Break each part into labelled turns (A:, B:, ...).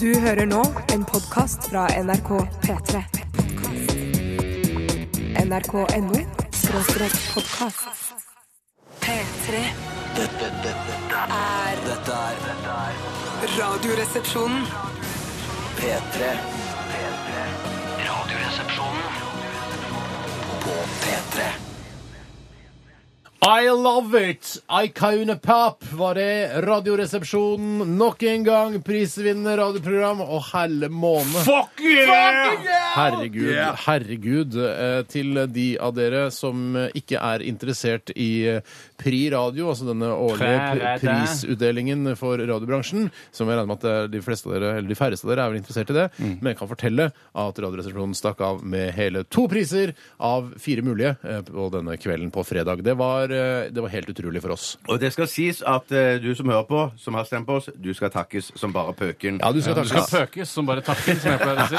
A: Du hører nå en podkast fra NRK P3. NRK.no skråstrek podkast. P3
B: Dette, dette, dette,
A: er
B: dette er dette er
A: Radioresepsjonen.
B: P3. P3. Radioresepsjonen på P3.
C: I love it! Icona Pop var det. Radioresepsjonen nok en gang prisvinnende radioprogram. Og helle måne.
D: Fuck yeah!
C: Herregud.
D: Yeah.
C: herregud eh, Til de av dere som eh, ikke er interessert i eh, Pri Radio, altså denne årlige
D: Prærede.
C: pri- prisutdelingen for radiobransjen, som jeg regner med at det er de fleste av dere, eller de færreste av dere er vel interessert i det, men jeg kan fortelle at Radioresepsjonen stakk av med hele to priser av fire mulige eh, på denne kvelden på fredag. Det var, eh, det var helt utrolig for oss.
E: Og det skal sies at eh, du som hører på, som har stemt på oss, du skal takkes som bare pøken.
C: Ja, du skal
D: Du skal
C: takkes.
D: pøkes som bare takken, som jeg pleier å si.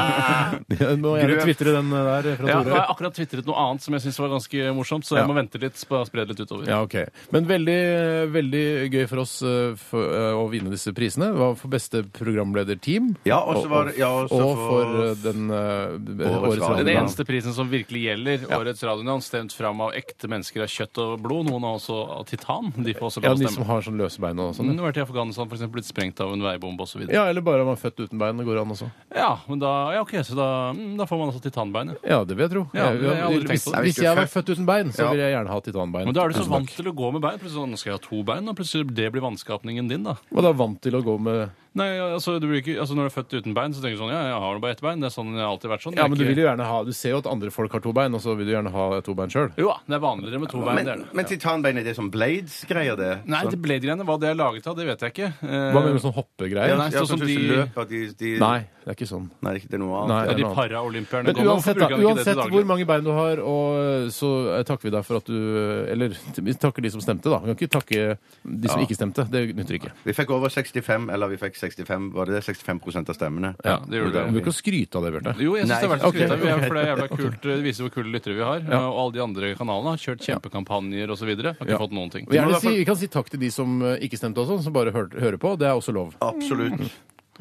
C: Nå må
E: Grøv.
C: gjerne tvitre den eh, der fra
D: Ja, nå har
C: Tore.
D: jeg akkurat twitret noe annet som jeg syns var ganske morsomt, så
C: Ja.
D: jeg må vente litt, bare spre det litt utover.
C: Ja, ok. Men veldig, veldig gøy for oss eh, for, eh, å vinne disse prisene. Det var for beste programlederteam.
E: Ja, og så var det- ja, og så
C: og
E: for-
C: for eh, den eh,
E: Årets
C: årets
E: radio.
D: Det er den
C: radioprogram.
D: eneste prisen som virkelig gjelder årets radionavn, stemt fram av ekte mennesker av kjøtt og blod. Noen har også av titan. De får også
C: Ja,
D: lov å
C: de som
D: stemme.
C: har sånn løse bein og
D: Noen
C: sånn.
D: har vært i Afghanistan, for eksempel blitt sprengt av en veibombe osv. Ja.
C: Ja, eller bare om man er født uten bein. Det går an også.
D: ja, men da, ja, ok, så da, mm, da får man altså titanbeinet.
C: Ja, det vil jeg tro.
D: Ja,
C: Jeg-
D: det har jeg aldri
C: hvis,
D: tenkt på.
C: hvis jeg var født uten bein, så
E: Ja.
C: ville jeg gjerne ha titanbein.
D: Men da er du så
C: Tusen
D: vant
C: takk.
D: til å gå med bein. Plutselig sånn, nå skal jeg ha to bein, og plutselig det blir vanskapningen din, da.
C: Og da vant til å gå med
D: Nei, altså, du blir ikke, altså Når du er født uten bein, så tenker du sånn Ja, jeg har jo bare ett bein. Det er sånn jeg har alltid vært sånn.
C: Ja,
D: Det er
C: men du
D: ikke-
C: vil jo gjerne ha Du ser jo at andre folk har to bein, og så vil du gjerne ha to bein sjøl.
D: Jo da, det er vanligere med to bein.
E: Men,
D: det er det.
E: men titanbein, er det sånn Blades-greier, det? Sånn-
D: Nei, det Blade-greiene, hva det er laget av, det vet jeg ikke. Eh,
C: Hva med sånn hoppegreier?
E: ja,
D: nei,
E: ja,
D: sånn som
E: kanskje
D: de-
E: løp, at de, de...
C: Nei, det er ikke sånn.
E: Nei, det er ikke- det er noe
C: Nei,
E: annet.
C: det er
D: Eh, de
C: noe annet.
D: paraolympierne
C: Men
D: går med, hvorfor
C: uansett,
D: bruker
C: da,
D: han ikke det til
C: uansett
D: daglig?
C: hvor mange bein du har, og så eh, takker vi deg for at du Eller t- vi takker de som stemte, da. Vi kan ikke takke de som ikke stemte. Det nytter ikke.
E: Vi fikk over 65, eller vi fikk 65, var det det? 65 av stemmene.
D: Ja, det gjorde
C: Du
D: vi.
C: bør ikke skryte av det, Bjarte.
D: Jo, jeg syns det er verdt å
C: ok,
D: skryte av,
C: ok.
D: for det er jævla kult. eh, Det viser hvor kule lyttere vi har. Og alle de andre kanalene har kjørt kjempekampanjer osv. Har ikke
C: Ja.
D: fått noen ting.
C: Vi, gjerne si, vi kan si takk til de som eh, ikke stemte også, som bare hør, hører på. Det er også lov.
E: Absolutt.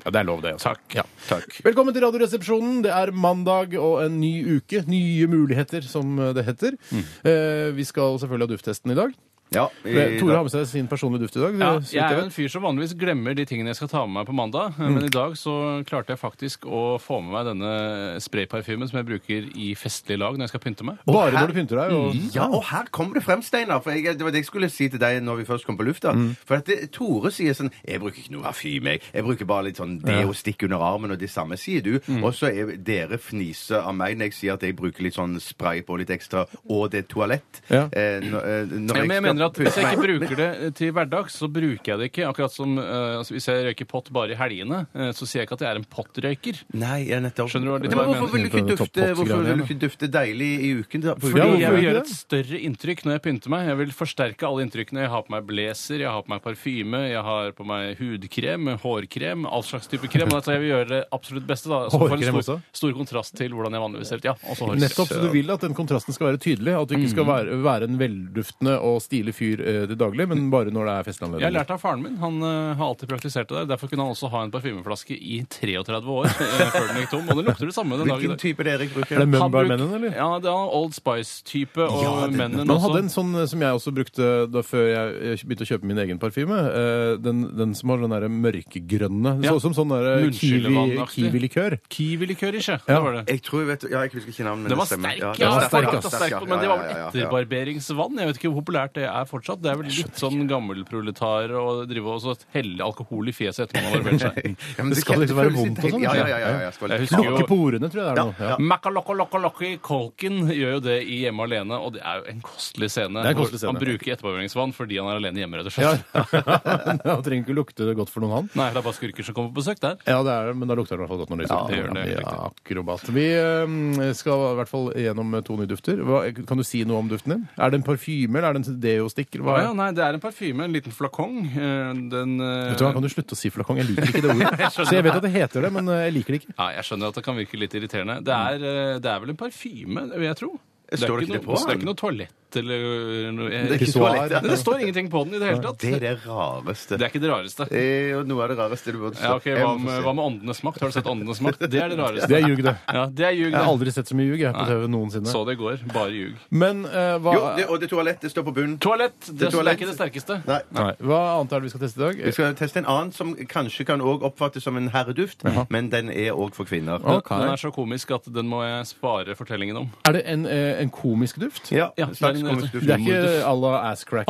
C: Ja, det er lov, det.
D: Takk.
C: Ja.
E: Takk.
C: Velkommen til Radioresepsjonen. Det er mandag og en ny uke. Nye muligheter, som det heter.
D: Mm.
C: Eh, vi skal selvfølgelig ha dufttesten i dag.
E: Ja, i-
C: Tore har med seg sin personlige duft i dag.
D: Ja,
C: så vidt
D: jeg er
C: vet.
D: jo en fyr som vanligvis glemmer de tingene jeg skal ta med meg på mandag, eh,
C: Mm.
D: men i dag så klarte jeg faktisk å få med meg denne sprayparfymen som jeg bruker i festlige lag når jeg skal pynte meg.
C: Bare
E: her-
C: når du pynter deg.
D: Mm.
C: Og...
E: Ja, og her kom det frem, Steinar. For jeg, det var det jeg skulle si til deg når vi først kom på lufta.
C: Mm.
E: For at det, Tore sier sånn Jeg bruker ikke noe parfyme, jeg. Jeg bruker bare litt sånn deo stikk under armen, og det samme sier du.
C: Mm.
E: Og så er dere fniser av meg når jeg sier at jeg bruker litt sånn spray på litt ekstra, og det er toalett.
C: Ja.
E: Eh, når, eh, når
D: Ja, men jeg
E: skal
D: mener at Hvis
E: pusse
D: jeg ikke
E: meg-
D: bruker det eh, til hverdags, så bruker jeg det ikke. Akkurat som eh, altså, Hvis jeg røyker pott bare i helgene, eh, så sier jeg ikke at jeg er en pottrøyker.
E: Nei, jeg nettopp.
D: Skjønner du hva- litt
E: Nei, men
D: hva jeg
E: hvorfor vil du ikke
C: mener?
E: dufte, hvorfor vil
C: Toppgreiene.
E: du ikke dufte deilig i uken? Da? På
D: Fordi
C: Ja, hvorfor
D: jeg vil
C: ikke
D: gjøre
C: det?
D: et større inntrykk når jeg pynter meg. Jeg vil forsterke alle inntrykkene. Jeg har på meg blazer, jeg har på meg parfyme, jeg har på meg hudkrem, hårkrem, all slags type krem. Men altså, jeg vil gjøre det absolutt beste. da. Så får en
C: Hårkrem også?
D: stor, stor kontrast til hvordan jeg vanligvis ser ut. Ja, også hårkrem.
C: Nettopp, så Du vil at den kontrasten skal være tydelig. At du ikke skal være, være en velduftende og stilig fyr eh, til daglig, men bare når det er
D: Jeg har
C: festanledning.
D: lært av faren min. Han eh, har alltid praktisert det der. Derfor kunne han også ha en parfymeflaske i 33 år eh, før den gikk tom. Og den lukter det samme den dag i
E: Hvilken
D: dag.
E: type det er jeg bruker?
C: Er det
D: Han bruk-
C: Mumbai-mennene, eller?
D: Ja, det er Old Spice-type og
E: Ja, det-
D: mennene
C: Man
D: også.
C: hadde en sånn eh, som jeg også brukte da før jeg eh, begynte å kjøpe min egen parfyme. Eh, Den, den som har den derre mørkegrønne. Det så
D: Ja.
C: ut som sånn derre kiwi-
D: Munnskyllevann-aktig.
C: kiwi-likør.
D: Kiwi-likør, ikke?
C: Ja.
D: Det var det.
E: Jeg tror jeg vet Ja, jeg husker ikke navnet. men
D: Den var
E: det stemmer.
D: sterk,
E: Ja,
D: ja.
E: den var
D: sterk,
E: ja,
D: ja, sterk,
E: ja,
D: men det var vel
E: ja, ja, ja.
D: etterbarberingsvann. Jeg vet ikke hvor populært det er fortsatt. Det er vel litt sånn gammelproletar å drive og så helle alkohol i fjeset etter man har barbert seg.
E: Ja, men
C: Det skal
E: kan-
C: liksom være
E: føles
C: vondt
E: litt-
C: og sånn,
E: Ja, ja,
C: ikke?
E: ja. ja, ja, skal
D: Jeg
E: litt-
D: husker jo-
C: Lukke på ordene, tror jeg det er
E: Ja,
C: nå. Ja.
D: Makalokkolokkolokki Kolken gjør jo det i Hjemme alene, og det er jo en kostelig scene.
C: Det er en kostelig scene.
D: Han bruker etterbarberingsvann fordi han er alene hjemme, rett og
C: Ja.
D: slett.
C: Han trenger ikke lukte det godt for noen, han.
D: Nei, det er bare skurker som kommer på besøk der.
C: Ja, det er det, men da lukter det i hvert fall godt når det
D: Ja, det gjør det, helt riktig.
C: akrobat. Vi eh, skal i hvert fall gjennom eh, to nye dufter. Hva, kan du si noe om duften din? Er det en parfyme, eller er det en deostikker? Hva
D: Ja,
C: er
D: ja,
C: det?
D: nei, det er en parfyme, en liten flakong. Eh, Den eh,
C: Vet du hva, Kan du slutte å si flakong? Jeg liker ikke det ordet. Så jeg vet at det heter det, men eh, jeg liker det ikke.
D: ja, jeg skjønner at det kan virke litt irriterende. Det er, eh, det er vel en parfyme, vil jeg tro.
E: Står Mm. det ikke
D: noe,
E: det på
D: det er
E: den?
D: ikke noe toalett toalett eller eh, noe jeg-
E: Det er ikke toalett, ja.
D: Nei, Det står ingenting på den i det hele tatt.
E: Det er det rareste.
D: Det er ikke det rareste.
E: Eh, og noe av det rareste du burde
D: Ja, ok,
E: Jeg
D: hva
E: må få
D: med,
E: se.
D: hva med åndenes makt? Har du sett åndenes makt? Det er det rareste.
C: Det er ljug, det.
D: Ja, det er ljug.
C: Jeg har
D: det.
C: aldri sett så mye ljug jeg, på TV noensinne.
D: Så det går. Bare ljug.
C: Men eh, hva,
E: Jo, det, og det toalettet står på bunnen.
D: Toalett. Det, det
E: toalett.
D: er ikke det sterkeste.
E: Nei.
C: nei, hva annet er det vi skal teste i
E: Vi
C: dag?
E: skal teste en annen som kanskje kan også oppfattes som en herreduft, men den er òg for kvinner.
C: Å. Ok.
D: Den er så komisk at den må jeg spare fortellingen om.
C: Er det en, eh, en komisk duft?
E: Ja,
D: Ja,
E: en slags
D: det er en-
E: komisk duft.
C: Det er ikke à la asscrack?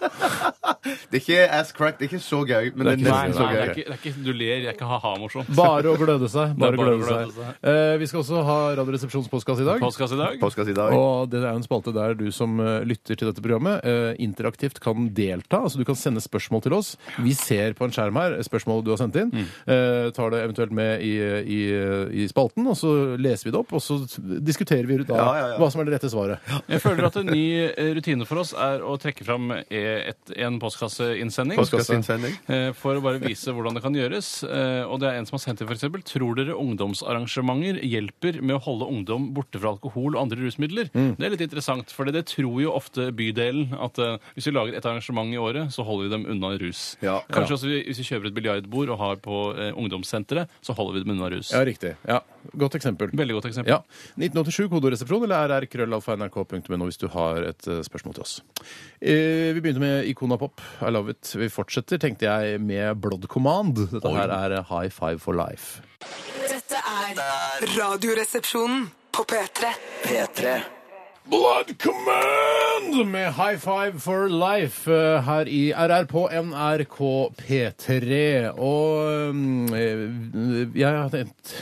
E: Det er ikke ass crack, det er ikke så gøy, men det er
C: ikke
E: nesten
C: så
E: så
D: Nei, det er
E: gøy.
D: ikke, det er ikke, du ler, jeg er ikke ha-ha-morsomt.
C: Bare å gløde seg. Bare,
D: Det er bare
C: gløde
D: å
C: seg.
D: gløde seg.
C: Eh, vi skal også ha Radioresepsjonens postkasse i dag.
D: Postkasse i dag.
E: Postkasse i dag.
C: Og det er jo en spalte der du som eh, lytter til dette programmet, eh, interaktivt kan delta. Altså du kan sende spørsmål til oss. Vi ser på en skjerm her spørsmålet du har sendt
E: Mm.
C: inn. eh, tar det eventuelt med i, i, i spalten, og så leser vi det opp, og så diskuterer vi da
E: Ja, ja, ja.
C: hva som er det rette svaret.
D: Jeg føler at en ny eh, rutine for oss er å trekke fram eh, et, en postkasseinnsending.
E: Postkasseinnsending.
D: Eh, For å bare vise hvordan det kan gjøres. Eh, Og det er en som har sendt inn f.eks.: Tror dere ungdomsarrangementer hjelper med å holde ungdom borte fra alkohol og andre rusmidler?
E: Mm.
D: Det er litt interessant, for det tror jo ofte bydelen. At eh, hvis vi lager et arrangement i året, så holder vi dem unna rus.
E: Ja.
D: Kanskje også vi- hvis vi kjøper et biljardbord og har på eh, ungdomssenteret, så holder vi dem unna rus.
C: Ja, riktig. Ja, Godt eksempel.
D: Veldig godt eksempel.
C: Ja. 1987 kodoresepsjon eller rrkrøllalfa.nrk.no hvis du har et eh, spørsmål til oss. Eh, vi begynte med Ikona Pop. I love it. Vi fortsetter, tenkte jeg, med Blood Command. Dette her er eh, High Five for Life.
F: Dette er Radioresepsjonen på P3.
B: P3
C: Blood Command med High Five for Life eh, her i RR på NRK P3. Og mm, eh, jeg har tenkt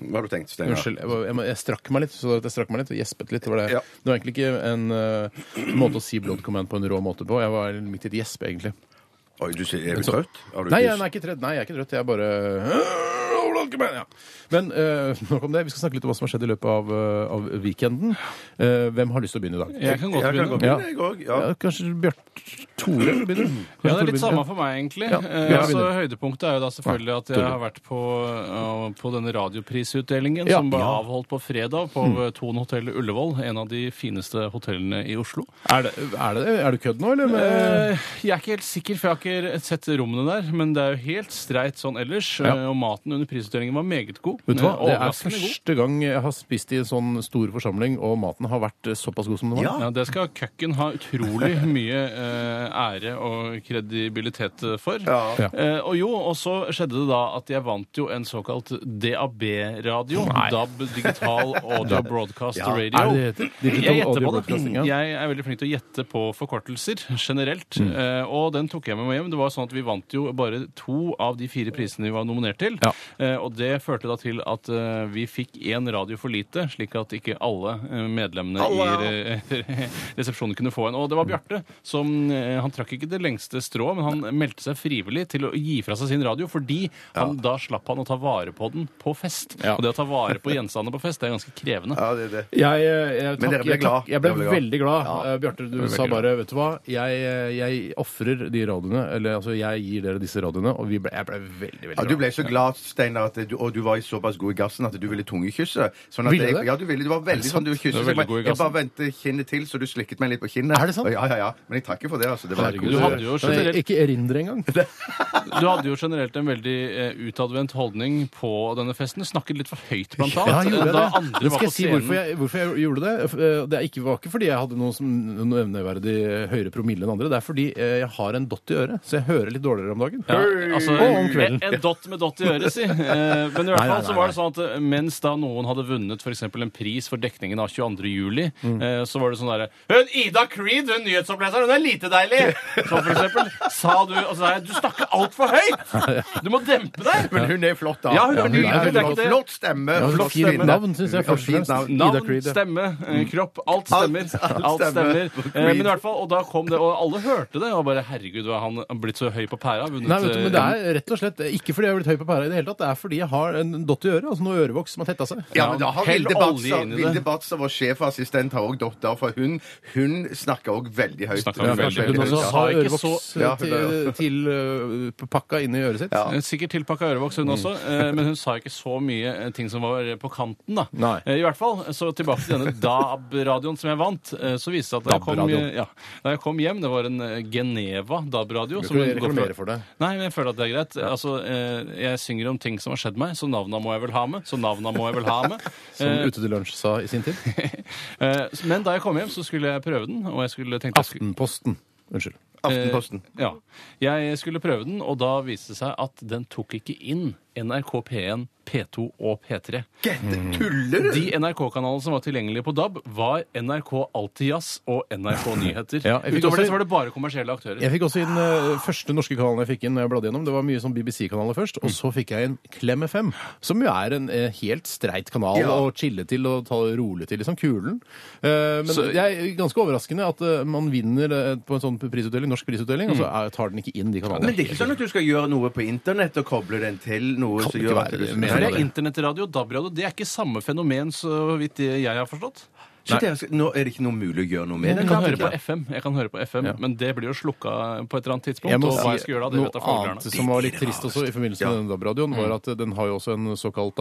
E: Hva har du tenkt, Steinar?
C: Unnskyld. Jeg, var- jeg, må- jeg strakk meg litt. Så at jeg strakk meg litt og gjespet litt. Det var, det.
E: Ja.
C: det var egentlig ikke en eh, måte å si blood command på en rå måte på. Jeg var midt i et gjesp, egentlig.
E: Oi, du, sier- er du trøtt? Har du
C: Nei, jeg,
E: dyst?
C: nei, jeg er ikke trøtt. Nei, jeg er ikke trøtt. Jeg er bare Blood Command, ja. Men eh, nok om det. Vi skal snakke litt om hva som har skjedd i løpet av, eh, av weekenden. Eh, hvem har lyst til å begynne i dag?
D: Jeg kan godt
E: Jeg kan
D: begynne.
E: gå
C: Ja.
E: med, jeg òg. Ja.
C: Ja, kanskje Bjarte Tore vil begynne?
D: Ja, det
C: Tore
D: er litt
C: begynner.
D: samme for meg, egentlig.
C: Ja,
D: Eh,
C: ja,
D: altså,
C: begynner.
D: høydepunktet er jo da selvfølgelig at jeg
C: Tore.
D: har vært på, eh, på denne radioprisutdelingen
C: Ja.
D: som ble
C: Ja. Mm.
D: avholdt på fredag på eh, Thon hotell Ullevål. En av de fineste hotellene i Oslo.
C: Er det, er det, er det kødd nå, eller?
D: Eh, jeg er ikke helt sikker, for jeg har ikke sett rommene der. Men det er jo helt streit sånn ellers.
C: Ja.
D: eh, Og maten under prisutdelingen var meget god.
C: Vet du hva?
D: Eh,
C: Det er
D: overraskende god.
C: første gang jeg har spist i en sånn stor forsamling, og maten har vært eh, såpass god som den var.
E: Ja.
D: Ja, Det skal køkken ha utrolig mye eh, ære og kredibilitet for.
E: Ja.
D: Eh, og jo, og så skjedde det da at jeg vant jo en såkalt DAB-radio. DAB Digital Audio Broadcast
E: Ja.
D: Radio.
C: Er det det heter? Digital
D: Jeg gjetter
C: Audio
D: på det. Mm,
C: Broadcasting, ja.
D: Jeg er veldig flink til å gjette på forkortelser generelt.
C: Mm.
D: eh, Og den tok jeg med meg hjem. Det var sånn at Vi vant jo bare to av de fire prisene vi var nominert til.
C: Ja.
D: Eh, Og det førte da til at eh, vi fikk én radio for lite, slik at ikke alle eh, medlemmene i re- resepsjonen kunne få en. Og det var Bjarte som eh, Han trakk ikke det lengste strået, men han meldte seg frivillig til å gi fra seg sin radio fordi han, da slapp han å ta vare på den på fest.
C: Ja.
D: Og det å ta vare på gjenstander på fest, det er ganske krevende.
E: ja, det er det.
C: Jeg, jeg,
E: Men
C: takk-
E: dere ble
C: jeg, takk-
E: glad.
C: Jeg ble,
E: Dere ble glad.
C: veldig glad.
E: Ja.
C: Eh, Bjarte, du
D: ble
C: sa
D: veldig
C: bare Vet du hva? Jeg, jeg ofrer de radioene, eller altså, jeg gir dere disse radioene, og vi ble, jeg ble veldig, veldig
E: Ja,
C: glad.
E: du ble så glad, Steinar, at du- og du var i såpass god i gassen at du ville tungekysse. Sånn at
C: Ville
E: jeg-
C: det?
E: Ja, du ville. Du var veldig sånn du kysset.
D: Du
E: så
D: var
E: Jeg
D: veldig god
E: bare,
D: i
E: jeg bare
D: gassen.
E: vendte kinnet til, så du slikket meg litt på kinnet.
C: Er det sant?
E: Og Ja, ja, ja. Men jeg takker for det, altså. Det var
D: Herregud, du hadde jo
C: Men jeg,
D: generelt
C: ikke erindre engang.
D: Du hadde jo generelt en veldig eh, utadvendt holdning på denne festen. Du Snakket litt for høyt, blant
C: Ja,
D: annet.
C: gjorde jeg
D: da
C: det?
D: andre
C: Men Skal
D: var på
C: jeg si
D: scenen.
C: hvorfor jeg, hvorfor jeg gjorde det? Eh, Det er ikke, var ikke fordi jeg hadde noe, som, noe evneverdig høyere promille enn andre. Det er fordi eh, jeg har en dott i øret, så jeg hører litt dårligere om dagen.
D: Ja, altså,
C: og om kvelden.
D: En, en dott med dott i øret, si. Eh, Men i hvert
C: Nei, nei,
D: fall så
C: nei,
D: var det sånn at eh, mens da noen hadde vunnet f.eks. en pris for dekningen av 22. juli,
C: Mm.
D: eh, så var det sånn derre Hun Ida Creed, hun nyhetsoppleseren, hun er lite deilig! Så for eksempel sa du og så sa jeg, Du snakker altfor høyt! Du må dempe deg!
E: Men hun er flott, da.
D: Ja, hun er
E: er
D: nydelig, det er ikke
E: flott,
D: det.
E: flott stemme.
C: Ja,
E: flott
C: fint
E: kvinne.
C: navn, synes jeg,
E: Ja,
C: først og
E: fint
C: fremst.
E: navn.
C: Ida
D: Navn,
C: Creed, ja. Mm.
D: stemme, eh, kropp. Alt stemmer.
E: alt
D: Alt
E: stemmer.
D: stemmer. Eh, Men i hvert fall, og da kom det, og alle hørte det. Og bare herregud, hva er han blitt så høy på pæra? Vunnet
C: Nei, vet du, men det
D: eh,
C: er rett og slett ikke fordi jeg har blitt høy på pæra i det hele tatt. Det er fordi jeg har en dott i øret, altså noe ørevoks som har tetta seg.
E: Ja, men da har
D: Hell
E: Vilde
D: olje
E: Batzer,
D: inn i det.
E: Vilde Batzer vår sjefassistent, har òg datter, for hun, hun snakker òg veldig høyt.
D: Snakker Ja, veldig
C: Kanskje
D: høyt.
C: hun også
E: Ja.
C: har
D: Sa ikke
C: ørevoks eh,
D: så-
E: Ja,
C: til,
E: det-
C: til øh, pakka inn i øret sitt.
E: Ja.
D: Sikkert tilpakka ørevoks,
C: Mm.
D: hun også, eh, men hun sa ikke så mye eh, ting som var på kanten. da.
C: Nei.
D: Eh, I hvert fall, Så tilbake til denne DAB-radioen som jeg vant. eh, så viste det seg at da jeg, kom, eh,
C: DAB-radio.
D: ja, da jeg kom hjem, det var en eh, Geneva DAB-radio.
C: Skal jeg reklamere for det?
D: Nei, men jeg føler at det er greit. Altså, eh, Jeg synger om ting som har skjedd meg, så navna må jeg vel ha med. Så navna må jeg vel ha med.
C: Som
D: Eh,
C: Ute til lunsj sa i sin tid.
D: eh, men da jeg kom hjem, så skulle jeg prøve den. Og jeg skulle tenkte jeg skulle-
C: Aftenposten. Unnskyld.
E: Aftenposten.
D: Eh, ja. Jeg skulle prøve den, og da viste det seg at den tok ikke inn NRK P1, P2 og P3.
E: Gette, tuller du?!
D: De NRK-kanalene som var tilgjengelige på DAB, var NRK Alltid Jazz og NRK Nyheter.
C: Ja, jeg fikk også-
D: Utover det så var det bare kommersielle aktører.
C: Jeg fikk også inn eh, første norske kanalen jeg fikk inn når jeg bladde gjennom. Det var mye sånn BBC-kanaler først,
E: Mm.
C: og så fikk jeg inn Klem FM, som jo er en eh, helt streit kanal
E: Ja.
C: å chille til og ta det rolig til, liksom kulen. Eh, men det er ganske overraskende at eh, man vinner eh, på en sånn prisutdeling, norsk prisutdeling, og så er, tar den ikke inn de kanalene.
E: Mm. Men det er ikke sånn at du skal gjøre noe på internett og koble den til noe
C: Kan
E: som
C: ikke
E: gjør at
C: være
E: du
C: mer
D: For
C: enn
E: Nei,
D: det er internettradio og DAB-radio. Det er ikke samme fenomen, så vidt jeg har forstått.
E: Så dere skal- nå er det ikke noe mulig å gjøre noe med det?
D: Jeg kan høre
E: kanskje?
D: på FM, jeg kan høre på FM men det blir jo slukka på et eller annet tidspunkt.
C: Jeg må
D: og hva jeg
C: si
D: skal gjøre da, det vet
C: noe
D: jeg
C: annet
D: forhåpentlig.
C: som var litt trist også i forbindelse med denne DAB-radioen,
D: Mm.
C: var at eh, den har jo også en såkalt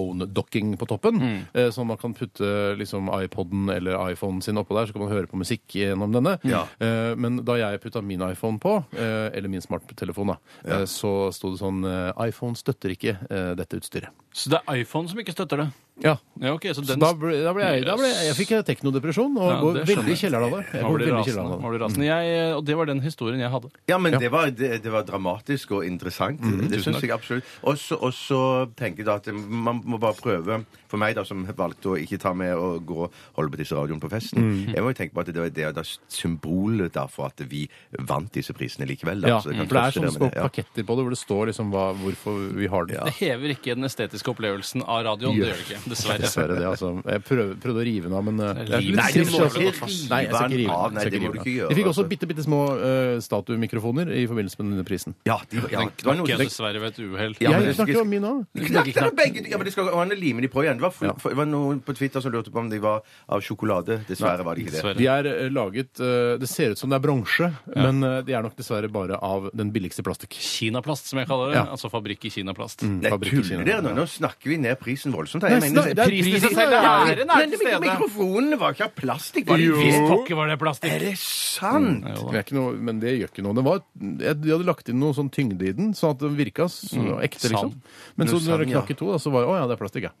C: iPhone-docking på toppen,
D: Mm.
C: eh, så man kan putte liksom iPoden eller iPhonen sin oppå der, så kan man høre på musikk gjennom denne.
E: Ja.
C: Eh, Men da jeg putta min iPhone på, eh, eller min smarttelefon, da, eh, så sto det sånn eh, iPhone støtter ikke eh, dette utstyret.
D: Så det er iPhone som ikke støtter det?
C: Ja.
D: Ja, ok, så
C: Så
D: den
C: da ble, da ble jeg, da ble jeg, jeg fikk teknodepresjon og
D: Ja,
C: går
D: det skjønner
C: veldig i
D: jeg.
C: kjelleren av det. Jeg
D: Man
C: går
D: blir
C: veldig i
D: rasende.
C: kjelleren av
D: Man
C: det.
D: blir
E: Mm.
D: rasende. Jeg, eh, og det var den historien jeg hadde.
E: Ja, men Det, var, det, det var dramatisk og interessant. det syns jeg absolutt. Og så- Og så tenker jeg da at man må bare prøve For meg, da, som valgte å ikke ta med å gå og holde på disse radioene på festen, jeg må jo tenke på at det var det da, symbolet da for at vi vant disse prisene likevel. Da.
C: Ja,
E: Så det kan
C: for det
E: trøste
C: er sånn sånne
E: dere
C: små
E: med det, ja.
C: paketter på det hvor det står liksom hva, hvorfor vi har det.
D: Det hever ikke den estetiske opplevelsen av radioen. Det gjør det ikke, dessverre.
C: Dessverre det, altså. Jeg prøvde, prøvde å rive den av, men eh,
D: Nei,
C: jeg-
D: det må
C: Nei,
D: du
C: jeg skal
E: ikke rive
C: Nei, jeg skal ikke rive den
E: av. Nei, det må
C: Jeg skal rive
E: du
C: den.
E: ikke gjøre,
C: Vi fikk også
E: altså.
C: bitte, bitte små eh, statuemikrofoner i forbindelse med denne prisen.
E: Ja, de, ja,
D: Den
E: det var noe
D: knakk jeg
E: som
D: dessverre ved et uhell.
E: Ja, men
C: jeg
E: det-
C: snakker jo om min òg.
E: De knakk dere begge! Ja, men de skal, og han limer de på igjen. Det var, fu- for, det var noen på Twitter som lurte på om de var av sjokolade. Dessverre var de ikke det.
D: Dessverre.
C: De er eh, laget eh, Det ser ut som det er bronse, men eh, de er nok dessverre bare av den billigste plastikk.
D: Kinaplast, som jeg kaller det.
C: Ja.
D: Altså fabrikk i kinaplast.
E: Nei,
C: Fabrikk i
E: tuller
C: Kina.
E: dere nå? Nå snakker vi ned prisen voldsomt. her. Jeg
C: Nei,
E: mener-
C: snak- det er
D: prisen i seg
C: prisen,
D: selv,
C: ja.
D: det er æren er
E: Men
D: til
E: mik-
D: stede.
E: Mikrofonene var ikke av plastikk. Var de
D: Jo.
E: visst
D: Visst
E: på-
D: pokker var det
E: Er
D: plastikk!
E: det sant?
D: Mm, Ja,
C: Det er ikke noe, men det gjør ikke noe. Den var, jeg, de hadde lagt inn noe sånn tyngde i den, sånn at den virka så, ekte. liksom.
D: Sand.
C: Men så
E: Noe
C: når det
E: Mm. sand, ja. Mm.
C: knakk i to, da, så var det å ja, det er plastikk, ja.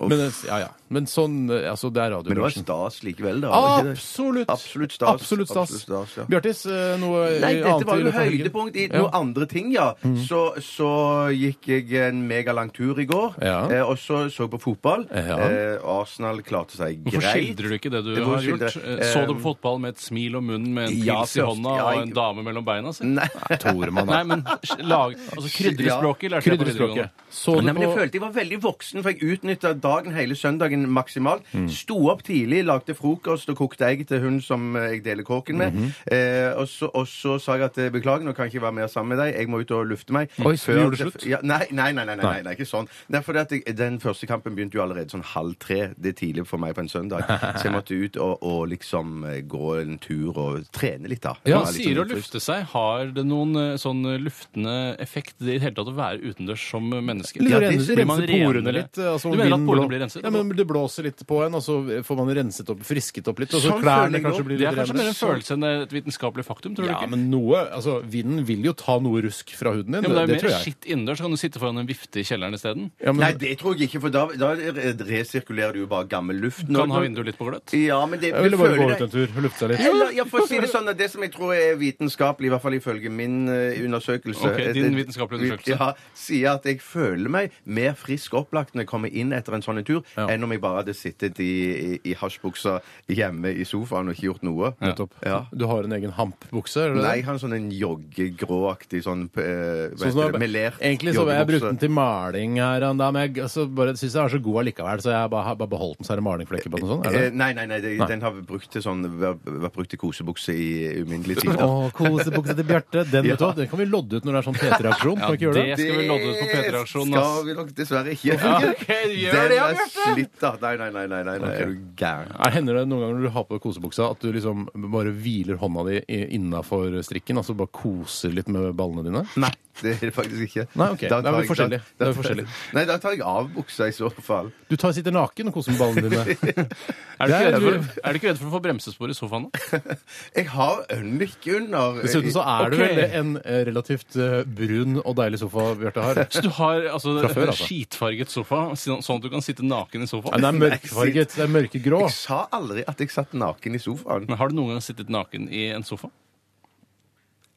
C: Men, eh, ja, ja. men sånn eh, Altså, det er
E: Men det var
C: radiobransjen.
E: stas likevel, da. var det ikke det?
C: Absolutt.
E: Absolutt stas.
C: Absolutt stas.
E: Absolutt stas, ja.
C: Bjartis, eh, noe eh,
E: Nei, dette
C: annet
E: var
C: i
E: jo
C: løpet av helgen?
E: høydepunkt i noen andre ting, ja.
D: Mm.
E: Så, så gikk jeg en megalang tur i går,
C: Ja.
E: eh, og så så jeg på fotball.
C: Ja.
E: Eh, Arsenal klarte seg greit.
D: Hvorfor skildrer du ikke det du
E: Hvor
D: har gjort?
E: skildrer-
D: Eh, Så du
E: Eh,
D: på fotball med et smil om munnen, med en
E: ja,
D: pils i
E: først,
D: hånda
E: ja,
D: og
E: jeg-
D: en dame mellom beina? Si?
E: Nei.
C: Toremann, da.
D: Nei, men lag, altså, krydre
E: Ja.
D: språket lærte jeg på
C: Krydderspråket.
D: videregående.
C: Så du
E: Nei, men jeg
C: på
E: følte jeg var veldig voksen, for jeg utnytta dagen hele søndagen maksimalt. Sto opp tidlig, lagde frokost og kokte egg til hun som eh, jeg deler kåken med. eh, og, så, og så sa jeg at eh, beklager, nå kan jeg ikke være mer sammen med deg, jeg må ut og lufte meg.
C: Oi, så du gjorde det slutt?
E: Ja, nei, nei, nei, nei, nei, nei, nei, ikke sånn. Nei, fordi at jeg, Den første kampen begynte jo allerede sånn halv tre. Det er tidlig for meg på en søndag. Så jeg måtte ut og, og liksom eh, gå en tur og trene litt, da.
D: Ja,
E: Det var
D: han
E: litt
D: sier å
E: sånn utfrisk.
D: lufte seg. Har det noen eh, sånn eh, luftende effekt i det hele tatt å være utendørs som eh, menneske?
C: Litt
E: Ja,
C: å
E: det
C: rense,
D: blir man
C: rense porene
D: renere.
C: litt. eh, Altså,
D: Du mener at
C: vinden
D: porene
C: blå-
D: blir renset? altså?
C: Ja, men Det blåser litt på en, og så får man renset opp, frisket opp litt. Og så
E: Sånn føler
C: klærne
E: jeg
C: kanskje
E: også.
C: blir
D: Det
C: litt
D: er kanskje mer en
C: renere.
D: følelse enn et vitenskapelig faktum, tror
C: Ja,
D: du ikke?
C: men noe, altså Vinden vil jo ta noe rusk fra huden din.
D: Ja, men det er jo
C: tror
D: mer
C: jeg.
D: skitt innendørs. så Kan du sitte foran en vifte i kjelleren isteden?
C: Ja, men,
E: Nei, det tror jeg ikke, for da, da resirkulerer du jo bare gammel luft. Nå-
D: Kan ha
E: nå-
D: vinduet litt på gløtt.
E: Ja, men det,
C: jeg ville bare
E: føler
C: gå
E: deg-
C: ut en tur og lufte seg litt.
E: Eller, ja, for å si det sånn, at det som jeg tror er vitenskapelig, i hvert fall ifølge min eh, undersøkelse
D: Ok,
E: eh,
D: din
E: det-
D: vitenskapelige undersøkelse.
E: Ja, sier at jeg føler meg mer frisk opplagt når jeg kommer inn etter en sånn en tur,
C: Ja.
E: enn om jeg bare hadde sittet i, i, i hasjbuksa hjemme i sofaen og ikke gjort noe.
C: Nettopp.
E: Ja.
C: Du har en egen hampbukse? er det det?
E: Nei, jeg har en sånn en joggegråaktig sånn eh, hva
C: Sånn
E: heter
C: som
E: det, melert
C: egentlig så har jeg brukt den
E: joggebukse.
C: til maling her om Van Damme. Jeg altså, bare syns jeg er så god allikevel, så jeg bare, har bare beholdt den, så er det malingflekker på den og sånn. Er
E: Eh,
C: det?
E: nei, nei, nei, det, den har vi brukt til sånn vært vært brukt til kosebukse i uminnelige
D: Eh,
E: tider.
C: Å, kosebuksa til Bjarte. Den, vet du hva, den kan vi lodde ut når det er sånn P3-aksjon. Kan vi ikke gjøre
D: det
C: det?
D: skal vi lodde ut på P3-aksjonen, ass.
E: Skal vi nok dessverre ikke.
D: ok, gjør det, ja,
E: den er
D: Bjarte.
E: slitt, da. Nei, nei, nei, nei, nei, nei. er du gæren?
C: Er, hender det noen ganger når du har på deg kosebuksa, at du liksom bare hviler hånda di innafor strikken? Altså bare koser litt med ballene dine?
E: Nei, det er det faktisk ikke.
C: Nei, ok. Da er vi
E: jeg-
C: forskjellige. Da er vi
E: tar-
C: forskjellige.
E: Nei, da tar jeg av buksa i så fall.
C: Du tar, sitter naken og koser med ballene dine.
D: Er du, ikke
C: Det
D: redd
C: er-
D: for, er du ikke redd for å få bremsespor i sofaen? da?
E: Jeg har ønlik under.
C: Dessuten så er du
D: Ok.
C: vel en eh, relativt eh, brun og deilig sofa Bjarte har.
D: Så du har altså,
C: Fra før, altså.
D: skitfarget sofa, sånn sånn at du kan sitte naken i sofaen?
C: Nei, den er mørkfarget. Det er mørkegrå.
E: Jeg sa aldri at jeg satt naken i sofaen.
D: Men Har du noen gang sittet naken i en sofa?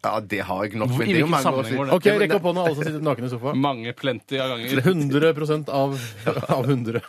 E: Ja, det har jeg nok.
D: Hvor-
E: men
D: i
E: det er jo
D: hvilken
E: mange år
D: sammenheng
E: siden.
D: var det?
C: OK, rekk opp hånda alle som sitter naken i sofaen.
D: Mange plenty av ganger.
C: 100 av, av 100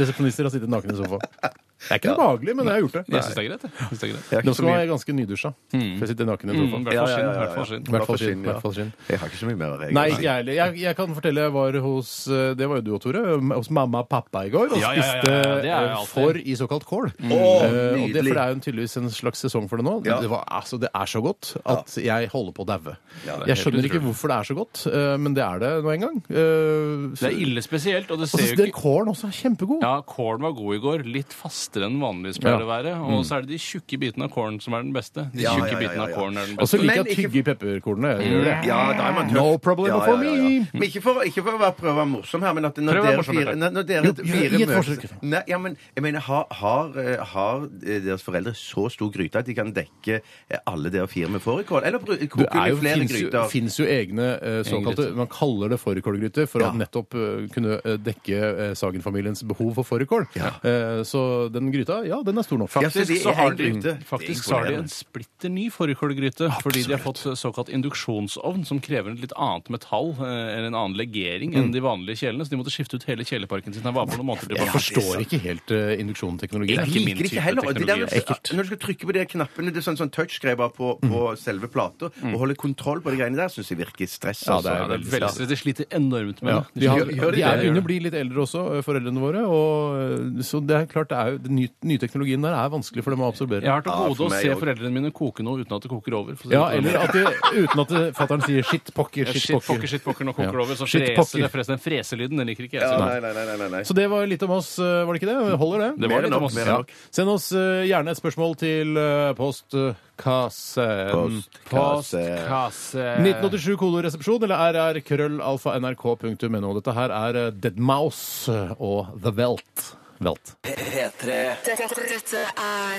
C: resepsjonister har sittet naken i sofaen. Det er ikke noe behagelig, men jeg har gjort det.
D: Jeg syns det er greit. jeg. Jeg synes det er greit.
E: Jeg har
C: Nå
E: ikke så
C: skal man
E: mye-
C: være ganske nydusja for å sitte naken i
D: Mm,
C: sofaen.
D: I hvert fall
E: Ja, ja,
D: skinn.
E: ja,
D: i hvert fall
E: ja.
D: skinn.
C: I hvert fall
E: ja.
C: skinn. i hvert fall skinn.
E: Jeg har ikke så mye mer å reagere
C: Nei,
E: på.
C: ikke jeg heller. Jeg, jeg kan fortelle jeg var hos eh, Det var jo du og Tore. m- Hos mamma og pappa i går og
D: Ja, ja, ja, ja,
C: spiste
D: ja, det er jeg
C: eh,
D: alltid. Mm.
C: får i såkalt kål.
E: Åh,
C: Eh, og det, for
E: nydelig.
C: det er jo tydeligvis en slags sesong for det nå.
E: Ja.
C: Det, var, altså, det er så godt at jeg holder på å daue.
E: Ja, det er
C: jeg
D: helt
C: skjønner ikke
D: utrolig.
C: hvorfor det er så godt, eh, men det er det nå en gang. Eh,
D: Det er ille spesielt, og det
E: Altså,
C: og så
D: ser jo
C: den
D: ikke
C: kålen også er kjempegod.
D: ja, Kålen var god i går. Litt fastere enn vanligvis pleier
C: Ja.
D: å være. Og så er det de tjukke bitene av kålen som er den beste. De
E: Ja, ja,
D: tjukke
E: ja,
D: bitene av
E: ja, Altså, ja.
D: kålen er den
C: Og så
D: beste.
C: liker jeg
E: Men
C: å tygge i pepperkornene.
D: Mm.
C: Jeg gjør det.
E: Ja, da er man tøff.
C: No problem for me.
E: Men ikke for, ikke for å være prøve å være morsom her, men at når
D: Prøv å være
E: dere
D: morsom,
E: fire,
D: Bjarte.
E: når, når dere
C: Jo, gi et
E: fire
C: forsøk.
E: møtes Nei, ja, men jeg mener, har, har, eh, har eh, deres foreldre så stor gryte at de kan dekke eh, alle dere fire med fårikål? Eller bru-
C: Det
E: koker
C: er
E: de
C: jo,
E: flere
C: finnes, jo,
E: gryter?
C: finnes jo egne eh, såkalte
D: gryte.
C: Man kaller det fårikålgryter for
E: Ja.
C: å nettopp eh, kunne eh, dekke eh, Sagen-familiens behov for fårikål. Eh, så den gryta, ja, den er stor nok. Mm.
E: Ja, så de
D: Faktisk så
E: er
D: har
E: en
D: de,
E: gryte.
D: faktisk
E: Det er
D: så har de
E: imponerende.
D: en splitter ny fårikålgryte fordi de har fått såkalt induksjonsovn, som krever et litt annet metall eh, eller en annen legering
E: Mm.
D: enn de vanlige kjelene. Så de måtte skifte ut hele kjeleparken sin. Den var på noen måneder
C: Jeg
D: tilbake.
C: forstår ikke helt eh, induksjonteknologien.
D: Jeg
E: Jeg
D: ikke min
E: liker det
D: type
E: ikke heller. Og det der,
D: teknologi, altså.
E: når du skal trykke på de knappene, det er sånn, sånn touch-greier bare på, på
C: Mm.
E: selve plata, og holde kontroll på de greiene der, syns jeg virker stress.
C: Ja,
E: altså.
C: det er
D: Ja, det er
C: veldig
D: veldig, de sliter enormt med
C: Ja,
D: det.
C: de, har,
E: Gjør- gjør de
C: de er
E: det?
C: begynner å bli litt eldre også, eh, foreldrene våre. Og, eh, så det er klart, det er jo, den nye, nye teknologien der er vanskelig for dem å absorbere.
D: Jeg har til
E: Ja,
D: gode
E: for
D: å
E: meg
D: se
E: også.
D: foreldrene mine koke noe uten at det koker over. for å si
C: Ja,
D: det på den
C: eller
D: måten.
C: at de, uten at fattern sier 'shit pokker',
D: Ja,
C: 'shit
D: Shit, pokker,
C: pokker'.
D: shit, pokker, nå koker
C: Ja.
D: det over. Så
C: Shit,
D: freser
C: pokker.
D: det, freser den Freselyden den liker ikke jeg.
E: Ja,
D: så
E: nei, nei, nei, nei, nei.
C: Så det var litt om oss, eh, var det ikke det? Holder det?
D: Det
E: Mer
D: var
E: enn
D: litt
E: nok,
D: om oss.
E: mer enn
D: Ja.
E: nok.
C: Send oss eh, gjerne et spørsmål til eh, postkassen.
E: Postkasse.
D: Postkasse
C: 1987 koloresepsjon eller rrkrøllalfa.nrk.no. Dette her er eh, Deadmouse og The Welt. Welt.
B: P3.
F: Dette, dette er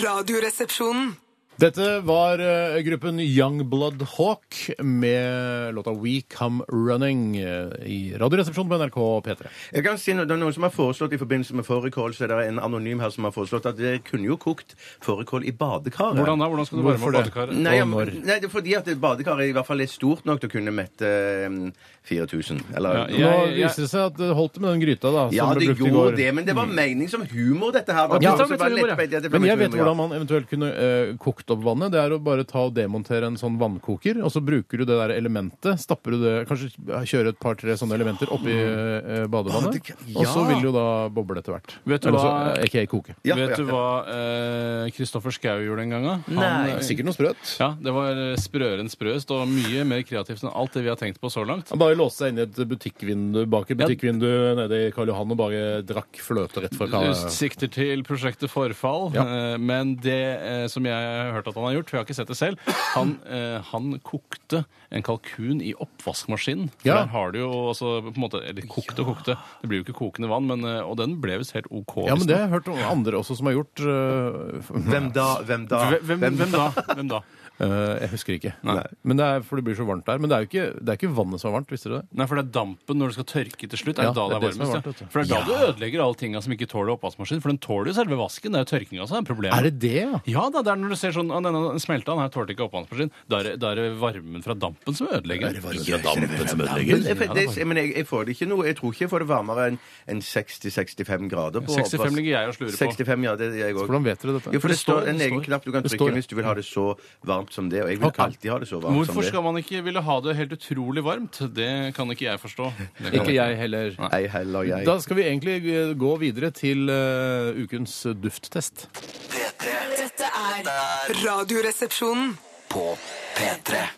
F: Radioresepsjonen.
C: Dette var eh, gruppen Youngblood Hawk med låta We Come Running eh, i Radioresepsjonen på NRK P3.
E: Jeg kan si noe, det er Noen som har foreslått i forbindelse med fårikål, så er det en anonym her som har foreslått at dere kunne jo kokt fårikål i badekaret.
D: Hvordan da? Hvordan skal du varme
C: Hvorfor
D: opp
C: det?
D: badekaret?
E: Nei, ja,
C: Og
E: men-
C: når?
E: nei, det er fordi at badekaret i hvert fall er stort nok til å kunne mette eh, 4000. Eller
D: Ja,
C: Nå
D: ja.
C: viser det seg at det holdt med den gryta da, som
E: Ja,
C: ble
E: det
C: brukt i
E: gjorde
C: går. Mm.
E: det, men det var mening som humor, dette her. da.
C: Ja,
E: Det var bare
D: det var humor, ja.
E: lettbeint, ja, det var
C: Men jeg
E: humor,
C: vet
E: ja.
C: hvordan man eventuelt kunne eh, kokt opp vannet. Det er å bare ta og demontere en sånn vannkoker, og så bruker du det der elementet. Stapper du det Kanskje kjøre et par-tre sånne elementer oppi eh, badevannet.
E: Badekar-
C: Og så
E: ja.
C: vil det jo da boble etter hvert.
D: Vet du
C: Eller så,
D: hva-
C: eh, Ikke jeg koke.
E: Ja,
D: Vet
E: ja,
D: du hva eh, Kristoffer Schou gjorde en gang? da? Han,
E: Nei.
D: eh,
C: Sikkert noe sprøtt.
D: Ja, Det var eh, sprøere enn sprøst og mye mer kreativt enn alt det vi har tenkt på så langt.
C: Han bare låste seg inn i et butikkvindu bak et butikkvindu nede i Karl Johan og bare drakk fløte rett fra
D: Du
C: kalla.
D: sikter til prosjektet Forfall,
C: Ja.
D: eh, men det eh, som jeg har hørt at han har gjort, for jeg har ikke sett det selv, han, eh, han kokte en kalkun i oppvaskmaskinen. For
C: Ja.
D: Der har du jo altså på en måte Eller kokte og kokte. Det blir jo ikke kokende vann, men, eh, og den ble visst helt OK.
C: Ja, men det
D: visstnok.
C: har jeg hørt om andre også som har gjort. eh,
E: Hvem da? Hvem da?
D: Hvem, hvem, hvem da? Hvem da?
C: eh, jeg husker ikke.
D: Nei.
C: Men det er, for det blir så varmt der. Men det er jo ikke, det er ikke vannet som er varmt, visste du det?
D: Nei, for det er dampen når det skal tørke til slutt. Er
C: Ja,
D: det da det er
C: som
D: varmest,
C: varmt,
D: ja.
C: vet du.
D: For det er da du ødelegger alle tinga som ikke tåler oppvaskmaskin. For den tåler jo selve vasken. Det er jo tørkinga som er problemet.
C: Er det det, ja?
D: Ja da, det er når du ser sånn «Å, Denne smelta, den her tålte ikke oppvaskmaskin. Da er det- da er det varmen fra dampen som ødelegger. Ikke dampen som
E: Men jeg, det, men jeg, jeg får det ikke noe Jeg tror ikke jeg får det varmere enn enn 60-65 grader. På,
D: 65 ligger jeg og slurer på.
E: 65, ja, det gjør jeg også.
C: Hvordan vet dere dette?
E: Jo, for det,
D: det står-
E: står en
D: det
E: egen
D: står.
E: knapp du kan
C: Det
E: trykke
C: står, ja.
E: hvis du vil ha det så varmt varmt som det, og jeg vil
C: Ok.
E: alltid ha det så varmt
D: Hvorfor
E: som det.
D: skal man ikke ville ha det helt utrolig varmt? Det kan ikke jeg forstå. Det kan
C: Ikke jeg heller.
E: Ei heller jeg.
C: Da skal vi egentlig eh, gå videre til eh, ukens dufttest.
B: P3
F: Dette er Radioresepsjonen.
B: på P3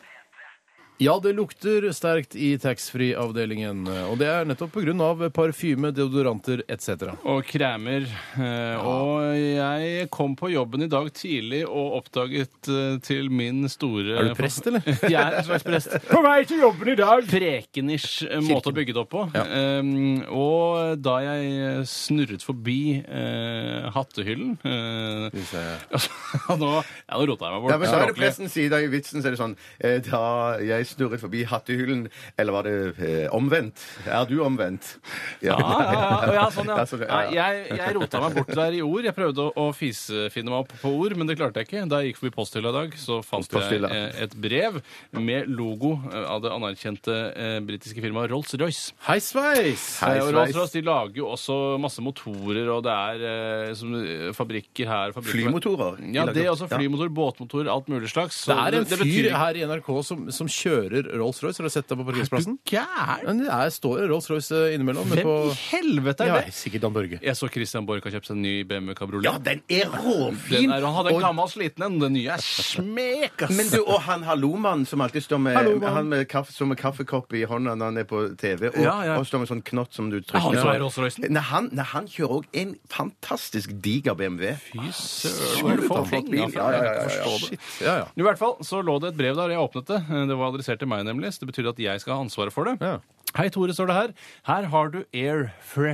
C: Ja, det lukter sterkt i taxfree-avdelingen. eh, Og det er nettopp pga. parfyme, deodoranter etc.
D: og kremer. Eh, Og jeg kom på jobben i dag tidlig og oppdaget eh, til min store
C: Er du prest, eller?
D: Jeg er en slags prest. På vei til jobben i dag! Prekenish eh, måte å bygge det opp på. Um, og da jeg eh, snurret forbi eh, hattehyllen eh, altså, Nå, ja, nå rota jeg meg bort.
E: Ja, men så er det
D: Språklig.
E: presten sier i vitsen så er det sånn eh, Da jeg snurret forbi hattehyllen Eller var det eh, omvendt? Er du omvendt? Ja,
D: Ja, ja, ja, ja, sånn, ja.
E: Ja, sånn, ja,
D: Nei,
E: ja.
D: Jeg, jeg rota meg bort der i ord. Jeg prøvde å, å fisefinne meg opp på ord, men det klarte jeg ikke. Da jeg gikk forbi posthylla i dag, så fant jeg
E: Posthylla.
D: eh, et brev med logo eh, av det anerkjente eh, britiske firmaet Rolls-Royce.
C: Hei sveis!
E: Hei,
D: Eh, og
E: sveis.
D: Rolls-Royce de lager jo også masse motorer, og det er eh, som, eh, fabrikker her fabrikker
E: Flymotorer. De
D: Ja,
E: lager-
D: det er også
E: ja.
D: flymotor, båtmotor, alt mulig slags.
C: Det er en
D: Så
C: fyr
D: betyr-
C: her i NRK som, som kjører Rolls-Royce. Har du sett deg på parkeringsplassen?
D: Gæren!
C: Men det er, står Rolls-Royce innimellom. men
D: Hvem
C: på...
D: i helvete er
C: Ja,
D: det?
C: sikkert Dan Børge.
D: Jeg så Christian Borch har kjøpt seg en ny BMW kabriolet.
E: Ja, den er råfin!
D: Den er, han hadde en
E: Og-
D: gammel sliten en. Den nye er smek, ass!
E: Men du, og han hallomannen som alltid står med,
C: Altså. Hallomannen.
E: han med kaffe, som en kaffekopp i hånda når han er på TV, og,
D: Ja, ja.
E: og står med sånn knott som du
D: Er han
E: trykker
D: som Ah, er Rolls-Roycen?
E: Nei, han, nei, han kjører òg en fantastisk diger BMW.
D: Fy søren. Du får
E: flott bil.
D: penger for
E: Ja, ja, ja,
D: det, jeg kan
E: ja, ja.
D: forstå det.
C: Shit. Ja, ja.
D: I hvert fall så lå det et brev der, jeg åpnet det. Det var adressert til meg, nemlig. Så det betyr at jeg skal ha ansvaret for det.
C: Ja.
D: Hei, Tore, står det her. Her har du air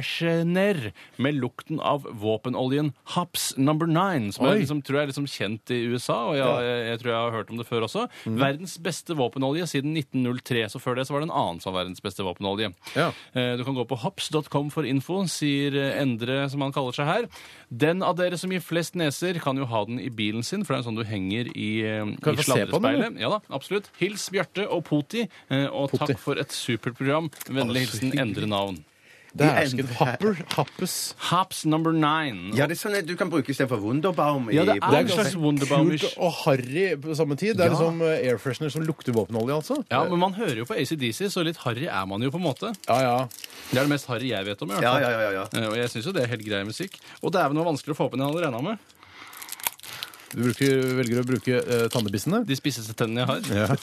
D: freshener med lukten av våpenoljen Haps number nine, som
C: Oi.
D: jeg liksom, tror jeg er liksom kjent i USA, og jeg, jeg, jeg tror jeg har hørt om det før også. Verdens beste våpenolje siden 1903, så før det så var det en annen som var verdens beste våpenolje.
C: Ja.
D: Eh, Du kan gå på hops.com for info, sier eh, Endre, som han kaller seg her. Den av dere som gir flest neser, kan jo ha den i bilen sin, for det er en sånn du henger i, eh,
C: Kan
D: i
C: jeg få se på den,
D: sladrespeilet. Ja da, absolutt. Hils Bjarte og Poti, eh, og
C: Poti.
D: takk for et supert program. Vennlig hilsen Endre Navn.
C: Dæsken.
E: endrer-
C: Happer. Happes.
D: Hops number nine.
E: Ja, det er sånn at du kan bruke istedenfor Wunderbaum. i-
D: Ja, det er
E: på-
C: Det er en
D: ganske
C: slags
D: Wunderbaum-ish.
C: kult og harry på samme tid. Det er
E: Ja.
C: liksom eh, air freshener som lukter våpenolje, altså.
D: Ja, men man hører jo på ACDC, så litt harry er man jo på en måte.
C: Ja, ja.
D: Det er det mest harry jeg vet om. i hvert
E: ja,
D: fall.
E: ja, ja, ja.
D: Eh, Og jeg syns jo det er helt grei musikk. Og det er vel noe vanskeligere å få opp enn jeg hadde regna med.
C: Du bruker, velger å bruke eh, tannebissene.
D: De spisseste tennene jeg har.
C: Ja.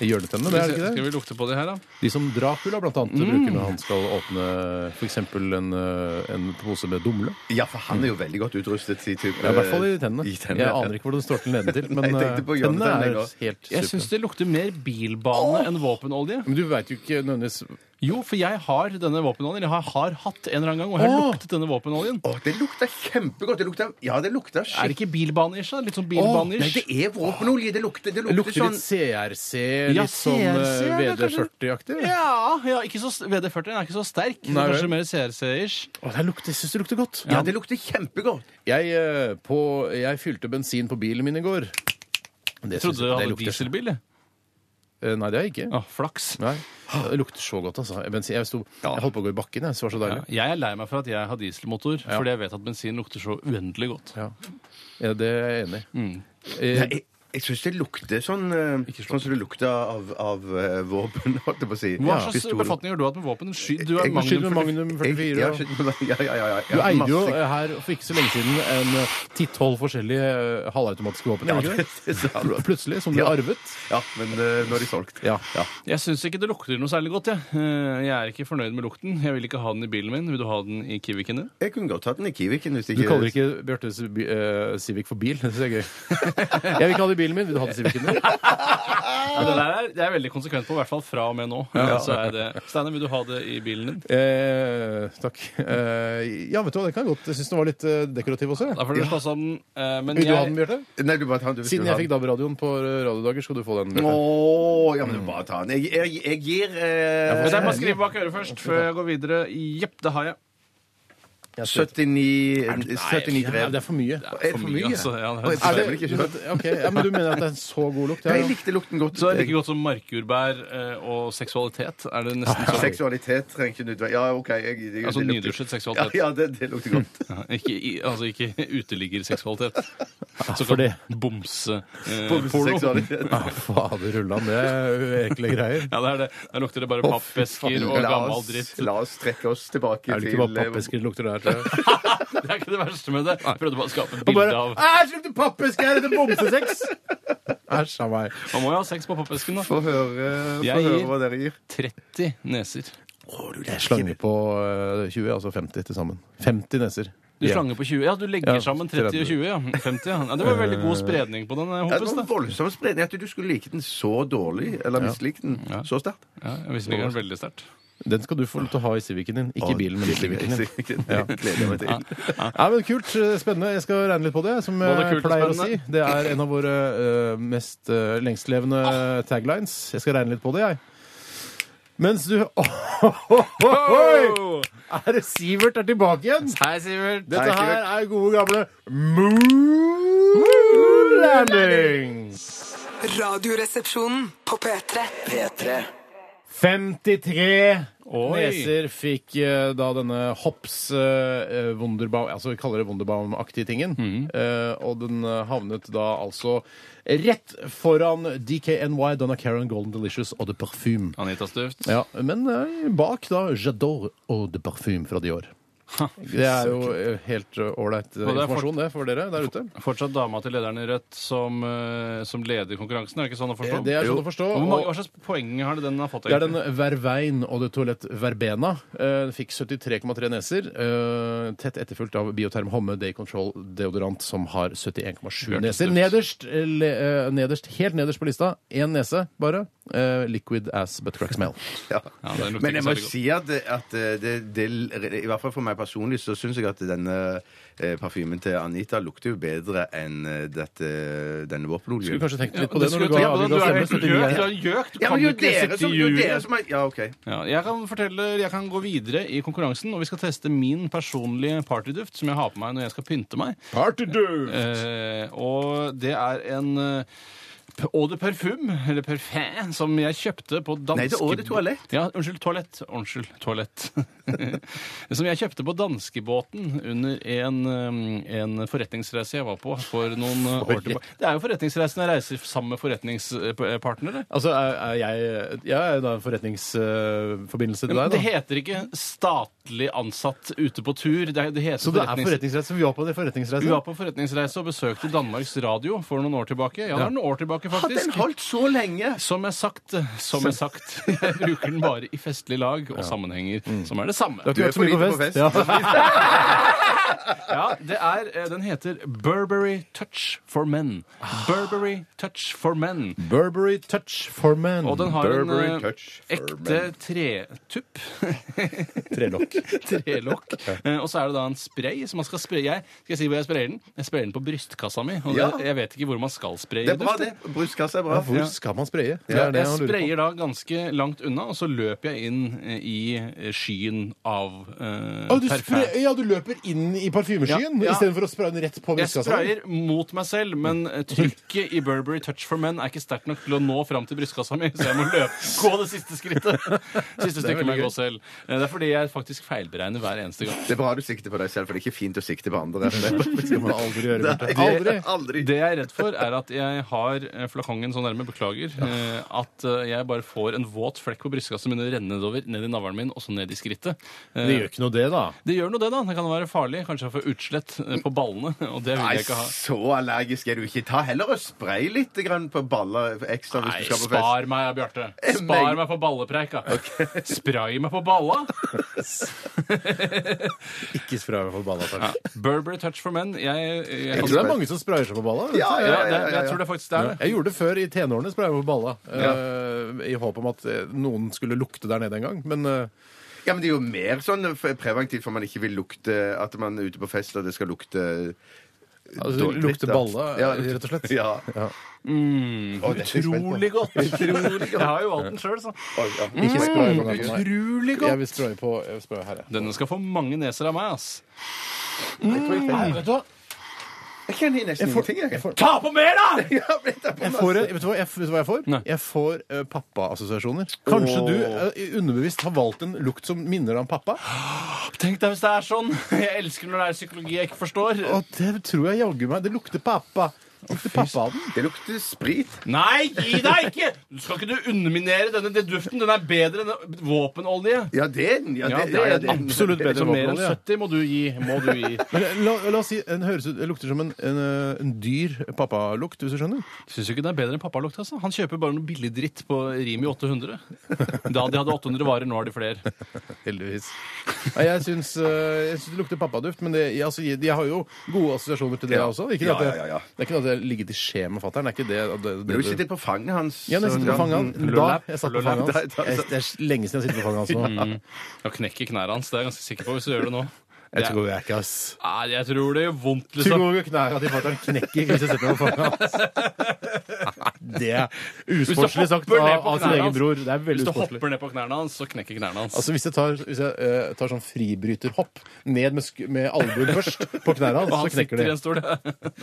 C: Hjørnetennene, det er det
D: Skal
C: ikke det?
D: vi Mm. lukte på de her, da?
C: De som Dracula blant annet bruker når han skal åpne f.eks. En, eh, en pose med dumle.
E: Ja, for han er jo veldig godt utrustet. Si, type,
C: Ja, I hvert fall i tennene.
E: Eh, I tennene.
C: Jeg aner ikke hvordan det står til nedentil, men
E: Jeg
C: eh,
E: tenkte på
C: tennene
E: hjørnetennene,
C: er
E: jeg også.
C: helt
D: Jeg
C: supre.
D: syns det lukter mer bilbane enn våpenolje.
C: Men du veit jo ikke nødvendigvis
D: Jo, for jeg har denne våpenoljen. Jeg har, har hatt en eller annen gang, og jeg har
C: Åh!
D: luktet denne våpenoljen.
E: Å, det lukter kjempegodt. Det lukter, ja, det lukter
D: Er
E: skikkelig
D: det ikke bilbane-ish, da? Litt sånn
E: Nei,
D: bilbane-ish.
E: det er våpenolje. Det lukter, det
C: Det
E: lukter,
C: lukter
E: sånn
C: litt CRC,
D: Ja,
C: litt sånn
D: CRC,
C: eh,
D: ja, det er kanskje-
C: VD40-aktig.
D: ja, ja, ikke så s- VD40 den er ikke så sterk. Det
C: Nei,
D: er
C: vel.
D: kanskje mer CRC-ish.
C: Å, det lukter, jeg syns det lukter godt.
E: Ja, det lukter kjempegodt.
C: Jeg, eh, på, jeg fylte bensin på bilen min i går. Det
D: Jeg trodde
C: syns
D: du
C: det
D: hadde
C: lukter-
D: dieselbil. jeg.
C: Eh, Nei, det har jeg ikke.
D: Å, flaks.
C: Nei. Det lukter så godt, altså. Bensin, jeg, sto, jeg holdt på å gå i bakken, jeg. så Det var så
D: Ja,
C: deilig.
D: jeg er lei meg for at jeg har dieselmotor,
C: Ja.
D: fordi jeg vet at bensin lukter så uendelig godt.
C: Ja. Ja, det er jeg enig i.
D: Mm.
E: Nei,
C: Eh,
E: jeg jeg syns det lukter sånn eh, Sånn som det lukter av, av eh, våpen, holdt jeg på å si.
D: Hva
E: Ja,
D: slags
E: pistol.
D: befatning har du hatt med våpen? Sky, du er
E: Jeg-
C: Skyld med
D: Magnum
C: Magnum
D: 40.
E: Jeg-
C: 44.
E: ja,
C: og-
E: ja, ja, ja, ja.
C: Du eide jo
E: Masse-
C: eh, her for ikke så lenge siden en eh, ti-tolv forskjellige eh, halvautomatiske våpen.
E: Ja,
C: gjorde du
E: det,
C: ikke det?
E: det sa du.
C: Plutselig, som du
E: Ja.
C: arvet.
E: Ja, men eh, nå er de solgt.
C: Ja.
D: Jeg syns ikke det lukter noe særlig godt. Jeg. Eh, jeg er ikke fornøyd med lukten. Jeg vil ikke ha den i bilen min. Vil du ha den i Kiwiken din?
E: Jeg kunne godt hatt den i Kiwiken hvis
C: Du kaller ikke Bjarte Civi- eh, Civic for bil. Det synes jeg er gøy. Jeg vil ikke ha det i bilen min. Vil du ha det i Civicen din?
D: Ja, det, der er, det er veldig konsekvent på, i hvert fall fra og med nå. Så er det, Steiner, vil du ha det i bilen din?
C: Eh, takk. Eh, ja, vet du hva, det kan jeg godt. Jeg syns den var litt eh, dekorativ også.
D: Da
C: Ja.
D: får du slåss om den. eh, Men
C: Vil du ha den,
D: jeg,
C: Bjarte?
E: Nei, du bare ta den.
C: Siden jeg fikk DAB-radioen på eh, radiodager, skal du få den. Bjarte.
E: Å, ja, men du bare ta den. Jeg, jeg, jeg gir eh,
D: Men jeg må skrive bak øret først, før jeg går videre. Jepp, det har jeg.
C: Ja,
E: 79 79
C: ja,
E: drev.
C: det er for mye.
E: Er det for mye?
D: altså, ja, det er-
E: Og jeg
C: Er
E: bestemmer
C: det,
E: ikke selv.
C: ok, ja, men du mener at det er en så god lukt? Ja,
E: Jeg
C: ja.
E: likte lukten godt.
D: Så er det like godt som markjordbær eh, og seksualitet. Er det nesten sånn?
E: Seksualitet trenger ikke nødvendigvis Ja, OK. Jeg, jeg, det
D: Altså
E: lukter-
D: nydusjet seksualitet.
E: Ja, ja det, det lukter godt.
D: Ja, Ikke, i- altså ikke uteliggerseksualitet. Så
C: for det-
D: eh, bomseporno.
E: Seksualitet.
C: Ja, fader rullan, det er ekle greier.
D: ja, det er det. Der lukter det bare
C: Å, fy
D: pappesker
C: faen.
D: og
E: La
D: gammel
E: oss,
D: dritt.
E: la oss trekke oss tilbake
C: Er det
E: til eh,
C: ikke
D: eh,
C: bare pappesker det lukter der? tror jeg?
D: Det er ikke det verste med det. Jeg Prøvde bare å skape et
C: Og
D: bilde
C: bare
D: av
C: Æsj, lukter pappesker! Er dette bomsesex? Æsj a meg.
D: Man må jo ha sex på pappesken, da.
E: Få høre, få
D: Jeg
E: høre
D: gir-
E: hva dere gir.
D: 30 neser.
C: Jeg slanger på eh, 20, altså 50 til sammen. 50 neser.
D: Du slanger på 20. Ja, du legger
C: Ja,
D: sammen 30 og 20, ja. 50, ja. ja. Det var veldig god spredning på den, eh,
E: Ja, Det
D: Hoppes.
E: var en
D: da.
E: voldsom spredning. At du skulle like den så dålig, eller mislike den så sterkt.
D: Ja, jeg visste ikke det var veldig sterkt.
C: Den skal du få lov til å ha i Civicen din. Ikke i bilen, men i Civicen din.
E: Ja. Gleder jeg meg til.
C: Ja, men Kult. eh, Spennende. Jeg skal regne litt på det. Som
D: Både
C: jeg
D: kult og
C: pleier å si.
D: spennende.
C: Det er en av våre eh, mest eh, lengstlevende eh, taglines. Jeg skal regne litt på det, jeg. Mens du Oi! Er det Sivert er tilbake igjen?
D: Hei, Sivert.
C: Dette her er gode gamle Moon Landing!
F: Radioresepsjonen på P3.
B: P3
C: 53
D: Oi.
C: neser fikk eh, da denne hops eh, Wunderbaum, altså vi kaller det Wunderbaum-aktige tingen.
D: Mhm.
C: Eh, og den eh, havnet da altså rett foran DKNY, Donna Caron, Golden Delicious og The Parfume.
D: Anita Stuft.
C: Ja, men eh, bak da J'adore og The Parfume fra Dior. Det er jo eh, helt eh, ålreit eh,
D: Og det er
C: informasjon det for dere der ute.
D: Fortsatt dama til lederen i Rødt som, eh, som leder konkurransen. Er det ikke sånn å forstå?
C: Det er sånn å forstå.
D: Og Hvor mange,
C: og-
D: hva slags poeng har det den har fått?
C: Det er den Vervein og det Toilett Verbena. Eh, den fikk 73,3 neser. eh, tett etterfulgt av Bioterm Homme Day Control Deodorant, som har 71,7
D: Bjørn
C: neser.
D: Tøft.
C: Nederst, eh, le, eh, nederst, helt nederst på lista, én nese bare. Eh, liquid Ass But Crack Smell.
E: Ja.
D: Ja, den lukter
E: Men jeg
D: ikke
E: må
D: særlig godt.
E: si at, eh, at det, det, I hvert fall for meg personlig så syns jeg at denne eh, parfymen til Anita lukter jo bedre enn eh, dette, denne
C: Skulle
E: våpenoljen.
C: kanskje tenkt litt på
D: Ja,
C: det når
D: skulle
C: du
D: jeg
C: ga
D: tenke på det. Du er
C: avgjørelse.
D: helt gjøk. Du er gjøk. Du
E: Ja,
D: kan
E: men
D: jo
E: jo
D: ikke
E: dere
D: sitte
E: som,
D: i
E: jo dere
D: juryen.
E: som er, Ja, OK.
D: Ja, jeg kan fortelle, jeg kan gå videre i konkurransen, og vi skal teste min personlige partyduft, som jeg har på meg når jeg skal pynte meg. Eh, og det er en eh, p- Eau de parfum, eller parfum, som jeg kjøpte på danske...
E: Nei, det er Eau de toalett.
D: Ja, unnskyld, toalett. Unnskyld, toalett. som jeg kjøpte på danskebåten under en, eh, en forretningsreise jeg var på for noen eh, år tilbake. Det er jo forretningsreisen jeg reiser sammen med eh, forretningspartnere.
C: Altså, er, er jeg, jeg er da en forretningsforbindelse til
D: Men
C: deg,
D: det
C: da.
D: heter ikke statlig ansatt ute på tur. Det, er- det heter
C: Så det er
D: forretnings-
C: forretningsreise? så Vi var på det
D: Vi
C: forretningsreisen.
D: var på forretningsreise og besøkte Danmarks Radio for noen år tilbake. Ja, det var noen år tilbake,
E: Hadde den
D: faktisk.
E: holdt så lenge?
D: Som jeg sagt, som jeg sagt. Jeg bruker den bare i festlig lag og sammenhenger, som er det samme.
C: Du har ikke vært så mye på fest. Ja.
D: Ja, det er, eh, den heter Burberry Touch for Men. Burberry Touch for Men.
C: Burberry Touch for Men.
D: Og den har en
E: Burberry
D: eh,
E: Touch for
D: ekte
E: Men.
D: tretupp.
C: Trelokk.
D: Trelokk. Eh, Og så er det da en spray som man skal spraye. Jeg, skal jeg si hvor jeg sprayer den? Jeg sprayer den på brystkassa mi. Og
E: Ja.
D: det, jeg vet ikke hvor man skal spraye
E: Det er bra,
D: duft.
E: det. Brystkassa er bra.
C: Ja, hvor skal man spraye? Det
E: Ja,
C: er det
D: jeg
C: han lurer på.
D: sprayer da ganske langt unna, og så løper jeg inn eh, i eh, skyen av eh,
C: Å, Ah, du
D: parfum.
C: spray, ja, du løper inn i parfymeskyen
D: Ja, ja.
C: istedenfor å spraye den rett på sånn.
D: Jeg
C: brystkassa?
D: sprayer mot meg selv, men eh, trykket i Burberry Touch for Men er ikke sterkt nok til å nå fram til brystkassa mi, så jeg må løpe, gå det siste skrittet. Siste stykket må
C: veldig
D: jeg gå selv. Eh, Det er fordi jeg faktisk feilberegner hver eneste gang.
E: Det er bra du sikter på deg selv, for det er ikke fint å sikte på andre.
C: Det skal man aldri gjøre. Bjarte.
E: Nei,
C: Aldri.
E: aldri.
D: Det jeg er redd for, er at jeg har eh, flakongen så nærme, beklager, eh, at eh, jeg bare får en våt flekk på brystkassa min renne nedover, ned i navlen min, og så ned i skrittet. Eh,
C: Det gjør ikke noe, det, da.
D: Det gjør noe det, da. Det kan være farlig. Kanskje jeg får utslett eh, på ballene. Og det vil
E: Nei,
D: jeg ikke ha.
E: så allergisk er du ikke. Ta heller og spray litt grann på baller ekstra
D: Nei,
E: hvis du skal på fest.
D: spar meg, Bjarte.
E: Eh,
D: Spar meg på ballepreik, da. Spray meg på balla.
C: Ikke spray meg på balla, takk.
D: Burberry Touch for Men. Jeg, jeg,
C: Jeg tror det er mange som sprayer seg på balla. vet du.
E: Ja,
D: ja,
E: ja,
D: det,
E: ja, ja,
D: jeg tror det faktisk det er det.
C: Jeg gjorde det før i tenårene, spraya meg på balla. eh, I håp om at eh, noen skulle lukte der nede en gang. Men eh,
E: Ja, men det er jo mer sånn f- preventivt, for man ikke vil lukte At man er ute på fest og det skal lukte
C: Altså, det
E: dårlig
C: lukter
E: da.
C: balle,
E: Ja.
C: rett og slett.
E: Ja. Å, dette er jeg spent på.
D: Utrolig godt.
E: Utrolig
D: Jeg har jo valgt den sjøl, så.
E: Oi, ja.
C: Ikke spray på meg.
D: Utrolig
C: Jeg
D: godt.
C: vil spraye på jeg vil spraye her, jeg.
D: Denne skal få mange neser av meg, ass.
C: Vet du hva?
E: Jeg kan gi nesten ingenting, jeg.
C: Jeg får,
D: Ta på mer, da!
E: Ja, men jeg tar på
C: jeg
E: masse.
C: får, en- vet, du hva jeg, vet du hva jeg får?
D: Nei.
C: Jeg får eh, pappaassosiasjoner. Kanskje
E: Åh.
C: du eh, underbevisst har valgt en lukt som minner deg om pappa?
D: Tenk deg hvis det er sånn. Jeg elsker når det er psykologi jeg ikke forstår.
C: Og det tror jeg jaggu meg. Det lukter pappa. Det lukter pappa av den.
E: Det lukter sprit.
D: Nei, gi deg ikke! Du skal ikke du underminere denne den duften. Den er bedre enn våpenolje.
E: Ja, det er den. Ja,
D: Ja,
E: det,
D: det
E: ja,
D: er
E: den.
C: absolutt bedre
D: Så
C: enn
D: mer enn
C: våpenolje.
D: 70 må du gi. Må du gi.
C: Men eh, la, la oss si, den høres ut, det lukter som en, en, eh, en dyr pappalukt, hvis du skjønner.
D: Syns du ikke det er bedre enn pappalukt? Altså? Han kjøper bare noe billig dritt på Rimi 800. Da de hadde 800 varer, nå har de flere.
C: Heldigvis. Nei, jeg syns, eh, jeg syns det lukter pappaduft, men det, jeg, altså, jeg, jeg har jo gode assosiasjoner til det
E: Ja.
C: også. Ikke
E: Ja,
C: at jeg,
E: ja, ja, ja.
C: Det er ikke noe at jeg ligger til skje med fatter'n. Det er ikke det, det, det,
E: Men du
C: det-
E: sitter Sånn på fanget hans.
C: Ja, når jeg sitter på fanget hans. Da
D: Lullaby.
C: jeg satt på fanget
D: Lullaby.
C: hans. Jeg- Det er lenge siden jeg sitter på fanget hans nå.
E: Mm.
D: Ja, knekker knærne hans, det er jeg ganske sikker på hvis du gjør det nå.
C: Jeg tror jeg ikke, ass.
D: Nei, jeg tror det gjør vondt, liksom.
C: Tror knærne til fatter'n knekker hvis jeg setter meg på fanget hans. Det er usportslig sagt
D: hopper
C: av,
D: ned på
C: av sin
D: knærne
C: egen
D: hans.
C: bror. Det er
D: Hvis
C: veldig
D: du
C: usportslig.
D: hopper ned på knærne hans, så knekker knærne hans.
C: Altså Hvis jeg tar, hvis jeg, eh, tar sånn fribryterhopp ned med, sk- med albuen først på knærne
D: Og
C: hans,
D: han
C: så knekker
D: sitter i
C: det.
D: en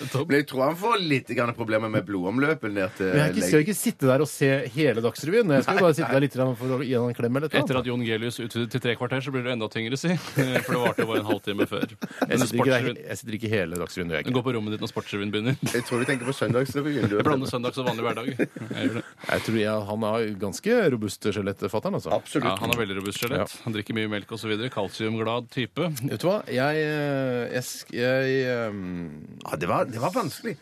D: stol.
E: Men jeg tror han får litt grann problemer med blodomløpet ned til
C: Men jeg ikke- skal ikke sitte der og se hele Dagsrevyen. Jeg skal jo bare sitte der litt grann for å gi han en klem eller
D: Etter
C: noe.
D: at Jon Gelius utvidet til tre kvarter, så blir det enda tyngre, si. For det varte bare en halvtime før.
C: Jeg
D: Men
C: sitter ikke,
D: sportsrevyen-
C: der- jeg sitter ikke hele Dagsrevyen. gjør jeg
D: Den
C: ikke.
D: går på rommet ditt når sportsrevyen begynner.
E: Jeg tror du tenker på Søndagsrevyen. du.
D: Jeg blander søndags og vanlig hverdag. Jeg gjør det.
C: Jeg tror jeg, Han har ganske robust skjelett, fatter'n. Altså.
D: Ja,
E: Absolutt.
D: han er veldig robust skjelett. Han drikker mye melk osv. Kalsiumglad type.
C: Vet du hva? Jeg, eh, jeg, sk- jeg, eh,
E: Ja, det, var, det var vanskelig.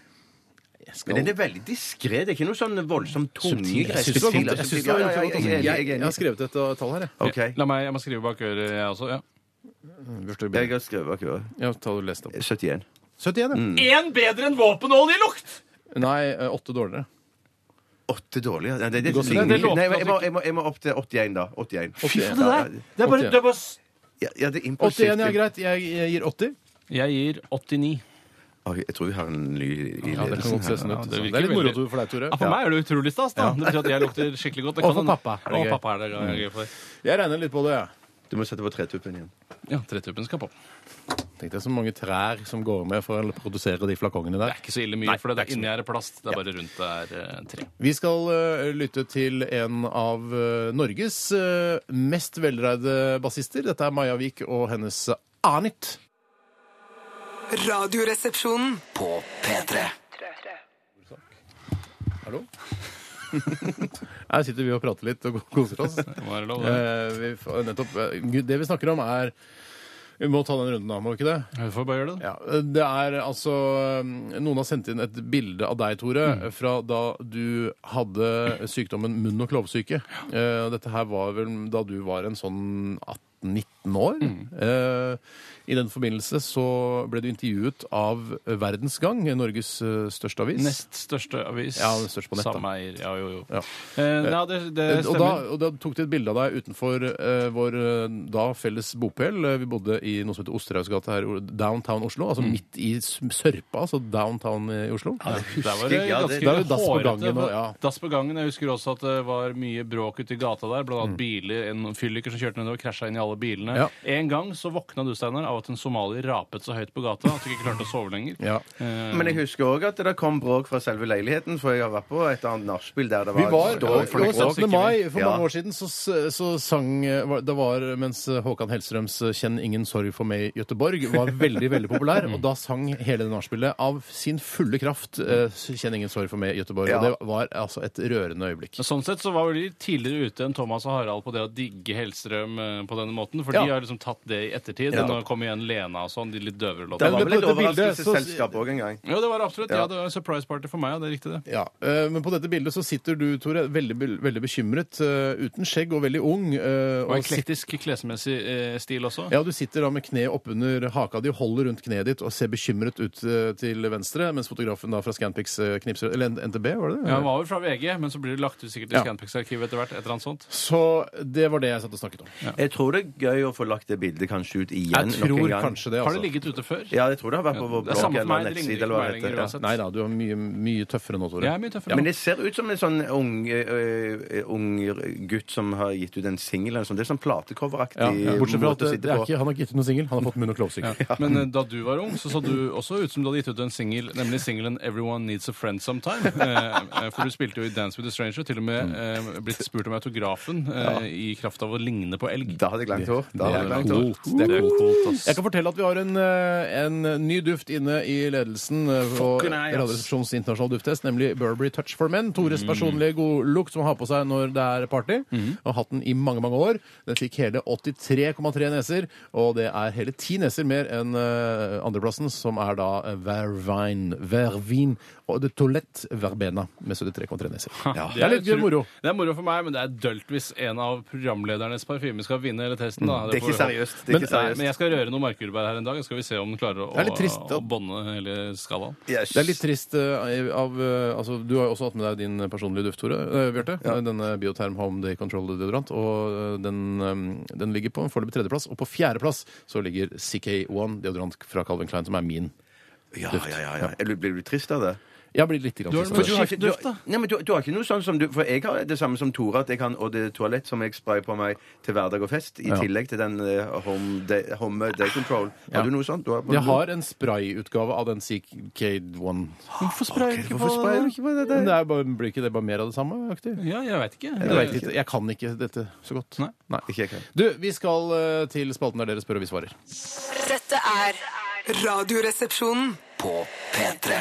C: jeg skal
E: Men den er veldig diskré. Det er ikke noe sånn voldsom tungegreier.
C: Subtil. Jeg syns det var
E: Subtil,
C: godt. Jeg syns det var
E: altså, ja, ja, ja,
C: godt.
E: jeg er enig, jeg
C: Jeg
E: er
C: jeg
E: enig.
C: har skrevet et uh, tall her, jeg.
E: OK.
D: La meg, jeg må skrive bak øret, jeg også. Ja.
C: Bjørte,
E: Jeg
C: Bjørte.
E: har skrevet bak øret.
C: Ja, ta og les det opp. Mm.
E: 71.
C: 71, ja.
D: Én bedre enn våpenoljelukt!
C: Nei, eh, åtte dårligere.
E: Åtte dårlige. Nei, det, det,
C: Godt,
E: ligner-
D: det låter
E: Nei, jeg, må, jeg, må, jeg må opp til 81, da. 81.
C: Fy faen,
E: Ja,
D: Det er bare, det er bare s-
E: Ja, ja, det er
C: 81
E: impulsivt.
C: ja, greit. Jeg, jeg gir 80.
D: Jeg gir 89.
E: Oi, Jeg tror vi har en ny i
C: Ja, det kan
E: ledelsen
C: godt se
E: her.
C: sånn ut.
D: det
C: Det,
D: virker
C: er litt moro
D: veldig-
C: for deg, Tore.
D: Ja, for meg er det utrolig stas. da Det betyr at jeg lukter skikkelig godt. Det
C: Og
D: kan
C: for
D: hende-
C: pappa er det
D: Og
C: gøy.
D: pappa er det gøy gøy for.
C: Jeg regner litt på det, jeg.
E: Du må sette på tretuppen igjen.
D: Ja, trettuppen skal på.
C: Tenkte jeg så mange trær som går med for å produsere de flakongene
D: Det
C: der.
D: er ikke så ille mye, for det er inni her er plast. Det er bare rundt der eh, tre.
C: Vi skal eh, lytte til en av eh, Norges eh, mest velreide bassister. Dette er Maja Vik og hennes Anit.
F: Radioresepsjonen.
B: På P3
C: Hallo? Her sitter vi og prater litt og koser oss.
D: Det må være lov. det.
C: Eh, vi, får- nettopp, eh, Gud, det vi snakker om, er Vi må ta den runden, da, må vi ikke det?
D: Vi får bare gjøre det. da.
C: Ja, det er altså um, Noen har sendt inn et bilde av deg, Tore,
D: Mm.
C: fra da du hadde sykdommen munn- og klovsyke. Eh, og Dette her var vel da du var en sånn 18-19 år.
D: Mm.
C: Eh, I den forbindelse så ble du intervjuet av Verdens Gang, Norges eh, største avis.
D: Nest største avis.
C: Ja, den største på nett, da.
D: Samme eier. Ja, jo, jo.
C: Ja.
D: Eh, ja, det, det
C: Eh, Og da,
D: stemmer.
C: og da tok de et bilde av deg utenfor eh, vår eh, da felles bopel. Eh, Vi bodde i noe som heter Osterhausgata her, o- downtown Oslo. Altså midt i s- sørpa, altså downtown i Oslo.
D: Der var det
E: Husker jeg,
D: ganske
E: det-
C: Der var det dass på
D: hårete.
C: gangen og- ja.
D: Dass på gangen. Jeg husker også at det var mye bråk ute i gata der. Blant annet biler. En fylliker som kjørte nedover, krasja inn i alle bilene.
C: Mm. Ja.
D: En gang så våkna du, Steinar, av at en somalier rapet så høyt på gata at du ikke klarte å sove lenger.
C: Ja.
D: Eh,
C: Mm.
E: Men jeg husker òg at det kom bråk fra selve leiligheten, for jeg har vært på et eller annet nachspiel der det
C: Vi
E: var,
C: var,
E: det var sånn-
C: det var
E: folk-
C: 17. mai for
E: Ja.
C: mange år siden, så, så sang eh, var- Det var mens eh, Håkan Hellstrøms 'Kjenn ingen sorg for meg, Göteborg' var veldig veldig populær, og da sang hele det nachspielet av sin fulle kraft eh, 'Kjenn ingen sorg for meg, Göteborg'.
E: Ja.
C: Og det var altså et rørende øyeblikk.
D: Men Sånn sett så var de tidligere ute enn Thomas og Harald på det å digge Hellstrøm eh, på denne måten. For
C: Ja.
D: de har liksom tatt det i ettertid.
E: Ja.
D: Nå kom igjen Lena og sånn, de litt døvere
E: Det
D: låtene.
E: var vel
C: Men på
E: et
C: dette bildet så-
E: overraskelsesselskap òg en gang.
D: Ja, det var det absolutt. Ja, det var en surprise party for meg, ja. Det er riktig, det.
C: Ja, eh, Men på dette bildet så sitter du, Tore, veldig, veldig bekymret, eh, uten skjegg og veldig ung. eh,
D: Og
C: Og sitter
D: eklektisk klesmessig eh, stil også.
C: Ja, du sitter da med kneet oppunder haka di, holder rundt kneet ditt og ser bekymret ut eh, til venstre, mens fotografen da fra Scanpix eh, knipser Eller N- NTB, var det det?
D: Ja, Han var vel fra VG, men så blir det lagt ut sikkert i
C: Ja.
D: Scanpix-arkivet etter hvert. et eller annet sånt.
C: Så det var det jeg satt og snakket om.
E: Jeg tror det gøy å få lagt det bildet kanskje ut igjen.
C: Jeg tror
E: nok en gang.
C: kanskje det,
D: Har det
C: altså.
D: ligget ute før?
E: Ja, jeg tror det har vært på vår
D: Det er
E: blogg
D: samme for
E: eller
D: meg, det ringer
E: nettside
D: ikke
E: eller hva
D: meg
E: det heter.
D: lenger
E: Ja.
D: uansett.
C: Nei da, du er mye, mye tøffere nå, Tore.
D: Jeg er mye tøffere.
E: Men det ser ut som en sånn ung, eh, ung gutt som har gitt ut en singel. eller noe sånt. Det er sånn platecoveraktig
C: Ja, ja. Bortsett fra at
E: måte å
C: det,
E: sitte
C: det er
E: på.
C: ikke, han har ikke gitt ut noen singel, han har fått munn- og klovsikker.
D: Ja. Men eh, da du var ung, så så du også ut som du hadde gitt ut en singel, nemlig singelen 'Everyone Needs a Friend Sometime'. Eh, eh, For du spilte jo i 'Dance with a Stranger', til og med eh, blitt spurt om autografen eh, i kraft av å ligne på elg.
E: Da hadde jeg langt hår. Da hadde jeg langt hår.
C: coolt. Det er coolt, ass. Jeg kan fortelle at vi har en, eh, en ny duft inne i ledelsen eh, på
D: Fucking nei, ass.
C: Radioresepsjonens internasjonale dufttest, nemlig Burberry Touch for Men. Tores personlige godlukt som han har på seg når det er party. Og hatt den i mange, mange år. Den fikk hele 83,3 neser, og det er hele ti neser mer enn eh, andreplassen, som er da eh, Vervin. Vervin og The Toilette Verbena med 73,3 neser. Det er litt
D: Jeg tror-
C: moro.
D: Det er moro for meg, men det er dølt hvis en av programledernes parfyme skal vinne hele testen.
C: Mm.
D: Da.
E: Det er
D: får
E: ikke
D: vi håpe.
E: seriøst. Det er ikke
D: Nei, men
E: seriøst.
D: jeg skal røre noe markurbær her en dag, så skal vi se om den klarer å,
C: Det er litt trist, da.
D: å bånde hele skalaen.
E: Yes.
C: Det er litt trist eh, av eh, altså, Du har jo også hatt med deg din personlige duft, Tore. eh, Bjarte. Denne Biotherm Home Day Control Deodorant. Og eh, den, eh, den ligger på en foreløpig tredjeplass. Og på fjerdeplass så ligger CK1 deodorant fra Calvin Klein, som er min.
E: Ja, ja, ja, ja. Eller Blir du trist av det?
C: Jeg blir litt grann
D: Du har
C: trist av
D: den på
C: det.
E: har ikke, du,
D: Skiftduft, da?
E: nei, men du, du har ikke noe sånn som du For jeg har det samme som Tore, at jeg kan, og det er toalett som jeg sprayer på meg til hverdag og fest, i
C: Ja.
E: tillegg til den eh, home, day, home Day Control. Har
C: Ja.
E: du noe sånt? Du har,
C: Jeg har en sprayutgave av den CK1.
D: Hvorfor sprayer du ikke
E: Hvorfor sprayer du ikke på det?
C: Men det er bare, blir ikke det bare mer av det samme? aktig?
D: Ja, jeg veit ikke.
C: Jeg, vet ikke, jeg kan ikke dette så godt.
D: Nei.
E: Ikke jeg kan.
C: Du, vi skal eh, til spalten der dere spør og vi svarer.
F: Dette er Radioresepsjonen.
B: På P3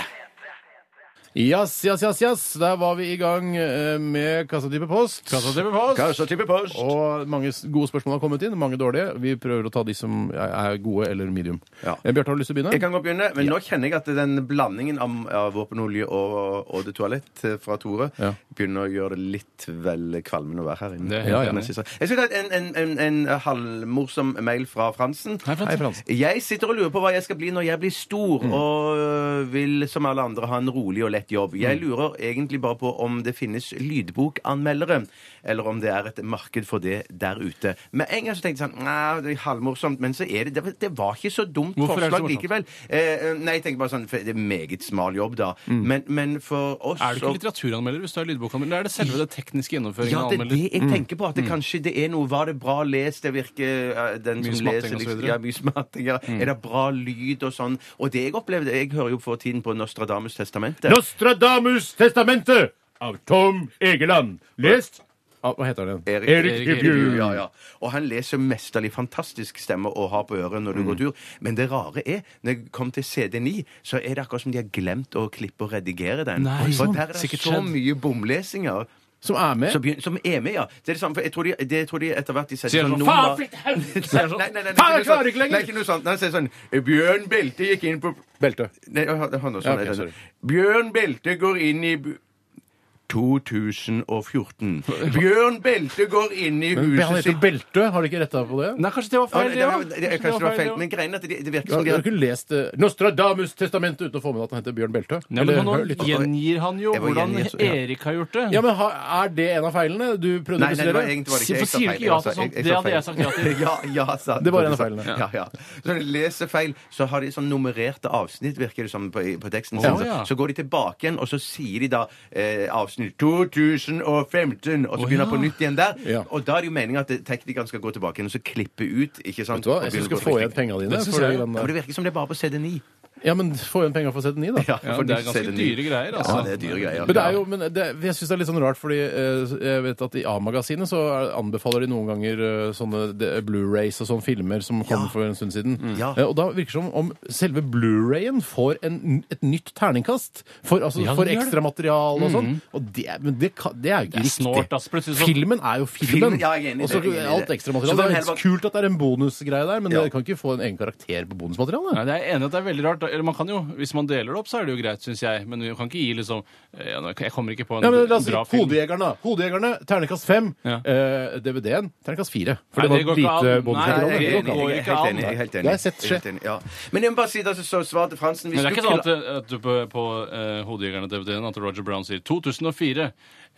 C: Yes, yes, yes, yes. Der var vi i gang eh, med kassatype post.
D: Kassa til Befoss.
E: Kanskje type post.
C: Og mange s- gode spørsmål har kommet inn, mange dårlige. Vi prøver å ta de som er- er gode eller medium.
E: Ja.
C: Eh, Bjarte, har du lyst til å
E: Jeg
C: begynne?
E: kan godt begynne, men nå kjenner jeg at den blandingen av, av våpenolje og, og det toalett eh, fra Tore
C: Ja.
E: begynner å gjøre det litt vel kvalmende å være her inne.
D: Det er helt
E: Jeg
D: enig.
E: skal ta en, en, en, en halvmorsom mail fra Fransen.
D: Hei, Mm. Frans.
C: Hei, Frans.
E: Jeg sitter og lurer på hva jeg skal bli når jeg blir stor, og øh, vil som alle andre ha en rolig og lett jobb.
D: Mm.
E: Jeg lurer egentlig bare på om det finnes lydbokanmeldere, eller om det er et marked for det der ute. Med en gang så tenkte jeg sånn Nei, det er halvmorsomt, men så er det Det, det var ikke så dumt
D: Hvorfor er det så
E: forslag
D: morsomt?
E: likevel. Eh, nei, jeg tenker bare sånn for Det er meget smal jobb, da. Men, men for oss
D: Er du ikke
E: så-
D: litteraturanmelder hvis du er lydbokanmelder? Eller er det selve det tekniske gjennomføringen
E: ja,
D: av
E: det er
D: anmelder?
E: det jeg tenker på. At det kanskje det er noe Var det bra lest? Det virker eh, den
D: Mye
E: som
D: smatting
E: leser
D: og så
E: liksom,
D: videre.
E: ja, mye smatting. Ja. Er det bra lyd og sånn? Og det jeg opplevde Jeg hører jo for tiden på Nostradamus testamentet.
C: Nostradamus testamente av Tom Egeland. Lest av Ah, Hva heter den?
E: Erik-
D: Erik Bjørn.
E: Ja, ja. Og han leser mesterlig fantastisk stemme å ha på øret når du går tur. Men det rare er, når jeg kom til CD9, så er det akkurat som de har glemt å klippe og redigere den.
D: Nei,
E: For
D: sånn.
E: der er det
D: Sikkert
E: så
D: skjedd.
E: mye bomlesinger.
C: Som er med.
E: Som, begyn- som er med, ja. Det er det samme, for jeg tror de, det tror de etter hvert de setter
D: Sier
E: sånn
D: sånn,
E: nummer-
D: «Faen, flytt helvete!» Sier sånn.
E: Nei, nei, nei,
C: Faen, jeg
E: ikke noe
C: klarer
E: sånt.
C: ikke lenger!
E: Nei, ikke noe sånt. Nei, sier sånn Bjørn Belte gikk inn på
C: Belte.
E: Nei, hør, hør nå,
C: Ja,
E: sånn
C: ok,
E: er det.
C: sorry.
E: Bjørn Belte går inn i bu- 2014. Bjørn Belte går inn i
C: Men han
E: huset
C: heter
E: sitt
C: Belte. Har de ikke retta på det?
D: Nei, kanskje det var
E: Ja,
D: feil,
E: det,
D: det,
E: det,
D: ja.
E: var- det, det,
D: Kanskje
E: kanskje det var feil,
D: ja.
E: men greien er at det, det virker sånn,
C: Ja,
E: som de
C: dere har
E: har
C: ikke lest eh, Nostradamus testamentet uten å få med deg at han heter Bjørn Belte?
D: Ja, men
C: Eller
D: nå
C: hør litt.
D: gjengir han jo
E: Jeg var
D: hvordan
E: gjengir, så- ja.
D: Erik har gjort det.
C: Ja, men ha- Er det en av feilene du prøvde
E: Nei, nei,
C: å
E: det var
C: prestere?
E: egentlig var det
D: Si-
E: ikke jeg
D: for
E: sa
D: sier
E: feil.
D: ikke ja
E: Jeg sa-
D: til sånt?
E: jeg-
D: Det
E: sa
D: hadde jeg
E: feil.
D: sagt ja til.
E: ja, ja, sa
C: Det var en av
E: sa-
C: feilene.
E: Ja, ja. Så når de leser feil, så har de sånn nummererte avsnitt, virker det som, på, på teksten.
D: Å,
E: sin.
D: ja.
E: Så går de tilbake igjen, og så sier de da eh, avsnitt 2015, og så begynner de på nytt igjen der.
C: Ja.
E: Og da er det jo meningen at eh, teknikeren skal gå tilbake igjen og så klippe ut, ikke
C: Vet
E: sant?
C: du hva?
E: Og
C: Jeg syns
E: begynner
C: du skal få
E: på
C: igjen
E: trykking.
C: penga dine.
D: Det synes
C: for den,
D: jeg.
E: Ja,
C: eh,
E: men det virker som det er bare på CD9.
C: Ja, men få igjen penga for CD9, da.
D: Ja, det er ganske dyre greier, altså.
E: Ja, det er dyre greier.
C: Men det er jo, men det, jeg syns det er litt sånn rart, fordi eh, jeg vet at i A-magasinet så er- anbefaler de noen ganger eh, sånne de- Blu-rays og sånne filmer som kom for en stund siden.
E: Mm. Ja.
C: Eh, og da virker det som om selve Blu-rayen får en, et nytt terningkast for, altså,
D: Ja, den
C: for
D: gjør det. Mm.
C: ekstramateriale og sånn. Og det, men det, kan, det er jo
D: Det
C: ikke
D: er
C: riktig.
D: snålt, ass. Plutselig så-
C: Filmen er jo filmen.
E: Filmen, ja, jeg er enig i
C: og så
E: det, jeg er enig i
C: alt
E: det. Så den
C: ekstramaterialet. Det er
E: heller
C: helt kult at det er en bonusgreie der, men
E: Ja.
C: det kan ikke få en egen karakter på bonusmaterialet.
D: Nei, det er enig at det er veldig rart. da. Eller man kan jo, hvis man deler det opp, så er det jo greit, syns jeg. Men vi kan ikke gi liksom eh, ja, nå- Jeg kommer ikke på en
C: Ja, men la oss si
D: bra film.
C: Hodejegerne. da. Hodejegerne, ternekast fem.
D: Ja.
C: Eh, DVD-en, ternekast fire. For
D: Nei,
C: det var
D: det går
C: et
D: ikke
C: lite
D: an.
E: Nei,
D: Nei,
C: bonusmateriale.
E: jeg
C: Det
E: er enig,
C: går ikke an.
E: jeg er helt
D: går ikke
E: enig. Jeg er helt enig.
C: Det har jeg sett skje.
E: Helt enig, ja. Men jeg må bare si det, altså, så svar til Fransen hvis
D: Men det
E: du
D: er ikke sånn at,
E: kunne-
D: at du på, på eh, Hodejegerne-DVD-en at Roger Brown sier 2004.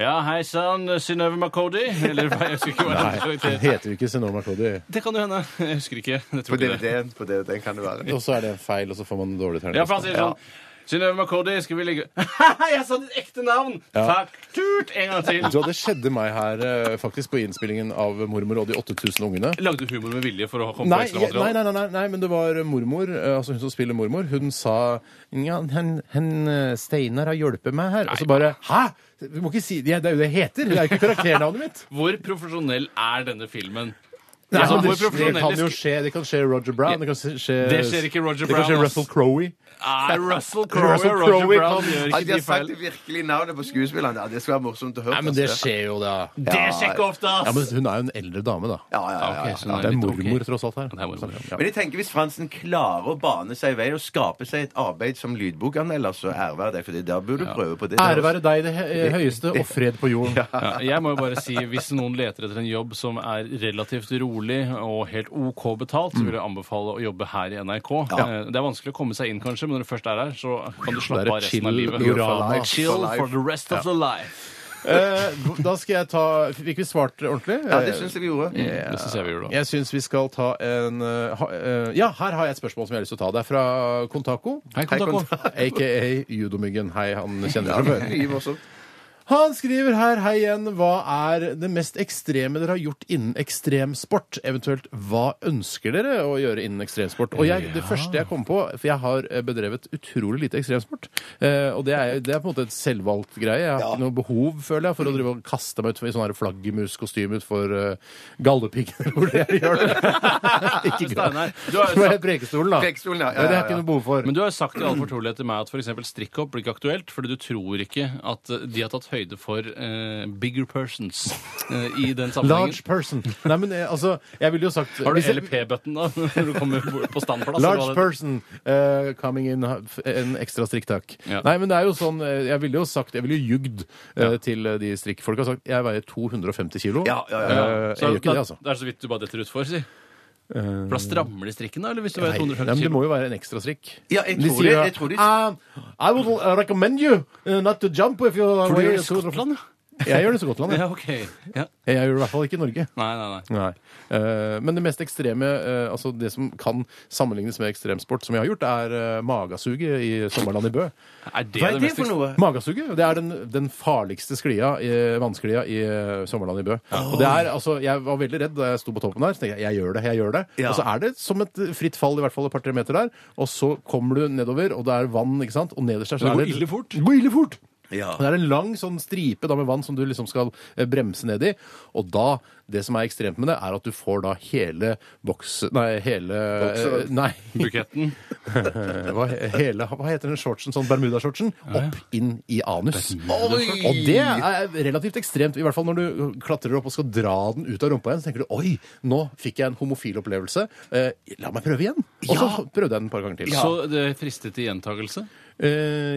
D: Ja, hei sann, Synnøve McCody. Eller hva, jeg husker ikke hva
C: Nei,
D: den
C: den
D: karakter-
C: heter jo ikke Senoma Cody.
D: Det kan jo hende. Jeg husker ikke. Jeg
E: På
D: tror ikke det.
E: DVD-en på DVD-en kan det være.
C: Og så er det en feil, og så får man en dårlig
D: Ja, for han
C: ternekast.
D: sier sånn Synnøve McCody, skal vi ligge Jeg sa ditt ekte navn! Fuck! Tut! En gang til.
C: Så det skjedde meg her eh, faktisk på innspillingen av Mormor og de 8000 ungene.
D: Lagde du humor med vilje for å komme
C: Nei,
D: på ekstra
C: jeg- nei,
D: materiale?
C: nei, nei, nei, nei, men det var mormor, eh, altså hun som spiller mormor, hun sa ja, hen, hen eh, Steinar har hjulpet meg her. Og så bare Hæ?! Du må ikke si det! Det er jo det jeg heter! Det er jo ikke karakternavnet mitt!
D: Hvor profesjonell er denne filmen?
C: Nei,
D: Altså,
C: men det,
D: hvor profesjonelle
C: det kan jo
D: sk-
C: skje. Det kan skje Roger Brown. Det kan skje
D: Det skjer ikke Roger
C: Det kan skje
D: Brown, ass.
C: Russell Crowe.
D: Er Russell Crowe og
C: Russell
D: Roger
C: Crowe
D: Brown
C: kan-
D: gjør
E: At
D: ikke
E: de har
D: de
E: sagt
D: feil?
E: det virkelige navnet på skuespilleren, ja, det skal være morsomt å høre. altså.
C: Nei, men det skjer jo, da.
D: Det sjekker ofte,
C: Ja, men
D: ass!
C: Hun er jo en eldre dame, da.
E: Ja, ja, ja,
D: Ok,
E: ja.
D: så nå
C: Det er
D: litt
C: mormor,
D: ok.
C: tross alt. her
D: det er mormor.
C: Ja.
E: Men jeg tenker hvis Fransen klarer å bane seg i vei og skape seg et arbeid som lydbokanmelder, så ære være deg for det. Da burde du prøve på det.
C: Ære være deg, det hø- høyeste, og fred på jorden.
D: Ja, jeg må jo bare si, Hvis noen leter etter en jobb som er relativt rolig og helt OK betalt, så vil jeg anbefale å jobbe her i NRK. Eh, Det er vanskelig å komme seg inn, kanskje, men når du først er her, så kan du slappe
C: Det er
D: av resten av
C: chill
D: livet.
C: diorama.
D: Chill
E: For life.
D: for the rest of the life.
C: Eh, da skal jeg ta Fikk vi svart ordentlig?
E: Ja, det syns jeg vi gjorde.
D: Det synes jeg vi gjorde da.
C: Jeg syns vi skal ta en eh, ha, eh, Ja, her har jeg et spørsmål som jeg har lyst til å ta. Det er fra Kontako.
D: Hei, Kontako.
C: AKA Judomyggen. Hei, han kjenner fra før.
E: Mye morsomt.
C: Han skriver her, hei igjen, hva er det mest ekstreme dere har gjort innen ekstremsport? Eventuelt, hva ønsker dere å gjøre innen ekstremsport? Og jeg, det første jeg kom på, for jeg har eh, bedrevet utrolig lite ekstremsport, eh, og det er, det er på en måte et selvvalgt greie. Jeg har ikke noe behov, føler jeg, for å drive og kaste meg ut i sånne her flaggermuskostyme ut for uh, gallepiggen, hvor det jeg gjør det. ikke
D: Steinar,
C: galt.
D: du har jo
C: Men Prekestolen, da.
E: Prekestolen, ja, ja,
C: Det har
E: ja,
C: jeg
E: ja.
C: ikke noe behov for.
D: Men du har jo sagt i all fortrolighet til meg at f.eks. strikkhopp blir ikke aktuelt, fordi du tror ikke at eh, de har tatt høyde for eh, bigger persons eh, i den sammenhengen.
C: Large person. Nei, men eh, altså, jeg ville jo sagt
D: Har
C: Hvis
D: du
C: jeg-
D: LP-button da, når du kommer på- på standplass?
C: Large
D: eller hva det-
C: person eh, coming in ha- f- En ekstra strikktak.
D: Ja.
C: Nei, men det er jo sånn eh, Jeg ville jo sagt Jeg ville jo jugd eh, til eh, de strikkfolka og sagt jeg veier 250 kilo.
E: Ja, ja, ja, ja.
C: Eh,
D: Så
C: jeg gjør ikke
D: da-
C: det, altså. Eh,
D: Det er så vidt du bare detter utfor, si. For da strammer de strikken, da? Eller hvis du veier
C: Nei, nei,
D: 250
C: men det
D: kilo?
C: må jo være en ekstra strikk.
E: Ja, jeg tror
C: sier
E: det-
C: jo,
E: jeg tror de-
C: "Ah, I would recommend you eh, not to jump if you
D: For du gjør det
C: 250."
D: i Skottland, ja?
C: Jeg gjør det i Skottland.
D: Ja,
C: jeg.
D: OK. Ja.
C: Jeg gjør det i hvert fall ikke i Norge.
D: Nei, nei, nei.
C: Nei. Eh, men det mest ekstreme, eh, altså det som kan sammenlignes med ekstremsport, som jeg har gjort, er eh, magasuget i Sommerland i Bø.
D: Er det
E: Hva er
D: det
E: det
D: mest
E: for noe?
C: Magasuget. Det er den, den farligste sklia, i- vannsklia i eh, Sommerland i Bø. Og det er, altså, jeg var veldig redd da jeg sto på toppen der. Så tenkte jeg jeg gjør det, jeg gjør det.
E: Ja.
C: Og så er det som et fritt fall, i hvert fall et par-tre meter der. Og så kommer du nedover, og det er vann, ikke sant. Og nederst der så
D: Det
C: er
D: går
C: det
D: ille fort.
C: Det går ille fort.
E: Ja.
C: Og Det er en lang sånn stripe da med vann som du liksom skal eh, bremse ned i. Og da Det som er ekstremt med det, er at du får da hele boks... Nei, hele eh, Nei.
D: Buketten.
C: Eh, Hva, hele, hva heter den shortsen, sånn bermudashortsen? Opp inn i anus. Og det er relativt ekstremt, i hvert fall når du klatrer opp og skal dra den ut av rumpa igjen. Så tenker du oi, nå fikk jeg en homofil opplevelse. Eh, la meg prøve igjen. Og så prøvde jeg den et par ganger til.
D: Så det fristet til gjentakelse?
C: Eh,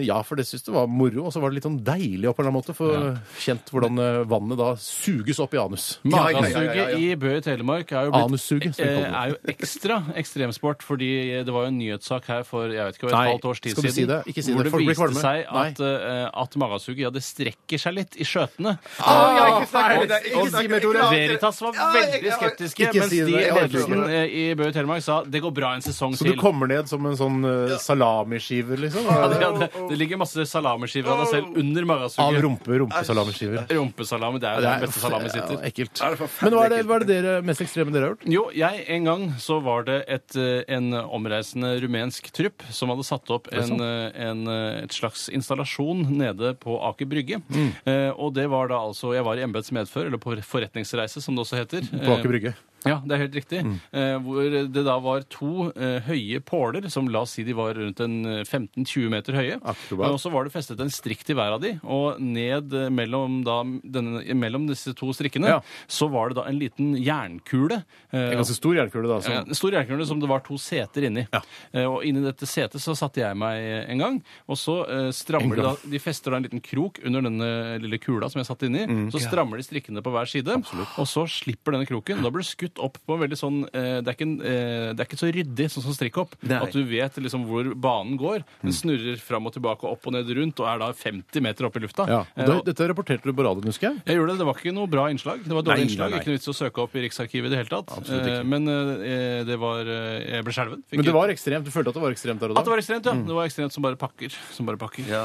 C: ja, for det syns det var moro, og så var det litt sånn deilig opp på en eller annen måte. For kjent hvordan eh, vannet da suges opp i anus.
E: Ja, ja, ja, ja,
D: Magasuget
E: ja.
D: i Bø i Telemark er jo, blitt,
C: Anussuget, som vi
D: eh,
C: kaller det.
D: er jo ekstra ekstremsport, fordi det var jo en nyhetssak her for jeg vet ikke, hva, et
C: Nei,
D: halvt års tid
C: skal du
D: siden
C: si det? Ikke si
D: hvor
C: det,
D: det
C: folk blir
D: viste
C: kvalme.
D: seg
C: Nei.
D: at, eh, at magasuget ja, det strekker seg litt i skjøtene.
E: ikke snakk om det, ikke
C: Ah, Og-
E: snakk om det, ikke
C: og-
E: snakk om det.
D: Veritas var
E: Ja, jeg-
D: veldig
E: jeg-
D: skeptiske,
C: Ikke
D: mens
C: si det,
D: de i
C: jeg orker ikke.
D: ledelsen eh, i Bø i Telemark sa det går bra en sesong
C: Så du
D: til.
C: kommer ned som en sånn eh, salamiskiver, liksom?
D: Ja, det, det, det ligger masse salamiskiver av deg selv under
C: Av
D: magasuget.
C: rumpe, rumpesalamiskiver.
D: Rumpesalami. Det er jo
C: Det
D: der
C: er-
D: den beste salami sitter.
C: Ja, ekkelt.
E: Er det forferdelig
C: Men hva er det,
E: ekkelt?
C: hva er det dere mest ekstreme dere har gjort?
D: Jo, jeg en gang så var det et, eh, en omreisende rumensk trupp som hadde satt opp en, eh, en, eh, et slags installasjon nede på Aker Brygge.
C: Mm.
D: Eh, og det var da altså Jeg var i embets medfør, eller på forretningsreise, som det også heter.
C: På Aker Brygge.
D: Ja, det er helt riktig.
C: Mm.
D: Eh, hvor det da var to eh, høye påler, som la oss si de var rundt en eh, 15-20 meter høye.
C: Akkurat.
D: Og så var det festet en strikk til hver av de, og ned eh, mellom, da, denne, mellom disse to strikkene
C: Ja.
D: så var det da en liten jernkule. eh,
C: En ganske stor jernkule, da. altså.
D: ja,
C: Som,
D: en stor jernkule som det var to seter inni. Eh, og inni dette setet så satte jeg meg eh, en gang, og så eh, strammer de da De fester da en liten krok under denne lille kula som jeg satt inni.
C: Mm,
D: så strammer de strikkene på hver side, og så slipper denne kroken. Da blir du skutt opp på en veldig sånn eh, det, er ikke en, eh, det er ikke så ryddig sånn som strikkhopp.
E: Nei.
D: At du vet liksom hvor banen går. Den
C: Mm.
D: snurrer fram og tilbake, opp og ned rundt, og er da 50 meter opp i lufta.
C: ja.
D: Eh,
C: Og det, dette rapporterte du på radioen, husker jeg.
D: jeg gjorde det. Det var ikke noe bra innslag. Det var et
C: Nei,
D: dårlig innslag.
C: nei, nei.
D: Ikke noe vits å søke opp i Riksarkivet i det hele tatt.
C: Absolutt ikke.
D: Eh, Men eh, det var eh, Jeg ble skjelven. Fikk
C: Men det var ekstremt. Du følte at det var ekstremt der og
D: at det
C: da?
D: var ekstremt, ja. Det var ekstremt som bare pakker. Som bare pakker.
E: Ja.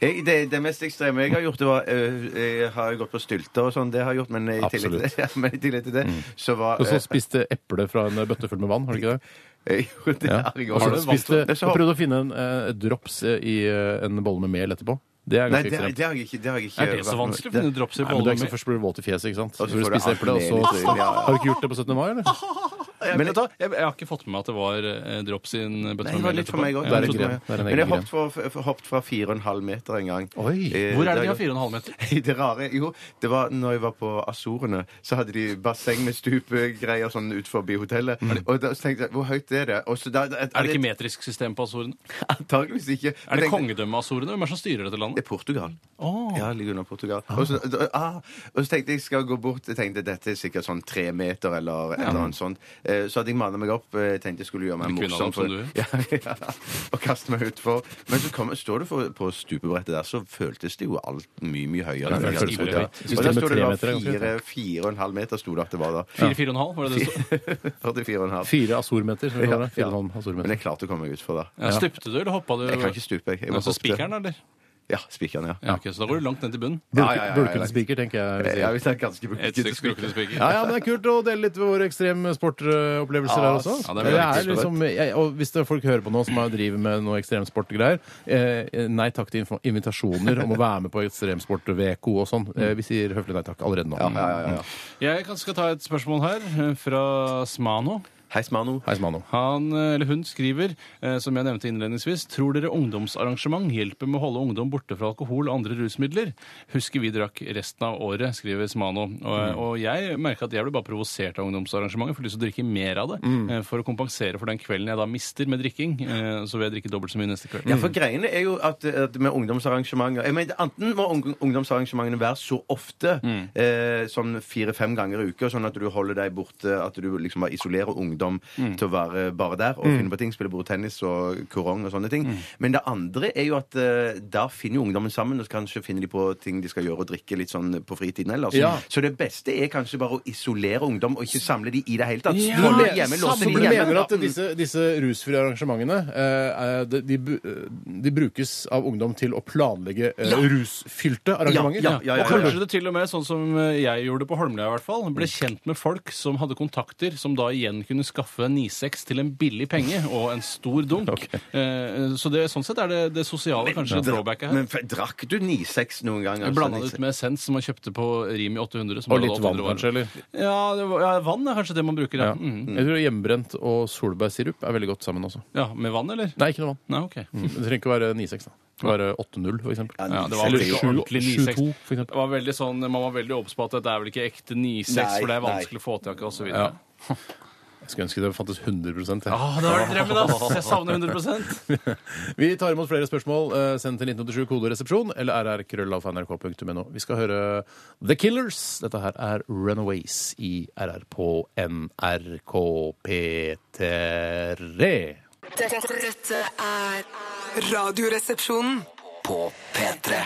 E: Jeg, det, det mest ekstreme jeg har gjort, det var øh, Jeg har gått på stylter og sånn, det har jeg gjort, men i tillegg til,
C: Absolutt.
E: ja, men i tillegg til det,
D: Mm.
E: så var
C: Og så
E: øh,
C: spiste eple fra en bøtte full med vann, har du ikke det?
E: jeg gjorde det
C: Ja.
E: her i går.
C: Og så spiste,
E: Det er så-
C: og prøvde å finne en eh, drops eh, i eh, en bolle med mel etterpå. Det er
E: Nei,
C: ganske
E: det,
C: ekstremt.
E: det har jeg ikke. Det har jeg ikke
D: Er det så vanskelig å finne drops i
C: Nei, men du er
D: bollen
C: ikke
D: med
C: så først blir du våt i fjeset, ikke sant? Så
E: Og så
C: vil du
E: får du
C: spise eple, og så
E: alt mel i- ja.
C: Har du ikke gjort det på 17. mai, eller?
D: Men vet du hva? jeg, jeg har ikke fått med meg at det var eh, drops i en bøtte
E: Nei, det
D: med
E: var
D: mel
E: litt for
D: etterpå.
E: meg òg.
D: Ja,
C: Det er en
D: jeg trodde-
C: gren. Det er en
E: Men
C: egen
E: jeg hoppet fra, f- hoppet fra 4,5 meter en gang.
C: Oi.
E: Eh,
D: Hvor er det de
E: da-
D: har 4,5 meter?
E: Det rare, jo, det var når jeg var på Azorene, så hadde de basseng med stupegreier sånn ut forbi hotellet. Og da så tenkte jeg, hvor høyt er det? Og så da,
D: Mm. Er det ikke metrisk system på Azorene?
E: Antakeligvis ikke.
D: Er det
E: Tenkte-
D: kongedømmet Azorene? Hvem er det som styrer dette
E: Det
D: landet?
E: er Portugal.
D: Åh.
E: Ja, det ligger under Portugal. Og, så, da- ah, og så tenkte jeg skal gå bort. Jeg tenkte dette er sikkert sånn tre meter eller et eller annet sånt. Eh, Så hadde jeg manna meg opp. eh, Tenkte jeg skulle gjøre meg morsom
D: Litt kvinneadam som
E: for,
D: du er.
E: ja, ja, og kaste meg utfor. Men så kom, står du for, på stupebrettet der, så føltes det jo alt mye, mye høyere.
C: Ja,
E: enn
C: det
E: jeg
C: føltes
E: hadde trodd.
C: veldig høyt. Jeg
E: Og
C: synes det
E: der
C: med
E: sto det
C: tre
E: da
C: meter er ganske
E: fire, fire og en halv meter sto det at det var da.
D: 4-4,5, var det det stod?
E: 44 og en halv.
C: Fire azormeter, som vi kaller det. Fire
E: Ja.
C: og en halv altså
E: Men
C: azormeter.
E: jeg klarte å komme meg utfor da.
D: Ja, Stupte du, eller hoppa du?
E: Jeg kan ikke stupe, jeg. jeg bare
D: Altså
E: hoppte.
D: spikeren, eller?
E: Ja, spikeren, ja.
D: Ja, ok, Så da går du langt ned til bunnen.
E: Ja, ja, ja, ja, ja.
C: Bulkete spiker, tenker jeg. vil si.
E: Ja, hvis det er ganske
D: Et stykke skrukkete spiker.
C: Ja, ja, men Det er kult å dele litt ved våre ekstreme sportopplevelser
E: Ja,
C: her også.
D: ja, det er
C: det
D: veldig
C: er liksom, jeg, og Hvis det er folk hører på nå som er- driver med noe ekstremsportgreier, eh, nei takk til info- invitasjoner om å være med på ekstremsport-VK og sånn. Eh, vi sier høflig nei takk allerede nå.
E: Ja, ja, ja, ja.
D: Jeg kan skal ta et spørsmål her eh, fra Smano.
E: Heis, Mano.
C: Heis, Mano.
D: Han, eh, eller hun skriver, eh, som jeg nevnte innledningsvis, tror dere ungdomsarrangement hjelper med å holde ungdom borte fra alkohol og andre rusmidler? Husker vi drakk resten av året, skriver Smano. Og, eh,
E: Mm.
D: og jeg merker at jeg ble bare provosert av ungdomsarrangementet, får lyst til å drikke mer av det.
E: Mm.
D: eh, For å kompensere for den kvelden jeg da mister med drikking, eh, så vil jeg drikke dobbelt så mye neste kveld.
E: Ja, for greiene er jo at, at med ungdomsarrangementer jeg mener, Enten må ung- ungdomsarrangementene være så ofte, eh, sånn fire-fem ganger i uka, sånn at du holder deg borte, at du liksom bare isolerer ungdom til å være bare der og finne på ting, spille bordtennis og korong og sånne ting. Men det andre er jo at eh, da finner jo ungdommen sammen, og så kanskje finner de på ting de skal gjøre og drikke litt sånn på fritiden ellers.
C: Ja.
E: Så det beste er kanskje bare å isolere ungdom, og ikke samle de i det hele tatt.
D: Ja,
E: Holde
C: mener-
E: hjemme,
C: så
E: låse
C: du
E: de hjemme.
C: Mm. mener at disse, disse rusfrie arrangementene eh, er- de, de, bu- eh, de brukes av ungdom til å planlegge eh, rusfylte arrangementer?
E: Ja, ja, ja, ja,
D: Og
E: ja.
D: kanskje det til og med, sånn som eh, jeg gjorde på Holmlia i hvert fall,
C: Mm.
D: ble kjent med folk som hadde kontakter, som da igjen kunne skaffe en 9-6 til en billig penge og en stor dunk. Eh, Så det, sånn sett er det, det sosiale kanskje det drawbacket her.
E: Men f- drakk du 9-6 noen gang? altså,
D: Blanda det
E: 9-6?
D: ut med essens som man kjøpte på Rimi 800. Som
C: Og
D: bare
C: litt
D: hadde 800
C: vann, kanskje,
D: varer.
C: eller?
D: Ja, det var, ja, vann er kanskje det man bruker, ja.
C: Ja.
D: Ja, mm.
C: Jeg tror Hjemmebrent og solbærsirup er veldig godt sammen også.
D: ja Med vann, eller?
C: Nei, Mm. ikke noe vann.
D: Nei, ok.
C: Det trenger ikke være 9-6. da. Det kan være 8-0, for eksempel.
E: Ja,
D: Ja, det var vel
C: Eller
D: ikke
C: sju-
D: ordentlig 9-6.
C: sju-to, for eksempel.
D: Det var veldig sånn, Man var veldig obs på at dette er vel ikke ekte 9-6,
E: Nei,
D: for det er
E: nei.
D: vanskelig å få tak i osv.
C: Ja. Jeg skulle ønske det fantes 100 jeg.
D: Ah, det har vært drømmen, ass! Jeg savner 100
C: Vi tar imot flere spørsmål. eh, Send til 1987 koderesepsjon eller rrkrøllalfa.nrk.no. Vi skal høre The Killers. Dette her er Runaways i RR på NRK P3.
F: Dette, dette er Radioresepsjonen.
B: På P3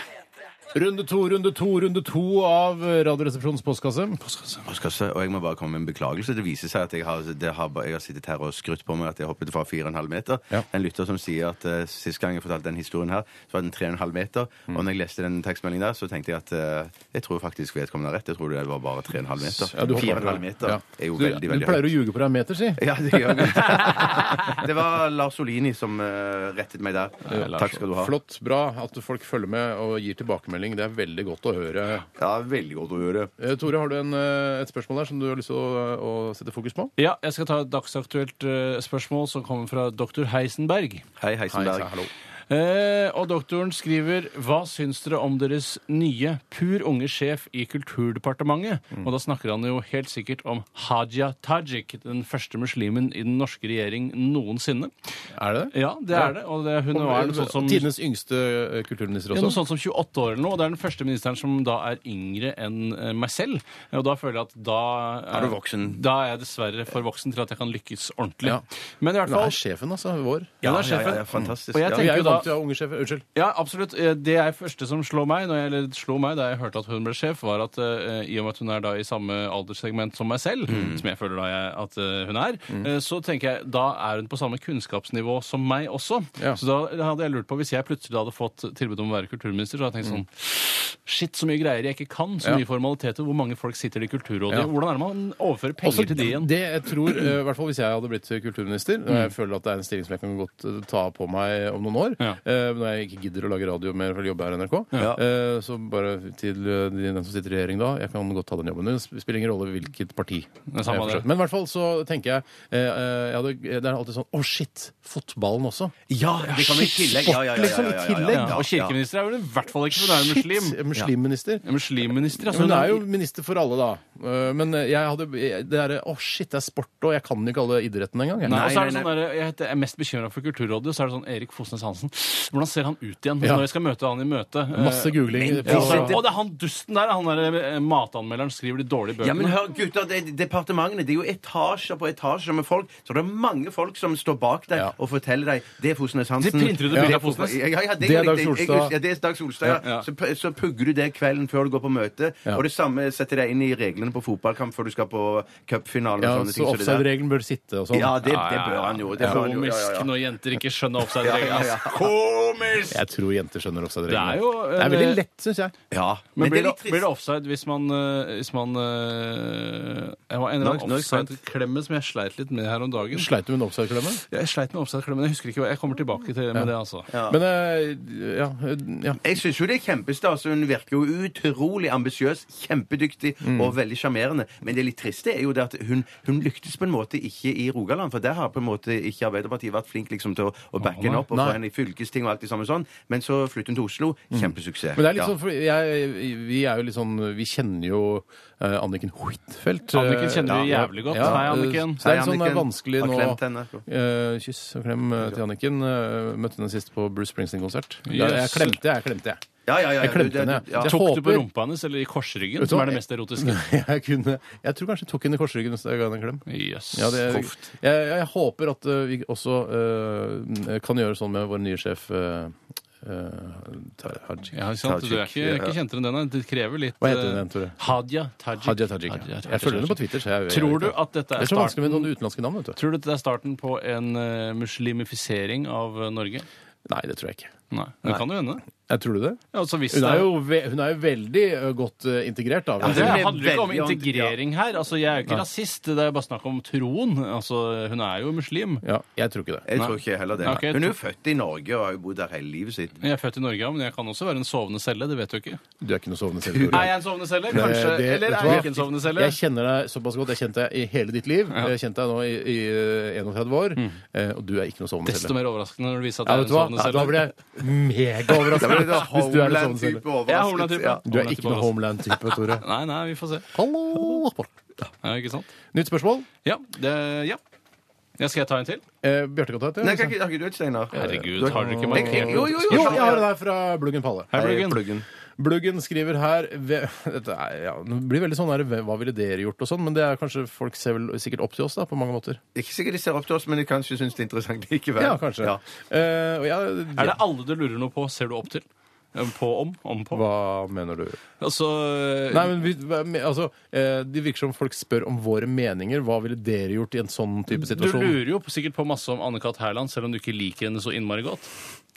C: Runde to, runde to, runde to av Radioresepsjonens postkasse.
E: Og, skal se, og jeg må bare komme med en beklagelse. Det viser seg at jeg har, det har, bare- jeg har sittet her og skrytt på meg at jeg hoppet fra 4,5 meter.
C: Ja.
E: En lytter som sier at eh, sist gang jeg fortalte den historien her, så var den 3,5 meter. Og når jeg leste den tekstmeldingen der, så tenkte jeg at eh, jeg tror faktisk vedkommende har rett. Jeg tror det var bare 3,5 meter.
C: Ja, du hopper
E: 4,5 meter
C: Ja.
E: er jo
C: Du-
E: veldig, veldig
C: Du pleier å ljuge på deg en meter, si.
E: Ja, det gjør jeg. Det var Lars Olini som eh, rettet meg der.
D: Lars,
E: Takk skal du ha.
C: Flott, bra at folk følger med og gir tilbakemelding. Det er veldig godt å høre.
E: Ja, veldig godt å høre.
C: Eh, Tore, har du en, eh, et spørsmål der som du har lyst til å, å sette fokus på?
D: Ja, jeg skal ta et dagsaktuelt eh, spørsmål som kommer fra doktor Heisenberg.
E: Hei,
C: Hei,
E: Heisenberg.
C: sa- hallo.
D: Eh, og doktoren skriver Hva syns dere om deres nye, pur unge sjef i Kulturdepartementet? Og da snakker han jo helt sikkert om Hadia Tajik, den første muslimen i den norske regjering noensinne.
C: Er det det?
D: Ja, det Eh, er det. Og det, hun var sånn som
C: Tidenes yngste eh, kulturminister
D: ja, noe
C: også?
D: sånt som 28 år eller noe. og Det er den første ministeren som da er yngre enn eh, meg selv. Og da føler jeg at da
E: Er du voksen?
D: Da er jeg dessverre for voksen til at jeg kan lykkes ordentlig.
C: Ja.
D: Men i hvert
C: Hun er
D: fall
C: sjefen, altså. Vår.
D: Ja,
E: Ja, ja,
D: det er
E: ja,
D: sjefen.
E: ja, fantastisk.
D: Og
E: Ja.
D: jeg
C: Vi
D: tenker
C: er jo
D: jo da
C: vant til å ha unge sjefer. Unnskyld.
D: Ja, absolutt. Eh, Det er første som slår meg, når jeg, eller slo meg da jeg hørte at hun ble sjef, var at eh, i og med at hun er da i samme alderssegment som meg selv,
C: Mm.
D: som jeg føler da jeg, at eh, hun er, eh, så tenker jeg da er hun på samme kunnskapsnivå som meg også.
C: Ja.
D: Så da hadde jeg lurt på, hvis jeg plutselig hadde fått tilbud om å være kulturminister, så hadde jeg tenkt sånn Shit, så mye greier jeg ikke kan, så
C: Mm. Ja.
D: mye formaliteter, hvor mange folk sitter i Kulturrådet,
C: Ja.
D: hvordan er det man overfører penger
C: Også
D: til de igjen? Mm.
C: Det jeg tror, eh, i hvert fall hvis jeg hadde blitt kulturminister, og jeg føler at det er en stilling som jeg kan godt eh, ta på meg om noen år,
D: Ja.
C: eh, når jeg ikke gidder å lage radio mer eller jobbe her i NRK,
E: Ja.
C: eh, så bare til eh, de- den som sitter i regjering da, jeg kan godt ta den jobben. Det spiller ingen rolle hvilket parti.
D: er samme
C: Eh, for
D: det.
C: så vidt. Men i hvert fall så tenker jeg, eh, eh, jeg hadde, det er alltid sånn, å shit, fotballen også.
E: Ja, det kommer i
C: shit,
E: tillegg. Ja, ja, ja, ja,
C: liksom i
E: ja, ja,
C: tillegg.
D: Ja, og kirkeminister er vel i hvert fall ikke, for hun er jo muslim.
C: Shit, muslimminister.
D: En Muslimminister, altså.
C: Men hun
D: hun
C: er jo minister for alle, da. Eh, Men jeg hadde det derre Å, shit, det er sport, og jeg kan ikke alle idretten engang. jeg.
D: Nei, og så er det
E: nei,
D: sånn der, jeg heter- jeg er mest bekymra for Kulturrådet. Så er det sånn Erik Fosnes Hansen. Hvordan ser han ut igjen
C: Ja.
D: når jeg skal møte han i møte?
C: Masse googling.
D: Ja,
C: på-
D: og så er det- Å, det er han dusten der! Han der eh, matanmelderen skriver de dårlige
E: Ja, men
D: bøkene.
E: hør, gutter, det, departementene Det er jo etasjer på etasjer med folk. Så det er mange folk som står bak deg
C: Ja.
E: og forteller deg Det er Fosnes Hansen.
D: De printer ut et
E: Ja.
D: bilde av Fosnes.
E: Ja, ja, ja, det,
C: Det er
E: er
C: Dag
E: riktig. Jeg-
C: Solstad.
E: Ja, det er Dag Solstad. Ja.
D: Ja, ja.
E: Så, p- så pugger du det kvelden før du går på møte.
C: Ja.
E: Og det samme setter deg inn i reglene på fotballkamp før du skal på cupfinalen.
C: Ja,
E: og sånne ting,
C: så
E: så det der-
C: offside-regelen bør sitte og sånn.
E: Ja, det, det bør han jo. Det bør han jo. Ja, ja,
D: Komisk
E: ja.
D: når jenter ikke skjønner offside-reglene.
E: Ja, ja, ja.
D: ass. Komisk!
C: Jeg tror jenter skjønner offside-regelen.
D: Det er jo,
C: det er
D: eh,
C: veldig lett, syns jeg.
E: ja.
D: Men, blir,
E: det er
D: det,
E: litt
D: blir det
E: trist.
D: offside hvis man, eh, hvis man eh, Jeg var en eller
E: Nå-
D: annen
E: nå er det sant.
D: offside-klemme som jeg sleit litt med her om dagen.
C: Sleit du med en offside-klemme?
D: Jeg sleit med offside-klemmen. Jeg husker ikke hva Jeg kommer tilbake til med det, altså.
C: Men eh, ja, eh, ja.
E: Jeg syns jo det er kjempestas. altså, Hun virker jo utrolig ambisiøs, kjempedyktig
C: Mm.
E: og veldig sjarmerende. Men det litt triste er jo det at hun, hun lyktes på en måte ikke i Rogaland. For der har på en måte ikke Arbeiderpartiet vært flink liksom til å, å backe henne opp og
C: Nei. Mm.
E: få henne i fylkesting og alt det samme sånn. Men så flyttet hun til Oslo. Kjempesuksess.
C: Men det er litt
E: Ja.
C: sånn, for jeg, vi er jo litt sånn Vi kjenner jo eh, Anniken Huitfeldt. eh,
D: Anniken kjenner vi
C: ja.
D: jævlig godt.
C: Ja,
D: Hei, Anniken.
C: eh, Så det er
E: Hei,
C: litt sånn eh,
E: Anniken.
C: vanskelig
E: Har
C: nå
E: klemt henne.
C: Eh, Kyss og klem eh, til Anniken. Eh, Møtte henne sist på Bruce Springsteen-konsert. Jeg, jeg
D: Yes.
C: klemte, jeg klemte, jeg.
E: Ja, ja, ja,
C: Jeg
E: ja,
C: klemte
E: du-
C: henne.
E: du- ja.
C: Jeg
D: Tok du på
C: håper-
D: rumpa hennes eller i korsryggen,
C: Vet du
D: som
C: hva?
D: er det mest erotiske?
C: jeg, kunne, jeg tror kanskje jeg tok henne i korsryggen hvis jeg ga henne en klem.
D: Yes.
C: Ja, det, jeg,
E: Proft.
C: jeg håper at eh, vi også eh, kan gjøre sånn med vår nye sjef eh, eh, Tar- Haji.
D: Ja, ikke sant? Du er ikke, ikke kjentere enn den, nei. det krever litt
C: Hva heter hun
D: eh,
C: igjen, Tore?
D: Hadia Tajik.
C: Hadia Tajik.
D: Hadia Tajik.
C: Jeg følger henne på Twitter. Så jeg, jeg,
D: Tror du at dette
C: Det er
D: er
C: så vanskelig med
D: starten
C: noen utenlandske navn, vet du.
D: Tror du dette er starten på en eh, muslimifisering av eh, Norge?
C: Nei, det tror jeg ikke.
D: Nei. Det kan jo hende.
C: Jeg tror du det?
D: Ja, altså, hvis
C: Hun
D: det
C: er jo, ve hun er jo veldig ø, godt ø, integrert, da.
D: Men
C: vil
D: det
C: jeg si.
E: er
D: handler jo ikke om
E: veldig anti-
D: integrering her. Altså, Jeg er jo ikke rasist. Det er jo bare snakk om troen. Altså, Hun er jo muslim.
C: Ja, jeg tror ikke det.
E: Jeg tror ikke heller det.
D: Ok, jeg
E: Hun er jo
D: tror-
E: født i Norge og har jo bodd der hele livet sitt.
D: Jeg er født i Norge, ja, men jeg kan også være en sovende celle. Det vet du ikke.
C: Du er ikke noe sovende selv. Tore. Eh,
D: Er jeg en sovende celle? Kanskje.
C: Det-
D: Eller
C: vet du
D: er jeg
C: hva?
D: ikke en sovende celle?
C: Jeg kjenner deg såpass godt. Jeg kjente deg i hele ditt liv. Jeg kjente deg nå i, i ø, 31 år, eh, og du er ikke noe sovende
D: Mm. Desto
C: selv.
D: mer overraskende når det viser at
C: Ja,
D: jeg
C: vet du
D: er en
C: hva?
D: sovende
C: Ja,
D: celle.
C: da blir jeg
E: Det var litt
C: megaoverraska hvis du er sånn, en
E: Homeland-type
C: sovende
E: overrasket.
C: celle.
D: Jeg er sånn homeland-type. altså.
E: Ja.
C: Du er ikke noe homeland-type, Tore.
D: Nei, nei, vi får se.
C: Hallo!
D: Ja, ikke sant?
C: Nytt spørsmål.
D: Ja, det, ja. ja. Skal jeg ta en til?
C: Eh, Bjarte kan ta et.
E: Nei,
C: ja.
E: kan ikke- har ikke du et, Steinar?
D: Herregud, har dere ikke
E: Jeg-
D: mange
E: Jo, jo, jo.
C: Jo, jeg har det der fra Bluggen Palle.
D: Hei,
E: Hei,
D: Bluggen.
E: Pluggen.
C: Bluggen skriver her ve- Dette er, ja, det blir veldig sånn her, ve- Hva ville dere gjort og sånn? Men det er kanskje folk ser vel sikkert opp til oss da, på mange måter.
E: Ikke sikkert de ser opp til oss, men de kanskje syns det er interessant likevel.
C: Ja, kanskje.
E: Ja.
C: Eh, og jeg,
D: Er det alle du lurer noe på, ser du opp til? Eh, På om? Om på?
C: Hva mener du?
D: Altså
C: Nei, men vi, hva me- altså, eh, Det virker som folk spør om våre meninger. Hva ville dere gjort i en sånn type
D: Du
C: situasjon?
D: lurer jo på- sikkert på masse om Anne-Kat. Hærland, selv om du ikke liker henne så innmari godt.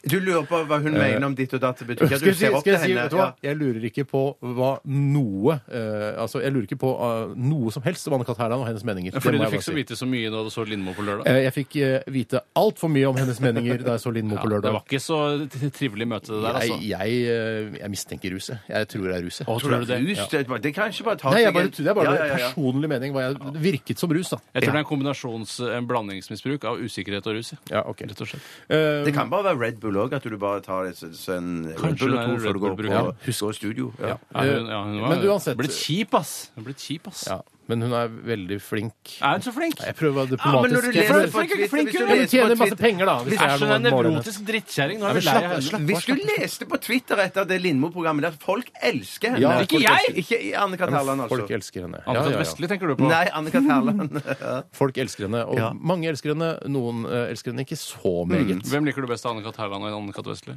E: Du lurer på hva hun mener om ditt og datt. Det betyr ikke at
C: Eh, Skal
E: du
C: jeg si,
E: ser opp til
C: skal jeg, si
E: henne.
C: vet du hva? jeg lurer ikke på hva noe eh, Altså, jeg lurer ikke på eh, noe som helst om Anne Kat. Herland og hennes meninger. Det
D: Fordi
C: må
D: du
C: jeg
D: fikk
C: bare
D: så
C: si.
D: vite så mye da du så Lindmo på lørdag.
C: Eh, Jeg fikk eh, vite altfor mye om hennes meninger da jeg så Lindmo
D: Ja,
C: på
D: det
C: lørdag.
D: var ikke så t- trivelig møte det der, altså.
C: Jeg, jeg, eh, jeg mistenker ruset. Jeg tror det er ruset.
D: Å, tror du det?
E: Rus, det, det kan jeg ikke bare ta
C: Nei, jeg
E: seg
C: bare,
E: en-
C: det er bare
E: Ja, ja, ja.
C: personlig mening. Hva jeg, det virket som rus, da.
D: Jeg tror det er en kombinasjons eh, en blandingsmisbruk av usikkerhet og rus.
C: Ja, ok.
D: Rett og slett.
C: Eh,
E: Det kan bare være Red Bull òg, at du bare tar et, så- så en Red
D: Kanskje
E: Bull
D: det
E: og
D: er
E: to
D: en
E: før
D: Red
E: du går på
D: Bull-bruk. Ja.
E: husker studio. Ja.
D: Ja, hun, ja, hun var,
C: men uansett-
D: Blitt kjip, ass. Hun er blitt kjip, ass.
C: ja, men hun er veldig flink.
D: Er hun så flink?
C: Jeg prøver å være
E: Ja, men når
C: diplomatisk.
E: du
C: Jeg
E: leser
C: prøver-
E: på
D: flink,
E: Twitter,
D: flink,
E: hvis du
C: Ja,
D: hun
C: men
E: leser på
C: hun tjener masse
E: Twitter-
C: penger, da. Hvis det
D: Æsj,
C: er
D: hun er
C: noe målet hennes.
D: nevrotisk drittkjerring. Nå
C: Nei, men
D: er vi lei
C: slapp-
D: av henne.
C: slapp-
E: Hvis du leste på Twitter etter det Lindmo-programmet der Folk elsker henne!
C: Ja,
D: Ikke
E: Folk
D: jeg!
E: elsker- Ikke Anne Kat. Herland,
C: Folk
E: altså.
C: elsker henne. Ja,
D: Anne
C: ja,
D: Kat.
C: ja.
D: Vestli tenker du på?
E: Nei, Anne Kat. Herland.
C: Folk elsker henne, og
E: Ja.
C: mange elsker henne. Noen eh, elsker henne ikke så meget.
D: Hvem liker du best av Anne-Kat. Herland og Anne-Kat. Vestli?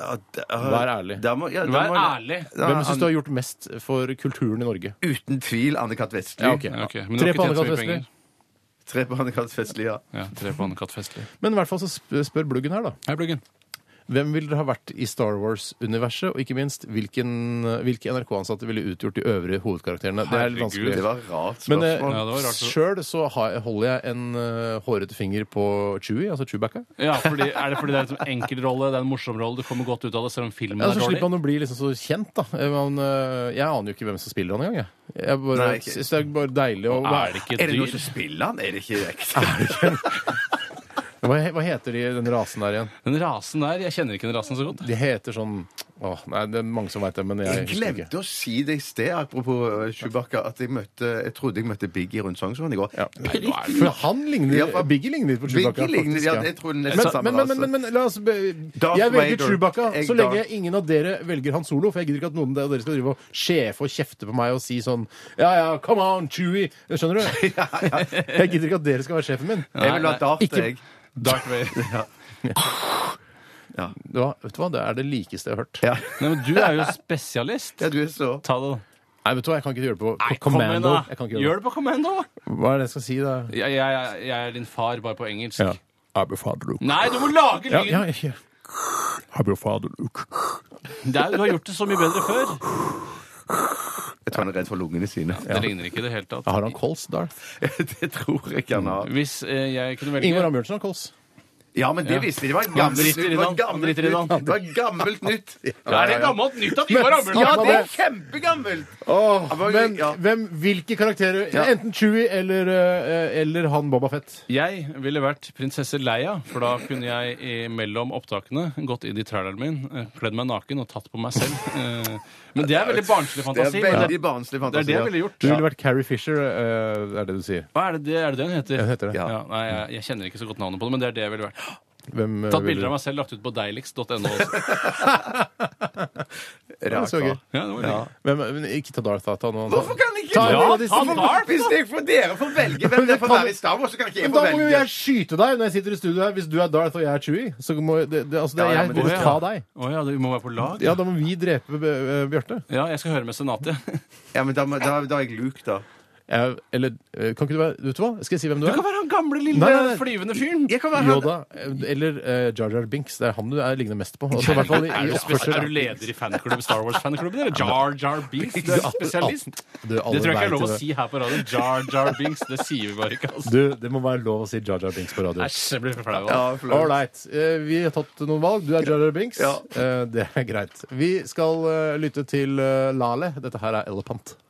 E: Ja, da-
C: Vær ærlig.
E: da må- ja, da
D: Vær
E: må-
D: ærlig.
E: Da-
C: Hvem syns du har gjort mest for kulturen i Norge?
E: Uten tvil Anne-Kat. Vestli.
C: Ja, ok.
D: Ja, ok. Men du
C: Tre
D: har ikke
C: på
D: tjent så
C: Anne-Kat.
D: mye
C: Vestli.
D: penger.
E: Tre på Anne-Kat. Vestli, ja.
D: Ja, tre på Anne-Kat. Vestli.
C: Men i hvert fall så sp- spør Bluggen her, da.
D: Hei, Bluggen.
C: Hvem ville dere ha vært i Star Wars-universet, og ikke minst hvilken, hvilke NRK-ansatte ville utgjort de øvrige hovedkarakterene? Det er litt
D: Herregud,
C: vanskelig.
E: Det var et rart
C: Men
E: spørsmål.
D: Ja, det var
C: eh,
D: rart.
C: sjøl så har, holder jeg en eh, hårete finger på Chewie, altså Chewbacca.
D: Ja, fordi, er det fordi det er en sånn enkelrolle, det er en morsom rolle, du kommer godt ut av det selv om
C: Ja,
D: filmen er
C: Altså, så slipper
D: dårlig?
C: han å bli liksom så kjent, da. Eh, men, eh, jeg aner jo ikke hvem som spiller han engang. Jeg, jeg bare,
E: Nei, ikke-
C: synes det er bare deilig å
D: Er det ikke
E: Er det noen
D: dyr?
E: som spiller han? Er det ikke ekte?
C: hva, he- hva heter de, den rasen der igjen?
D: Den rasen der, jeg kjenner ikke den rasen så godt.
C: De heter sånn Åh, nei, det er mange som veit det, men jeg
E: Jeg
C: husker ikke.
E: glemte å si det i sted, apropos eh, Chewbacca, at jeg møtte Jeg trodde jeg møtte Biggie rundt Sognsvann i går.
C: Ja.
E: Prikk.
C: For han ligner,
E: Ja, for-
C: Biggie ligner litt på
E: Biggie
C: Chewbacca.
E: ligner-
C: faktisk,
E: ja, jeg tror den er
C: men,
E: samme
C: men, men, men, men, men la oss be,
E: Darth
C: Jeg velger
E: Vader.
C: Chewbacca
E: Jeg-
C: så lenge
E: Darth-
C: ingen av dere velger Han Solo. For jeg gidder ikke at noen av dere skal drive og sjefe og kjefte på meg og si sånn Ja ja, come on, Chewie. Skjønner du? Jeg gidder ikke at dere skal være sjefen min.
E: Jeg vil ha
D: Nei, nei,
E: Darth,
C: ikke-
E: jeg.
D: Darth Vader.
C: Det var, vet du hva, Det er det likeste jeg har hørt.
E: Ja.
D: Nei, men du er jo spesialist.
E: ja, du er så
D: Ta det, da.
C: Nei, vet du hva, jeg kan ikke gjøre det på, på
D: Nei, kom igjen,
C: Commando.
D: da.
C: Jeg kan ikke
D: Gjør
C: gjøre det.
D: det på Commando, da.
C: Hva er det jeg skal si, da?
D: Jeg, jeg, jeg er din far, bare på engelsk.
C: Ja. Jeg befaler Luke.
D: Nei, du må lage
C: Ja,
D: lyden!
C: ja, ja. Jeg befaler Luke.
D: Det er- Du har gjort det så mye bedre før.
E: Jeg tror han er redd for lungene sine.
D: Det ligner ikke i det hele tatt.
C: Har han kols, Darth?
E: Det tror jeg ikke han har.
D: Hvis eh, jeg kunne velge
C: Ingvar Ambjørnsen har kols.
E: Ja, men det visste de. Det var
D: Ja,
E: gammelt nytt.
D: driter i
E: Det var
D: det, han
E: gammelt
D: driter i det, han.
E: nytt. Det var gammelt nytt.
D: Ja, Er det gammelt nytt at Ingvar Ambjørnsen
E: Ja,
D: har
E: det
D: kols?
E: er kjempegammelt!
C: Åh,
E: Ja, men-
C: men
E: ja.
C: hvem, hvilke karakterer? Enten Chewie eller, eh, eller han Boba Fett.
D: Jeg ville vært prinsesse Leia, for da kunne jeg i- mellom opptakene gått inn i traileren min, eh, kledd meg naken og tatt på meg selv. Eh, Men det er veldig barnslig
E: Det er
D: fantasi. men
E: veldig
D: det-
E: barnslig
D: Det er
E: fantasi.
D: det jeg
E: ja.
D: ville
C: Du ville
D: gjort.
C: vært Carrie Fisher, eh, er det du sier.
D: Hva er det det, er det det hun heter?
C: Ja, hun heter det.
E: Ja.
D: Ja, nei, jeg, jeg kjenner ikke så godt navnet på det, men det er det jeg ville vært.
C: Hvem, eh,
D: Tatt
C: vil du-
D: bilder av meg selv, lagt ut på deiligst.no også.
C: Ja, det så gøy.
D: Ja, det var ja.
C: Hvem, men ikke ta Darth Ata nå.
E: Hvorfor kan ikke
C: Ta-
D: Ja,
E: Hvis-
D: han har-
E: Hvis jeg får dere får velge hvem det får være i Star Wars, så kan ikke jeg
C: Men
E: få
C: da må jo
E: velge.
C: jeg skyte deg når jeg sitter i studio her. Hvis du er Darth og jeg er Chewie, så må jeg- det, det, altså, det,
E: Ja, ja,
C: jeg
E: men
C: vil
E: det-
C: ta deg.
D: Å ja, du må være på lag?
C: Ja, da må vi drepe eh, Bjarte.
D: Ja, jeg skal høre med Senatet.
E: Ja, men da, må- da, da er jeg Luke, da.
C: Jeg- Eller eh, kan ikke du være Vet du hva? Skal jeg si hvem du er?
D: Du kan være han gamle, lille,
C: Nei, nei, nei.
D: flyvende fyren.
E: Jeg kan være han.
C: Yoda eh, eller eh, Jar Jar Binks. Det er han du er lignende mest på. Altså, i hvert fall i,
D: Er
C: i
D: du, spes-
C: oppførsel.
D: er du leder i fanklubben, Star Wars-fanklubben? eller? Jar Jar Binks? Du er spesialist.
C: Du, alle
D: Det tror jeg ikke er
C: vet
D: lov å
C: det.
D: si her på radioen. Jar Jar Binks. Det sier vi bare ikke, altså.
C: Du, det må være lov å si Jar Jar Binks på radio.
D: Æsj, jeg blir for flau.
E: Ja,
D: altså.
E: forlåt.
C: All right. Eh, Vi har tatt noen valg. Du er Jar Jar Binks.
E: Ja.
C: Eh, Det er greit. Vi skal eh, lytte til eh, Lale. Dette her er Elephant.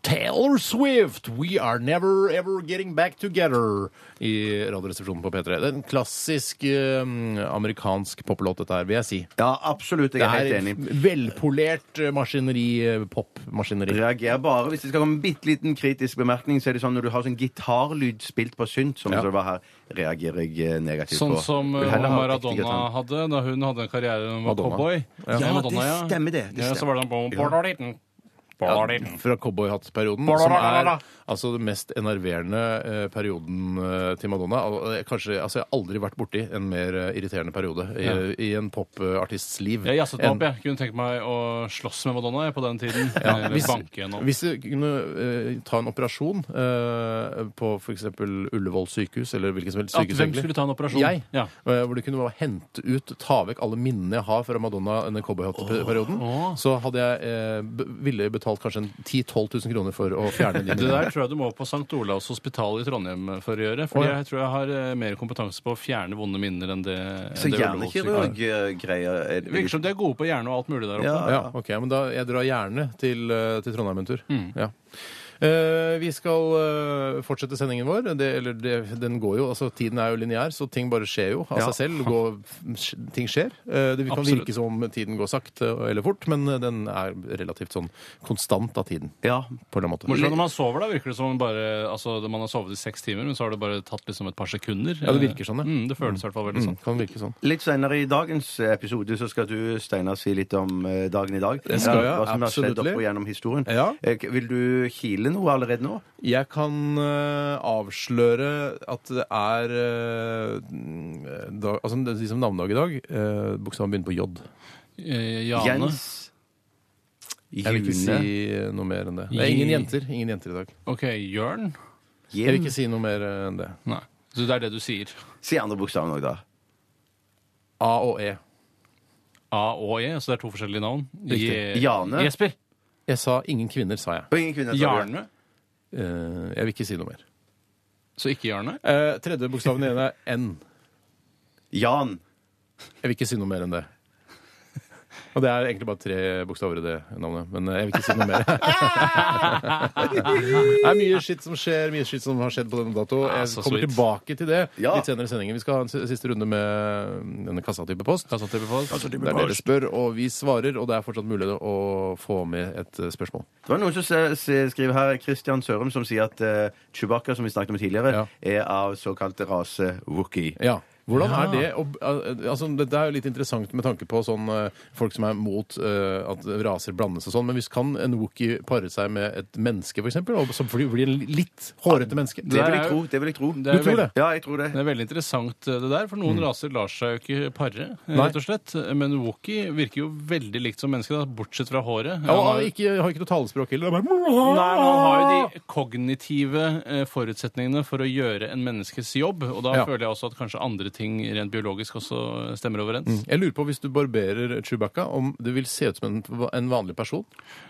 C: Taylor Swift, We Are Never Ever Getting Back Together i Radioresepsjonen på P3. Det er en klassisk eh, amerikansk poplåt, dette her, vil jeg si.
E: Ja, absolutt. Jeg
C: Det
E: er helt
C: er
E: enig.
C: velpolert eh, maskineri, eh, popmaskineri.
E: reagerer bare Hvis det skal komme en bitte liten kritisk bemerkning, så er det sånn når du har sånn gitarlyd spilt på synt, som
C: Ja.
E: det var her, reagerer jeg eh, negativt
D: Sånn
E: på.
D: som
E: Vil
D: eh,
E: heller ha riktig
D: Maradona
E: gitar.
D: hadde da hun hadde en karriere hun var
C: Madonna.
D: cowboy.
E: Ja, det stemmer det, det
D: Ja, så var det den på- Party.
C: fra cowboyhattperioden, som er altså den mest enerverende eh, perioden eh, til Madonna. Al- eh, Kanskje, altså Jeg har aldri vært borti en mer eh, irriterende periode i, i en popartists liv.
D: Jeg jazzet meg
C: enn-
D: opp, jeg. Kunne tenkt meg å slåss med Madonna jeg, på den tiden.
C: Ja,
D: Eller
C: hvis,
D: banke henne opp.
C: hvis du kunne eh, ta en operasjon eh, på f.eks. Ullevål sykehus, eller hvilket som helst
D: At
C: sykehus
D: hvem skulle ta en operasjon?
C: Jeg.
D: Ja.
C: Eh, Hvor du kunne bare hente ut, ta vekk alle minnene jeg har fra Madonna denne cowboyhatteperioden. Så hadde jeg eh, b- ville betalt kanskje en 10 000-12 000 kroner for å fjerne de
D: Det
C: minnene.
D: der tror jeg du må på St. Olavs hospital i Trondheim for å gjøre. For
C: Å, ja.
D: jeg tror jeg har eh, mer kompetanse på å fjerne vonde minner enn det enn
G: Så
D: det Ullevål sykehus har.
G: hjernekirurg-greier er
D: Det virker som de er gode på hjerne og alt mulig der oppe.
G: Ja.
C: Ja, ok, men da, Jeg drar gjerne til, eh, til Trondheim en tur. Ja. Eh, vi skal eh, fortsette sendingen vår. Det, eller det, den går jo, altså Tiden er jo lineær, så ting bare skjer jo av
D: Ja.
C: seg selv. Går, ting skjer. Eh, det kan
D: Absolutt.
C: virke som om tiden går sakte eller fort, men eh, den er relativt sånn konstant av tiden.
G: Ja.
C: På en måte.
D: Morsomt når man sover, da virker det som om bare, altså, man har sovet i seks timer, men så har det bare tatt liksom et par sekunder.
C: Ja, det virker sånn, ja.
D: Mm, det føles i hvert fall veldig
C: Mm,
D: sånn.
C: kan virke sånn.
G: Litt senere i dagens episode så skal du, Steinar, si litt om eh, dagen i dag.
C: Det skal jeg,
G: Hva som har skjedd
C: absolutt.
G: opp og gjennom historien.
C: Ja.
G: Eh, Vil du kile noe allerede nå?
C: Jeg kan eh, avsløre at det er eh, dag, Altså de som navnedag i dag, uh, bokstaven begynner på J.
D: Eh, Jane.
G: Jens.
C: Jeg vil ikke
G: June.
C: si noe mer enn det. Det er ingen
D: Gi-
C: jenter, ingen jenter i dag.
D: OK, Jørn?
C: Jeg vil
G: Jim.
C: ikke si noe mer enn det.
D: Nei. Så det er det du sier.
G: Si andre bokstaven òg, da.
C: A og E.
D: A og E, så det er to forskjellige navn.
C: Riktig.
D: Je-
G: Jane.
D: Jesper.
C: Jeg sa ingen kvinner, sa jeg.
G: Og ingen kvinne. sa du.
D: Jarne.
C: Eh, jeg vil ikke si noe mer.
D: Så ikke Jarne.
C: Eh, tredje bokstaven igjen er N.
G: Jan.
C: Jeg vil ikke si noe mer enn det. Og det er egentlig bare tre bokstaver i det navnet, men eh, jeg vil ikke si noe mer. det er mye skitt som skjer, mye skitt som har skjedd på denne dato.
D: Ah,
C: Jeg
D: så
C: kommer
D: sweet.
C: tilbake til det
G: Ja.
C: litt senere i sendingen. Vi skal ha en s- siste runde med denne kassatype post.
D: Hva satt dere på?
C: Det er dere spør, og vi svarer, og det er fortsatt mulig å få med et eh, spørsmål.
G: Det var noen som se- se- skriver her, Christian Sørum, som sier at eh, Chewbacca, som vi snakket om tidligere,
C: Ja.
G: er av såkalt rase wookie.
C: Ja. Hvordan er det? å- altså, dette er jo litt interessant med tanke på sånn, eh, folk som er mot eh, at raser blandes og sånn, men hvis kan en wookie pare seg med et menneske, f.eks., og så blir blir en litt
D: Ah,
C: hårete menneske?
G: Det vil
D: er
G: jeg
D: jo-
G: tro. det vil jeg tro.
D: Det er
C: Du tror
D: veldig-
C: det?
G: Ja, jeg tror det.
D: Det er veldig interessant eh, det der, for noen raser lar seg jo ikke pare, eh,
C: Mm. Nei.
D: rett og slett. Men Wookie virker jo veldig likt som menneske, da, bortsett fra håret.
C: Ja,
D: Han
C: og
D: har-
C: ikke, har ikke noe talespråk heller. det er
D: Nei, men han har
C: Bare...
D: jo de kognitive eh, forutsetningene for å gjøre en menneskes jobb, og da
C: Ja.
D: føler jeg også at kanskje andre ting rent biologisk også eh, stemmer overens.
C: Jeg lurer på, hvis du barberer Chewbacca, om det vil se ut som en, en vanlig person?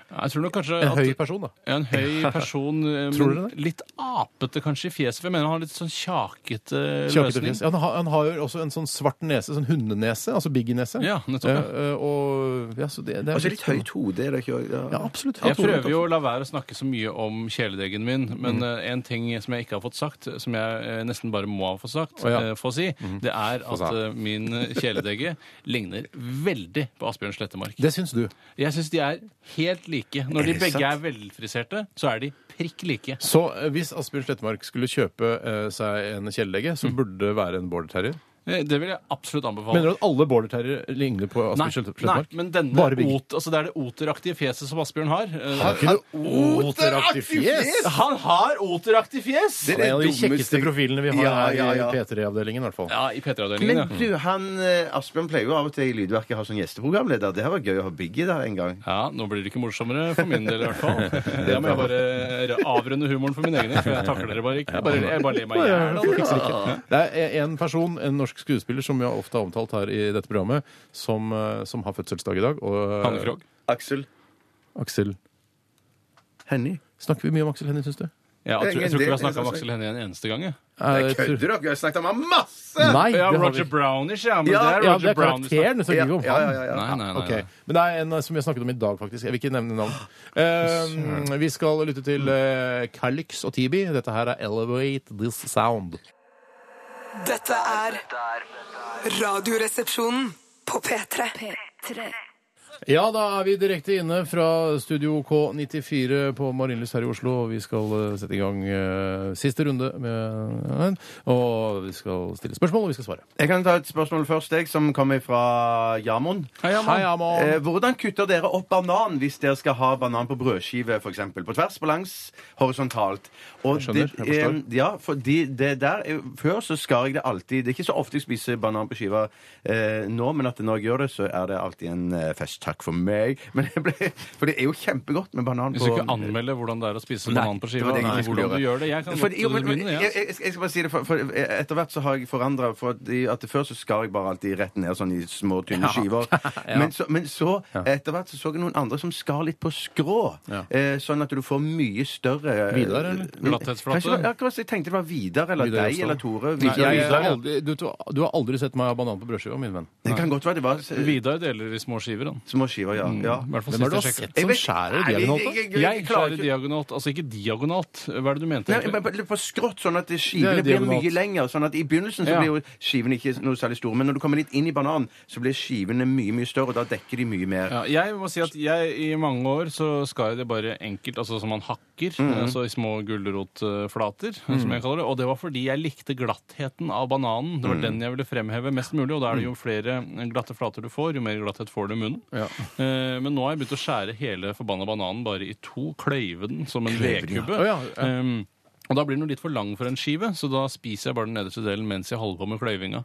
D: Jeg tror nok kanskje
C: En
D: at
C: høy person, da.
D: Ja, en høy person, eh,
C: Tror
D: men
C: dere det?
D: litt apete kanskje i fjeset. for Jeg mener han har litt sånn kjakete
C: Kjakete
D: løsning.
C: fjes. Ja, Han, har- han har jo også en sånn svart nese, sånn hundenese, altså Biggie-nese.
D: Ja, nettopp, ja.
C: Eh, eh, og, ja, så det, det er
G: Og så Altså, litt høyt hode, er det ikke? Ja.
C: Ja, absolutt.
D: Jeg prøver jo å la være å snakke så mye om kjæledeggen min,
C: Mm.
D: men eh, en ting som jeg ikke har fått sagt, som jeg eh, nesten bare må ha fått sagt,
C: Å, ja. Mm.
D: eh, få si, det er at
C: sa.
D: eh, min kjæledegge ligner veldig på Asbjørn Slettemark.
C: Det syns du.
D: Jeg syns de er helt like. Når de begge er velfriserte, så er de prikk like.
C: Så eh, hvis Asbjørn Slettemark skulle kjøpe eh, seg en kjæledegge,
D: Mm.
C: så burde det være en border terrier?
D: Eh, Det vil jeg absolutt anbefale.
C: Mener du at alle border terrier ligner på
D: Nei,
C: Asbjørn Slet-
D: nei,
C: Slettemark?
D: men denne
C: Bare Biggie.
D: ot, altså det er det oteraktige fjeset som Asbjørn har. Eh,
C: Har ikke noe oteraktig fjes!
D: Han har oteraktig fjes!
C: Det er en av de kjekkeste profilene vi har
G: Ja, ja, ja.
C: her i P3-avdelingen, i hvert fall.
D: Ja, i P3-avdelingen.
G: Men
D: ja.
G: du, han, eh, Asbjørn pleier jo av og til i Lydverket å ha sånn gjesteprogramleder. Det her var gøy å ha Biggie der en gang.
D: Ja, nå blir det ikke morsommere for min del i hvert fall. Da må jeg bare avrunde humoren for min egen del, for jeg takler dere bare ikke. Jeg bare, jeg bare ler meg i hjel. altså.
C: Det er en person, en norsk skuespiller, som vi har ofte har omtalt her i dette programmet, som, eh, som har fødselsdag i dag. Og eh,
D: Hanne Krogh.
G: Aksel
C: Aksel.
G: Hennie.
C: Snakker vi mye om Aksel Hennie, syns du?
D: Ja, jeg, tror, jeg tror ikke vi har snakka om Aksel Hennie en eneste gang. jeg.
C: Eh,
G: Jeg kødder dere! Jeg har snakket om ham masse!
C: Nei, det
D: Ja,
C: har vi
D: Roger
C: ikke.
D: Brownish, ja. Men
G: Ja,
D: det er
C: Ja, det
D: Roger
C: er
D: Brown. vi
C: karakteren, så
G: Ja,
C: ikke om
G: ja, ja, ja.
C: han.
D: snakker- Nei, nei, nei.
C: Ok, Men det er en eh, som vi har snakket om i dag, faktisk. Jeg vil ikke nevne navn. Eh, vi skal lytte til uh, Calix og Tibi. Dette her er 'Elevate This Sound'.
F: Dette er Radioresepsjonen på P3.
C: Ja, da er vi direkte inne fra Studio K94 på Marienlyst her i Oslo. Og vi skal eh, sette i gang eh, siste runde med den. Og vi skal stille spørsmål, og vi skal svare.
E: Jeg kan ta et spørsmål først, jeg, som kommer fra Jamon.
C: Hei, Amon.
E: Eh, hvordan kutter dere opp banan hvis dere skal ha banan på brødskive, f.eks.? På tvers, på langs, horisontalt. Og
C: Jeg skjønner, jeg forstår.
E: eh, ja, fordi det der er- Før så skar jeg det alltid Det er ikke så ofte jeg spiser banan på skiva eh, nå, men at når jeg gjør det, så er det alltid en eh, fest. Takk for meg. Men jeg ble, for det er jo kjempegodt med banan
D: Du
E: på
D: skal ikke anmelde hvordan det er å spise banan på
E: det
D: skiva.
E: var det jeg
D: Nei,
E: ikke skulle
D: hvordan du
E: gjøre.
D: gjør det. Jeg kan
E: Fordi- jo,
D: godt
E: men- men
D: begynne,
E: jeg,
D: jeg,
E: jeg, jeg skal bare si det, for, for etter hvert så har jeg forandra at Før så skar jeg bare alltid rett ned sånn i små, tynne skiver. Men så, men så etter hvert så, så jeg noen andre som skar litt på skrå. Eh, sånn at du får mye større eh,
C: Vidar, eller?
D: Glatthetsflate?
E: Kanskje det var- Akkurat, jeg tenkte det var Vidar eller
C: Vidar
E: deg
C: Jostad.
E: eller Tore.
C: Nei,
E: Vidar,
C: jeg,
E: Vidar,
C: har
E: ja.
C: aldri, du, du har aldri sett meg ha banan på brødskiva, min venn.
E: Det kan godt være det var s-
D: Vidar deler i små skiver, han.
E: små skiver, ja. ja.
D: I hvert fall
C: Hvem er det du
D: sist
C: har
D: jeg sjekket.
C: sett Mm. som skjærer
E: Nei,
C: diagonalt? da?
E: jeg- jeg-
D: Jeg
E: klarer
D: klarer
E: ikke-
D: diagonalt. Altså ikke diagonalt. Hva er det du mente?
E: Nei,
D: egentlig?
E: men på- på skrått, sånn at
C: Det
E: skivene
C: er
E: blir
C: diagonalt.
E: mye lengre. Sånn at I begynnelsen så
D: Ja.
E: blir jo skivene ikke noe særlig store, men når du kommer litt inn i bananen, så blir skivene mye mye større, og da dekker de mye mer.
D: Ja, jeg må si at jeg i mange år så skar jeg det bare enkelt, altså som man hakker, altså i små gulrotflater, eh, som jeg kaller det. Og det var fordi jeg likte glattheten av bananen. Det var den jeg ville fremheve mest mulig, og da er det jo flere glatte flater du får, jo mer glatthet får du i munnen.
C: Ja.
D: Eh, Men nå har jeg begynt å skjære hele forbanna bananen bare i to, kløyve den som en vedkubbe.
C: Å, ja, ja.
D: Um, og da blir den jo litt for lang for en skive, så da spiser jeg bare den nederste delen mens jeg holder på med kløyvinga.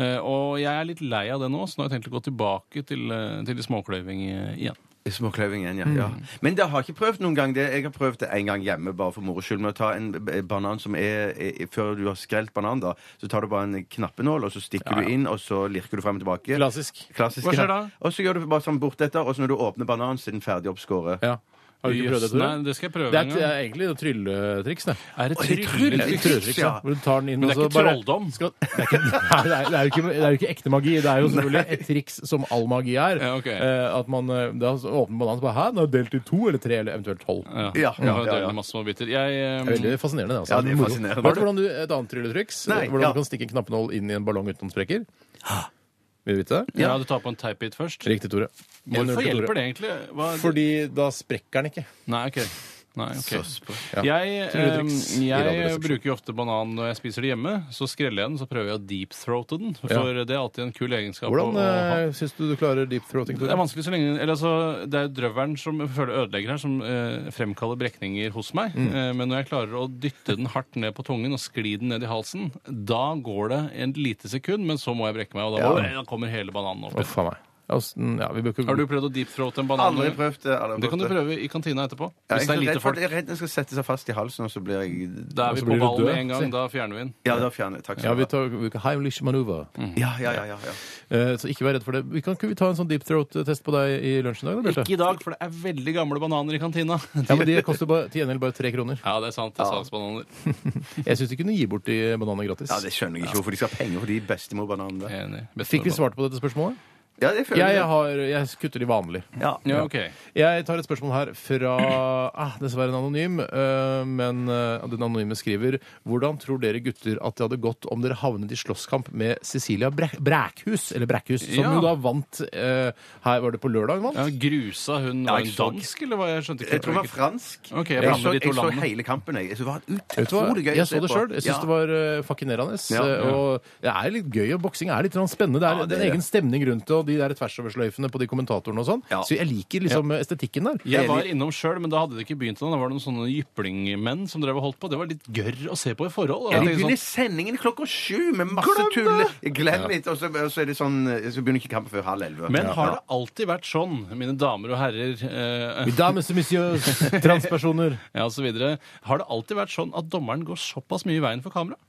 D: Eh, og jeg er litt lei av det nå, så nå har jeg tenkt å gå tilbake til, eh, til småkløyving eh, igjen.
E: Småkløyving igjen, ja. ja. Mm. Men det har jeg ikke prøvd noen gang. Det, jeg har prøvd det en gang hjemme, bare for moro skyld, med å ta en b- banan som er, er Før du har skrelt bananen, da, så tar du bare en knappenål, og så stikker du inn, og så lirker du frem og tilbake.
C: Klassisk.
E: Klassisk,
D: Hva skjer
E: ja.
D: da?
E: Og så gjør du bare sånn bortetter, og så når du åpner bananen, så er den ferdig oppskåret.
C: Ja. Har du ikke prøvd det,
D: Jøss,
C: Tore?
D: Nei, det skal jeg prøve
C: Det er, eh,
D: en
C: det
D: gang.
C: er egentlig noe trylletriks, det.
D: Er det
E: Oi, det er
D: tryll?
E: tryll-
C: Trylletriks, ja. Hvor du tar den inn,
D: Men det
C: og
D: er
C: så
D: ikke
C: bare-
D: trolldom.
C: Skal, det, er ikke, nei, det, er, det, er jo ikke, det er jo ikke ekte magi. Det er jo selvfølgelig et triks som all magi er.
D: Ja, ok.
C: eh, at man eh, da åpner bananen og bare Hæ, den er delt i to eller tre, eller eventuelt tolv.
D: Ja,
E: Ja, ja,
D: og
E: ja,
D: deler
E: ja.
D: masse små biter. Jeg, eh,
C: Det er veldig fascinerende. det, Altså.
E: Ja, det er
C: Moro.
E: fascinerende.
C: Vet du hvordan du, et annet trylletriks?
E: Nei,
C: hvordan
E: ja.
C: du kan stikke en knappenål inn i en ballong uten sprekker? Vil du vite det?
D: ja, du tar på en teipbit først.
C: Riktig, Tore.
D: Hvorfor
C: 1-0 til Tore.
D: hjelper det egentlig? Hva er det?
C: Fordi da sprekker den ikke.
D: Nei, ok. Nei, ok.
C: Ja.
D: Jeg, ehm,
C: Trylletriks i
D: jeg
C: radioresepsjonen.
D: bruker jo ofte banan når jeg spiser det hjemme. Så skreller jeg den, så prøver jeg å deep-throate den. For det er alltid en kul egenskap. å-
C: Hvordan
D: å ha.
C: uh, syns du du klarer deep throating?
D: Det er vanskelig så lenge eller altså, Det er jo drøveren som jeg føler ødelegger her, som eh, fremkaller brekninger hos meg. Eh, men når jeg klarer å dytte den hardt ned på tungen og skli den ned i halsen, da går det en lite sekund, men så må jeg brekke meg, og da,
E: Ja.
D: Oi, da kommer hele bananen opp. igjen.
C: Uff a meg. Altså, ja, vi bør ikke
D: Har du prøvd å deepthroate en banan?
E: Aldri
D: eller?
E: prøvd det. aldri
D: Det kan du
E: prøvd
D: prøve i kantina etterpå.
E: Ja, jeg,
D: Hvis det er
E: er
D: lite
E: redd for,
D: folk.
E: jeg er redd den skal sette seg fast i halsen, og så blir jeg
D: Da
C: Og
D: er
C: så
D: vi
C: blir du
D: på ballen med
C: død,
D: en
C: si.
D: gang. Da fjerner vi den.
E: Ja, da fjerner jeg. Takk skal du
C: Ja, vi
E: ha.
C: tar vi tar Heimlich maneuver.
D: Mm.
E: Ja, ja, ja, ja, ja.
C: Eh, så ikke vær redd for det. Vi kan ikke vi ta en sånn deep throat-test på deg i lunsjen i dag, da, Bjarte?
D: Ikke i dag, for det er veldig gamle bananer i kantina.
C: Ja, men De koster bare, til gjengjeld bare tre kroner.
D: Ja, det er sant. Det er salgsbananer.
C: Jeg syns de kunne gi bort de bananene gratis.
E: Ja, Det skjønner jeg ikke hvorfor de skal ha penger for de bestemorbananene. der.
D: Enig.
C: Fikk vi svart på dette spørsmålet?
E: Ja, det føler
C: Jeg, jeg, har, jeg kutter de vanlig.
E: Ja.
D: Ja, OK.
C: Jeg tar et spørsmål her fra ah, dessverre en anonym, eh, men eh, den anonyme skriver Hvordan tror dere gutter at det hadde gått om dere havnet i slåsskamp med Cecilia Bræ Brækhus, eller Brækhus, som
D: Ja.
C: jo da vant eh, Her var det på lørdag hun vant?
D: Ja, grusa hun
E: Ja,
D: var
E: jeg
D: en
E: så-
D: dansk, eller hva? Jeg skjønte ikke.
E: Jeg tror det var fransk.
D: Ok, jeg
E: jeg,
D: blander
E: så,
D: de to
E: jeg så
D: landene.
E: hele kampen, jeg. Så det var
C: Vet du hva?
E: utrolig gøy å
C: Jeg
E: se
C: så det
E: på.
C: sjøl. Jeg syns
E: Ja.
C: det var eh, fascinerende.
E: Ja.
C: eh, Og det er litt gøy, og boksing er litt sånn spennende. Det er,
E: Ja, det
C: en
E: er det.
C: egen stemning rundt det, og de der tversoversløyfene på de kommentatorene og sånn.
E: Ja.
C: Så jeg liker liksom estetikken der.
D: Jeg var innom sjøl, men da hadde det ikke begynt ennå. Da var det noen sånne jyplingmenn som drev og holdt på. Det var litt gørr å se på i forhold. Da.
E: Ja, de
D: Jeg tenkte
E: begynner
D: sånn,
E: sendingen klokka sju med masse tull. Glem litt, og så, og så er det sånn Så begynner ikke kampen før halv elleve.
D: men
E: Ja.
D: har det alltid vært sånn, mine damer og herrer eh,
C: Dames og messieurs, transpersoner.
D: ja, og så videre, Har det alltid vært sånn at dommeren går såpass mye i veien for kamera?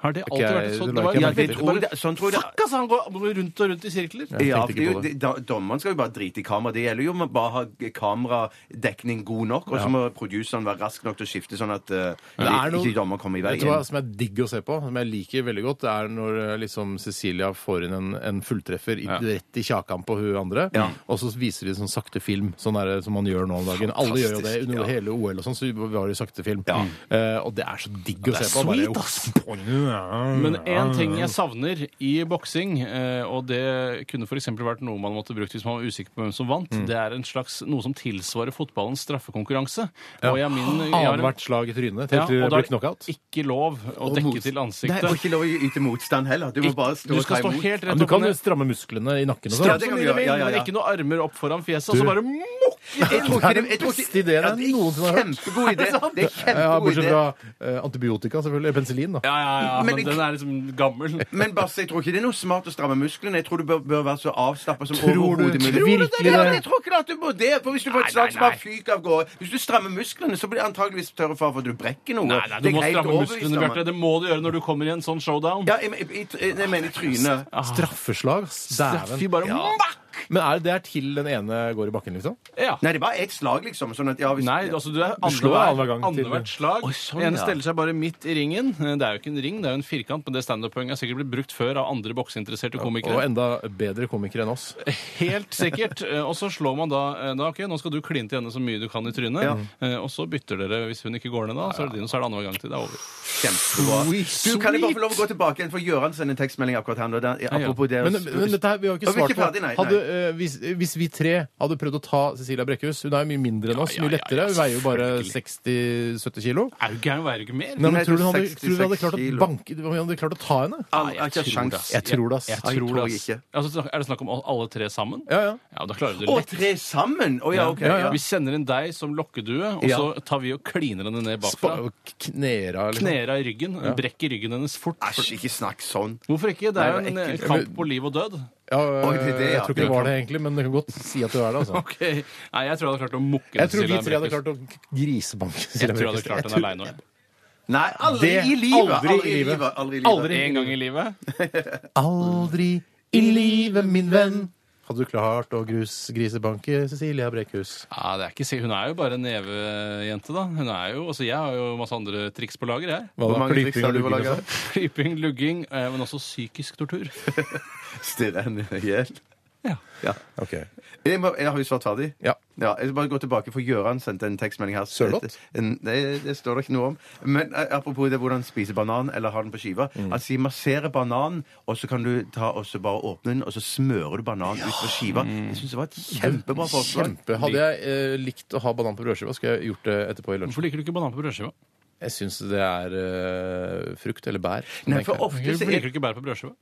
D: Har det alltid
C: Ok,
D: vært sånn?
C: det
D: Det
C: la
D: var,
E: ja,
C: ikke jeg
E: det
C: merke
E: tror jeg, det- sånn tror jeg det
D: Fuck, altså! Han går rundt og rundt i sirkler.
E: ja, for
C: tenkte
E: det er
C: ikke
E: jo,
C: på det.
E: det- da, Dommeren skal jo bare drite i kamera. Det gjelder jo om å bare ha kameradekning god nok, og så må produseren være rask nok til å skifte sånn at eh,
C: er noe-
E: ikke dommer kommer i
C: Vet du hva
E: veien.
C: som er digg å se på, som jeg liker veldig godt, det er når eh, liksom Cecilia får inn en, en fulltreffer i, rett i kjakan på hun andre, og så viser de sånn sakte film, sånn er det som man gjør nå om dagen. Alle gjør jo det under hele OL og sånn, så var det sakte film. Eh, og det er så digg å se på.
D: sweet,
C: bare,
D: Men én ting jeg savner i boksing, eh, og det kunne f.eks. vært noe man måtte brukt hvis man var usikker på hvem som vant,
C: Mm.
D: det er en slags noe som tilsvarer fotballens straffekonkurranse. Og jeg, har min, jeg har en-
C: Annethvert slag i trynet
D: ja,
C: helt til Ah,
D: og
C: det
D: da
C: blir
D: er
C: knockout.
D: det ikke lov å
C: mos-
D: dekke til
E: Nei,
D: ansiktet.
E: og ikke lov å yte motstand heller. Du må bare stå
D: du
E: og ta
D: skal stå
E: imot.
D: helt
C: Ja,
D: rett
C: du
D: opp og
C: kan
D: ned.
C: stramme musklene i nakken
E: Ja,
C: og sånn.
E: det kan
D: Som dere
E: du gjøre.
D: vil,
E: Ja, ja,
D: Men
E: ja.
D: ikke noe armer opp foran fjeset, og så bare mokk!
E: Jeg tror ikke det jeg tror
C: Beste
E: ikke-
C: ideen
E: Ja,
C: jeg noensinne har hørt.
E: Kjempegod idé. Det er
C: Ja,
E: kjempegod idé.
C: bortsett fra eh, antibiotika, selvfølgelig. eller Penicillin, da.
D: Ja, ja, ja,
E: Men
D: men,
E: ikke-
D: den er liksom gammel.
E: Men Basse, jeg tror ikke det er noe smart å stramme musklene. Jeg tror du bør, bør være så avslappa som
C: Tror du-
E: overhodet mulig.
C: tror du det?
E: Ja, men jeg tror ikke at du må det. For hvis du får et slag som bare fyker av gårde Hvis du strammer musklene, så blir det antageligvis tørre fare for at du brekker noe.
D: Nei, nei, du
E: Det er
D: må
E: helt
D: stramme
E: overbevist
D: musklene,
E: om.
D: Bjarte. Det må du gjøre når du kommer i en sånn showdown.
E: Ja, jeg, jeg, jeg, jeg, jeg mener i trynet.
C: Ah. Straffeslag. ass.
D: Fy,
C: Dæven.
D: bare mokk!
C: Men er det det er til den ene går i bakken, liksom?
D: Ja.
E: Nei, det er bare ett slag, liksom. Sånn at, ja, hvis,
D: Nei, altså du er
C: slår annenhver
D: annenhver-
C: gang til-
D: annethvert slag. Den ene steller seg bare midt i ringen. Eh, Det er jo ikke en ring, det er jo en firkant, men det standup-poenget er sikkert blitt brukt før av andre bokseinteresserte
C: Og
D: komikere.
C: enda bedre komikere enn oss.
D: Helt sikkert. Eh, Og så slår man da, eh, da OK, nå skal du kline til henne så mye du kan i trynet, Eh, og så bytter dere hvis hun ikke går ned da, så er det din, og så er det annenhver gang til. Det er over.
E: Kjempebra. Du, kan jeg bare få lov å gå tilbake igjen, for Gøran sender en tekstmelding akkurat her. nå. Den- Apropos det
C: Men, men dette her, vi har
E: Og
C: jo ikke
E: vi er
C: svart
E: ikke
C: på
E: ferdig, nei, nei.
C: hadde, eh, hvis, hvis vi tre hadde prøvd å ta Cecilia Brekkhus Hun er jo mye mindre enn oss,
D: Ja, ja,
C: mye
D: ja,
C: lettere. Hun
D: ja,
C: veier jo bare
D: selvfølgelig.
C: 60-70 kilo.
D: Er du gæren, veier du ikke mer?
C: Nei, men
E: heter
C: tror du hun hadde,
E: 66
C: tror du hun hadde, klart, å
E: kilo.
C: banke, hun hadde klart å ta henne?
E: Al- jeg har Ah, ikke
D: tror det,
E: sjans.
D: ass.
C: Jeg tror det, ass.
D: Jeg,
C: Nei,
D: jeg
E: jeg
D: tror
E: tror
D: det, ass.
E: ikke.
D: Altså, er det snakk om al- alle tre sammen?
C: Ja, ja.
D: Ja, da klarer du det
E: Å,
D: lett.
E: tre sammen? Å ja, OK.
C: Ja, ja.
E: Ja.
D: Vi sender inn deg som lokkedue, og
E: Ja.
D: så tar vi og kliner henne ned bakfra.
C: Spa- Knera, liksom.
D: Knera i ryggen, brekker ryggen hennes fort.
E: Æsj, ikke snakk sånn.
D: Hvorfor ikke? Det er jo
E: Nei, det
D: en
E: var
D: eh,
E: ekkelt.
D: kamp på liv og død.
C: Ja,
E: Oi, det er det,
C: jeg
E: ja.
C: tror ikke det var det, egentlig, men du kan godt si at du er det. altså.
D: Ok. Nei, jeg tror jeg hadde klart å mukke
C: Jeg tror vi
D: Cecilia
C: tre hadde
D: Brækhus.
C: klart å grisebanke
D: Jeg
C: Cecilia
D: tror jeg hadde
C: Brekkhus.
D: klart den aleine òg.
E: Nei, aldri
C: Det-
E: i livet.
C: aldri i livet.
E: Aldri i livet.
C: Aldri.
D: En gang i livet.
C: Aldri i livet, min venn. Hadde du klart å grus, grisebanke Cecilia Brekkhus?
D: Ja, det er ikke, si- hun er jo bare en nevejente, da. Hun er jo, altså, jeg har jo masse andre triks på lager, jeg.
C: Hva
E: Hvor
C: da?
E: mange triks
C: Klyping
E: har
C: og
E: du på
C: lugging og
E: lager?
C: sånn?
D: Klyping, lugging, eh, men også psykisk tortur.
E: Stirre henne i hjel.
D: Ja.
E: Ja.
C: Ok.
E: Jeg, må, jeg har jo svart ferdig.
C: Ja.
E: Ja, jeg skal bare gå tilbake, for Gøran sendte en tekstmelding her.
C: Sørloth?
E: En- Det, det står det ikke noe om. Men eh, apropos det hvordan spise banan, eller ha den på skiva.
C: Mm.
E: Han sier massere banan, og så kan du ta og så bare åpne den, og så smører du banan ut på skiva. Jeg syns det var et kjempebra forslag.
C: Kjempe. Hadde jeg eh, likt å ha banan på brødskiva, skulle jeg gjort det etterpå i lunsjen.
D: Hvorfor liker du ikke banan på brødskiva?
C: Jeg syns det er eh, frukt eller bær. som
E: Nei,
C: jeg
E: for
C: ikke-
E: ofte så jeg,
D: Hvorfor liker du ikke bær på brødskiva?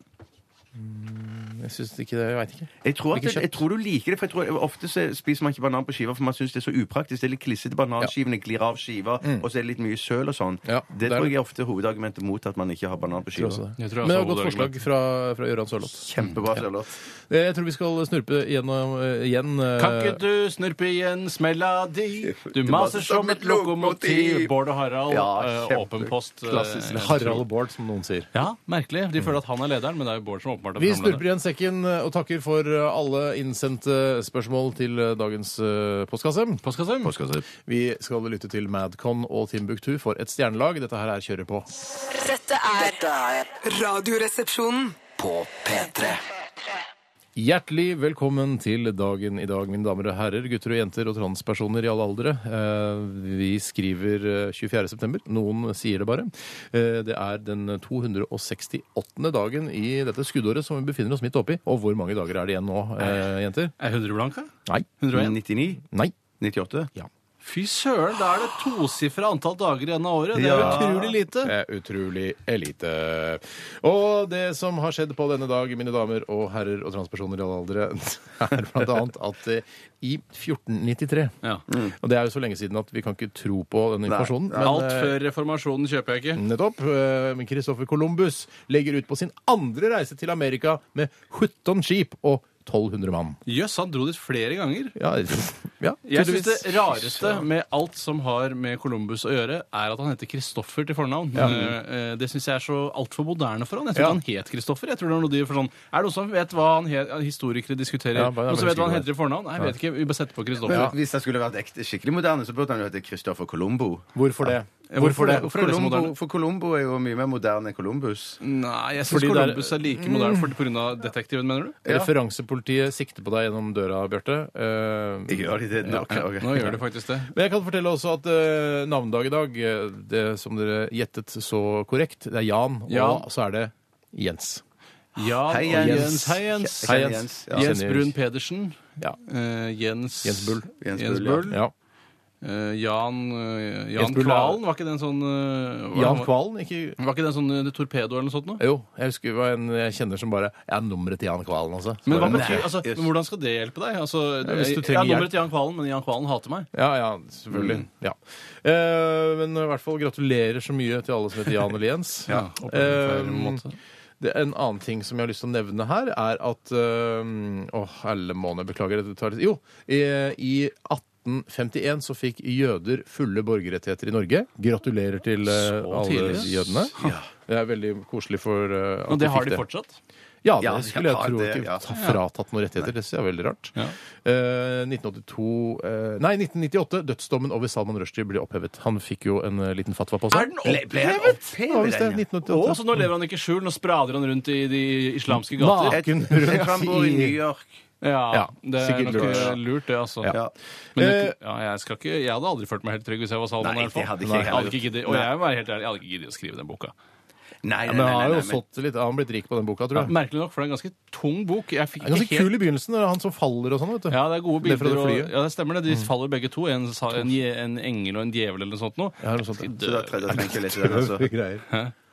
C: Jeg syns ikke det, jeg veit ikke.
E: jeg, tror at,
C: Ikke kjøtt.
E: jeg tror du liker det, for jeg tror ofte så spiser man ikke banan på skiva, for man syns det er så upraktisk. Det er litt klissete bananskivene glir av skiva, og så er det litt mye søl og sånn.
C: Mm. Ja,
E: det
C: det er
E: tror
C: det.
E: jeg er ofte hovedargumentet mot at man ikke har banan på
C: Jeg tror
E: skiva.
C: også
D: Jeg
C: det.
D: tror jeg
C: Men det var
D: også
C: et godt
D: hovedargument.
C: forslag fra, fra Gøran Sørloth.
E: Kjempebra, Sørloth.
C: Eh, Jeg tror vi skal snurpe gjennom eh, igjen eh,
D: Kan ikke du snurpe igjen smella di? Du maser som et lokomotiv. Bård og Harald,
E: Ja,
D: eh,
E: kjempe-
D: åpen post. eh,
E: klassisk.
D: jeg tror-
C: Harald og Bård, som noen sier.
D: Ja, merkelig. De føler at han er lederen, men det er jo Bård som åpenbart er
C: Vi
D: programleder.
C: snurper igjen sekken eh, og takker for eh, alle innsendte spørsmål til eh, dagens eh, postkasse.
D: Postkasse?
C: Vi skal lytte til Madcon og Timbuktu for et stjernelag. Dette her er kjøret på.
F: Dette er
A: Radioresepsjonen.
B: På P3
C: Hjertelig velkommen til dagen i dag, mine damer og herrer, gutter og jenter og transpersoner i alle aldre. Eh, Vi skriver eh, 24. september. Noen sier det bare. Eh, Det er den 268. dagen i dette skuddåret som vi befinner oss midt oppi. Og hvor mange dager er det igjen nå, eh, jenter?
D: Er 100 blanka?
C: Nei.
E: 99?
C: Nei.
E: 98?
D: Fy søren, da er det tosifra antall dager igjen av året. Det er
E: Ja.
D: utrolig lite.
C: Det er utrolig elite. Og det som har skjedd på denne dag, mine damer og herrer og transpersoner i alle aldre, er blant annet at eh, i 1493
D: Ja.
C: Og det er jo så lenge siden at vi kan ikke tro på den informasjonen. men,
D: Alt
C: eh,
D: før reformasjonen kjøper jeg ikke.
C: Nettopp. eh, Men Christopher Columbus legger ut på sin andre reise til Amerika med 17 skip og 1200 mann.
D: Jøss, han dro dit flere ganger.
C: Ja, ja
D: Jeg syns det
C: tydeligvis.
D: rareste med alt som har med Columbus å gjøre, er at han heter Kristoffer til fornavn. Eh, eh, Det syns jeg er så altfor moderne for han. Jeg tror
C: Ja.
D: ikke han het Kristoffer. Jeg tror det Er noe de for sånn Er det noen som vet hva han het, historikere diskuterer?
C: Ja, bare-
D: noen som vet hva han
C: bare-
D: heter i fornavn? Nei, jeg vet ikke. Vi bare setter på
E: Men
D: Kristoffer.
E: Hvis det skulle vært ekte skikkelig moderne, så burde han jo hete Christoffer Colombo.
C: Eh, Hvorfor det?
D: Hvorfor det? Hvorfor er det så
E: Columbo,
D: moderne?
E: for Colombo er jo mye mer moderne enn Columbus.
D: Nei,
C: Fordi
D: jeg syns
C: det er- Mm.
D: Columbus er like moderne for- på grunn av detektiven, mener du?
C: Referansepolitiet sikter på deg gjennom døra, Bjarte. Eh,
E: Gjør de det? Nå, ok.
D: Nå gjør det faktisk det.
C: men jeg kan fortelle også at eh, navnedag i dag, eh, det som dere gjettet så korrekt, det er Jan,
D: Jan.
C: og så er det Jens.
D: Jan
E: Hei,
D: og
E: Jens.
D: Jens. Hei, Jens.
E: Hei, Jens.
C: Ah, Ja.
D: Jens
C: Kjenner
D: Brun Pedersen.
C: Ja.
D: Eh, Jens
C: Jens Bull.
E: Jens
D: Jens
E: Bull, ja.
D: Bull.
C: Ja.
D: Eh, Jan
C: Jens
D: eh, Jan
C: Bull er-
D: Kvalen, var ikke det en sånn eh, hva-
C: Jan Kvalen, ikke
D: Var ikke det en sånn eh, torpedo eller noe sånt noe?
C: Jo, jeg husker det var en jeg kjenner som bare Jeg er nummeret til Jan Kvalen, altså. Så
D: Men, hva
C: bare,
D: betyr,
C: nei.
D: altså, men hvordan skal det hjelpe deg? Altså,
C: Ja, hvis du
D: jeg har
C: trenger hjelp.
D: nummeret til Jan Kvalen, men Jan Kvalen hater meg.
C: Ja, ja, selvfølgelig.
D: Mm.
C: Ja. Eh, men i hvert fall gratulerer så mye til alle som heter Jan eller Jens.
D: Ja, på en
C: Eh,
D: feil måte.
C: det, en annen ting som jeg har lyst til å nevne her, er at eh, Å, alle måneder, beklager. Dette tar litt Jo, i, i 1851 så fikk jøder fulle borgerrettigheter i Norge. Gratulerer til eh,
D: Så
C: alle
D: tidlig.
C: jødene. Det er veldig koselig for eh, at
D: Og det har de
C: fikk det.
D: fortsatt.
C: Ja, det
E: Ja,
C: skulle
E: ja,
C: jeg tro
E: det-
C: ikke
E: ja.
C: har fratatt noen rettigheter. Det synes jeg er veldig rart.
D: Ja.
C: Eh, 1982 eh, Nei, 1998. Dødsdommen over Salman Rushdie ble opphevet. Han fikk jo en eh, liten fatwa på seg.
E: Ble han
C: Det var visst det,
E: opphevet?
C: 1988.
D: Å, sånn- så Altså, nå lever han ikke i skjul, nå sprader han rundt i de islamske gater.
C: Ma- Naken
E: Jeg jeg tror han bor i
C: rundt i-
E: New York.
D: Ja,
C: Ja,
D: det er
C: sikkert
D: nok
C: lurt.
D: eh, lurt, det, altså.
C: Ja.
D: Men
C: Eh,
D: det- ja, jeg, skal ikke, jeg hadde aldri følt meg helt trygg hvis jeg var Salman.
E: Nei,
D: i hvert fall.
E: det hadde ikke jeg
D: Nei, jeg
E: heller
D: hadde ikke giddet. Og jeg må være helt ærlig, jeg hadde ikke giddet å skrive den boka.
E: Nei,
C: Ja,
E: nei, nei,
C: men han har
E: nei,
C: jo
E: nei, men-
C: sått litt, han har blitt rik på den boka, tror jeg.
D: Merkelig nok, for det er en ganske tung bok. Jeg fikk
C: Det er ganske
D: ikke helt...
C: kul i begynnelsen, når det er han som faller og sånn, vet du.
D: Ja, det er gode
C: Ned fra
D: bilder.
C: det
D: Og,
C: flyet. Mm.
D: ja, det stemmer det. De faller begge to. En, sa- en, je- en engel og en djevel eller noe sånt noe.
C: Ja, noe sånt, ja.
E: Så da tre- da trenger jeg ikke å lese den, altså.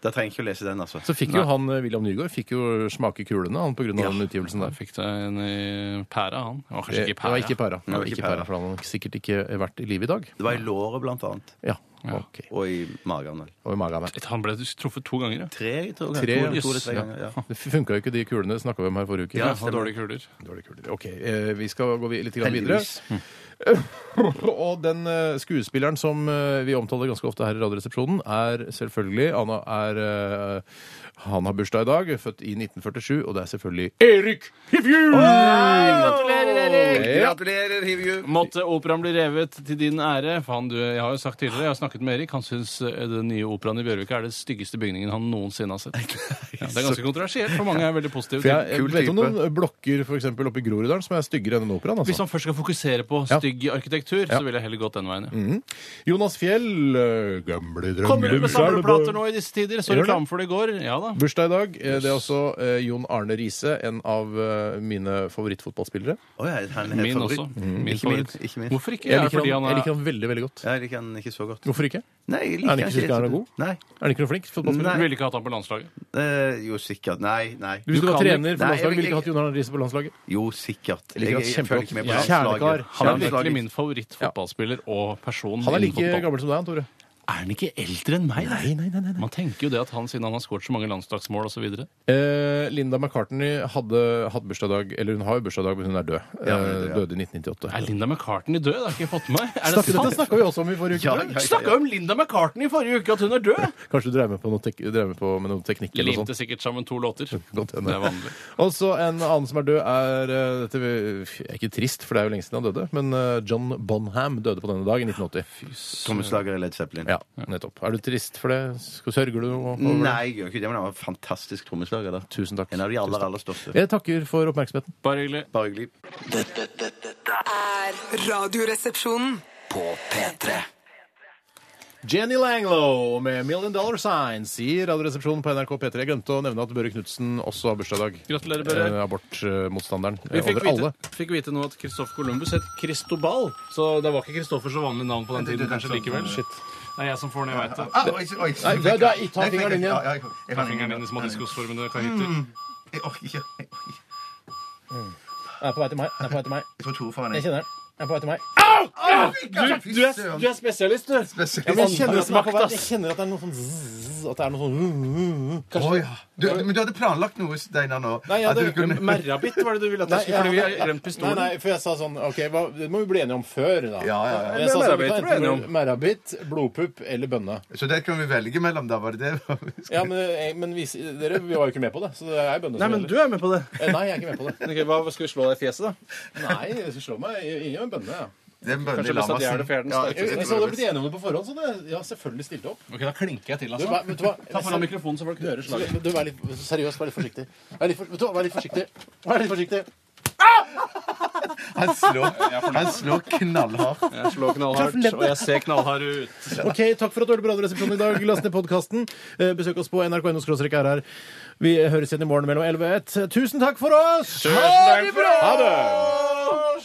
E: Da trenger jeg ikke å lese den, altså.
C: Så fikk jo han eh, William Nygaard fikk jo smake kulene han pga. den utgivelsen der.
D: Fikk deg en i pæra, han. Det var kanskje
C: Det
D: ikke pæra.
C: var ikke pæra. Det var
E: ikke
C: ikke
E: pæra.
C: pæra, for han har sikkert ikke vært i live i dag.
E: Det var i låret, blant annet.
C: Ja, ok.
E: Og i magen. vel.
C: Og i magen.
D: Et- Han ble truffet to ganger, ja.
E: Tre, tror jeg.
C: Tre,
E: to, to, eller
D: jøss,
E: tre
D: ja.
E: ganger. Ja.
C: Det funka jo ikke, de kulene snakka vi om her forrige uke.
E: Ja,
D: Han har dårlige kuler.
C: Dårlige kuler. Ok, eh, vi skal gå vi- litt grann videre.
E: Heldigvis.
C: Og den eh, skuespilleren som eh, vi omtaler ganske ofte her i Radioresepsjonen, er selvfølgelig Anna er, eh, Han har bursdag i dag, født i 1947, og det er selvfølgelig Erik Hivju!
D: Gratulerer, Erik!
C: Ja.
E: Gratulerer, Hivju!
D: Måtte operaen bli revet til din ære. For han, du, jeg har jo sagt tidligere, jeg har snakket med Erik, han syns eh, den nye operaen i Bjørvika er den styggeste bygningen han noensinne har sett. Ja, det er ganske kontroversielt, for mange er veldig Eh, positive.
C: For jeg,
D: til-
C: jeg
E: Kul
C: vet om
E: type.
C: noen blokker for eksempel, oppe i Groruddalen som er styggere enn den operaen.
D: Hvis
C: Altså.
D: han først skal fokusere på
C: Ja. Mm.
D: stygg arkitektur, så ville jeg heller gått den veien. ja.
C: Jonas Fjell, eh, gamle drømmer
D: Kommer du med
C: skjermer.
D: samleplater nå i disse tider? Så
C: Gjør
D: reklame for det i går. Ja da.
C: Bursdag i dag. Eh, Det er også eh, Jon Arne Riise, en av eh, mine favorittfotballspillere.
E: Å ja, han er
D: Min
E: favoritt.
D: også.
E: Ikke
D: Min
E: Mm, min.
D: favoritt.
E: Ikke min.
D: Hvorfor ikke?
C: Mm. Jeg
D: Er det
C: liker,
D: fordi
C: han,
D: han
C: jeg
D: er
C: liker han veldig, veldig godt.
E: Jeg liker han ikke så godt.
C: Hvorfor ikke?
E: Nei, jeg
C: Er
E: liker
C: han ikke synes han er
E: så godt. Nei.
C: Er han ikke noe flink fotballspiller?
D: Du ville ikke hatt han på landslaget?
E: Eh, jo, sikkert. Nei, nei.
C: Hvis du
D: Du
C: var
D: kan
C: trener
E: ikke-
C: for
E: Nei, jeg
C: landslaget,
E: vil
C: ville du ikke
E: ikke-
C: hatt Jon Arne Riise på landslaget?
E: Jo, sikkert.
C: liker han kjempegodt.
E: følger ikke med på
C: Kjernekar.
E: landslaget.
D: Han er
E: Landslaget.
D: virkelig min favorittfotballspiller og person.
C: Han er like
D: innen fotball.
C: gammel som deg, han, Tore.
D: Er han ikke eldre enn meg? da?
C: nei, nei, nei.
D: Man tenker jo det at han, siden han har skåret så mange landslagsmål osv.
C: Eh, Linda McCartney hadde hatt bursdag Eller hun har jo bursdag, men hun er død.
E: Ja, hun er død,
C: Eh,
E: ja.
C: Døde i
D: Er
C: 1998.
D: Linda McCartney død? Det har ikke jeg fått med meg. Er det
C: Snakk, dette
D: sant?
C: snakka vi også om i forrige uke.
E: Ja,
C: tror jeg.
E: ja, ja,
D: Snakka
E: ja.
D: om Linda McCartney i forrige uke, at hun er død!
C: Kanskje du drev med på noe, tek drev med på med noe teknikk eller noe
D: Limte
C: sånt.
D: sikkert sammen to låter.
C: Godt
D: Det
C: hende.
D: er vanlig.
C: Og så en annen som er død, er eh, Dette er ikke trist, for det er jo lenge siden han døde, men eh, John Bonham døde på denne dag i 1980.
E: Trommeslager i Led Zeppelin.
C: Ja, nettopp. Er du trist for det? Skal- Sørger du over det?
E: Nei, jeg gjør ikke det, men han var en fantastisk trommeslager. da.
C: Tusen takk.
E: Mm. En av de aller, aller største.
C: Jeg takker for oppmerksomheten.
D: Bare hyggelig.
E: Bare hyggelig.
B: Dette, dette, dette
F: er Radioresepsjonen.
B: på P3
C: Jenny Langlow med Million Dollar Sign sier Radioresepsjonen på NRK P3. Jeg glemte å nevne at Børre Knutsen også har bursdag i dag.
D: Gratulerer, Børre.
C: Eh, Abortmotstanderen.
D: Vi fikk
C: Over
D: vite,
C: alle.
D: fikk vite nå at Kristoffer Columbus het Kristobal, så det var ikke Kristoffer så vanlig navn på den tiden kanskje likevel. Det er jeg som får den, jeg veit det.
H: Ah, oi,
C: Nei,
H: oi,
C: det- det er- ta
H: Jeg fikk-
C: fingeren inn igjen.
H: Ja, ja, jeg fikk- jeg
D: Ta
H: fikk-
D: fingeren din i små
C: Mm.
D: diskusformede kahytter.
H: Jeg orker ikke. Jeg orker ikke.
C: Den er på vei til meg. Den er på vei til meg.
H: Jeg tror Tore får en.
C: Jeg kjenner den. Den er på vei til meg.
H: Du,
D: Du er, du er spesialist, du!
H: spesiell.
C: Jeg kjenner, at den er på vei.
D: Makt,
C: jeg
D: ass.
C: kjenner at det er noe sånn zzz, At det er noe sånn
H: Å, ja. Du, men du hadde planlagt noe, Steinar, nå?
C: Nei, jeg
H: At du
C: hadde-
H: kunne-
D: Merrabitt var det du ville at jeg skulle, fordi vi har glemt
C: Nei,
D: pistolen.
C: nei, for jeg sa sånn OK, hva, det må vi bli enige om før, da.
H: Ja, ja, ja.
C: Jeg sa sånn,
D: Merabit
C: vi kan
D: ble vi enige
C: enten Merabit, blodpupp eller bønne.
H: Så det kunne vi velge mellom, da? Var det det?
C: Ja, men, eh, men vi, dere vi var jo ikke med på det, så det er bønne
D: Nei,
C: som
D: men
C: gjelder.
D: du er med på det.
C: Eh, Nei, jeg er ikke med på det.
D: Ok, hva, skal vi slå deg i fjeset, da?
C: Nei, det slår meg ingen med bønne. Ja.
H: Det er en bønne
I: Kanskje
H: i
I: hvis at jeg er det
H: Lamassen.
I: fjerde den sterkeste.
C: Hvis alle hadde blitt enige om det på forhånd, så hadde jeg ja, selvfølgelig stilt opp.
D: Ok, Da klinker jeg til,
J: Du,
D: altså.
J: hva- vet du hva?
D: Ta foran mikrofonen, så folk hører
J: Så,
D: slaget.
J: du, vær litt, seriøst, vær litt forsiktig. Vær litt, for, vet du, hva, vær litt forsiktig. Vær litt forsiktig.
H: Han slår, han slår knallhardt.
I: Jeg slår knallhardt, og jeg ser knallhard ut.
C: Ok, Takk for at du hørte på Radioresepsjonen i dag. Last ned podkasten. Besøk oss på nrk.no-rr. Vi høres igjen i morgen mellom 11 og 1. Tusen takk for oss!
I: Ha det bra! Ha det!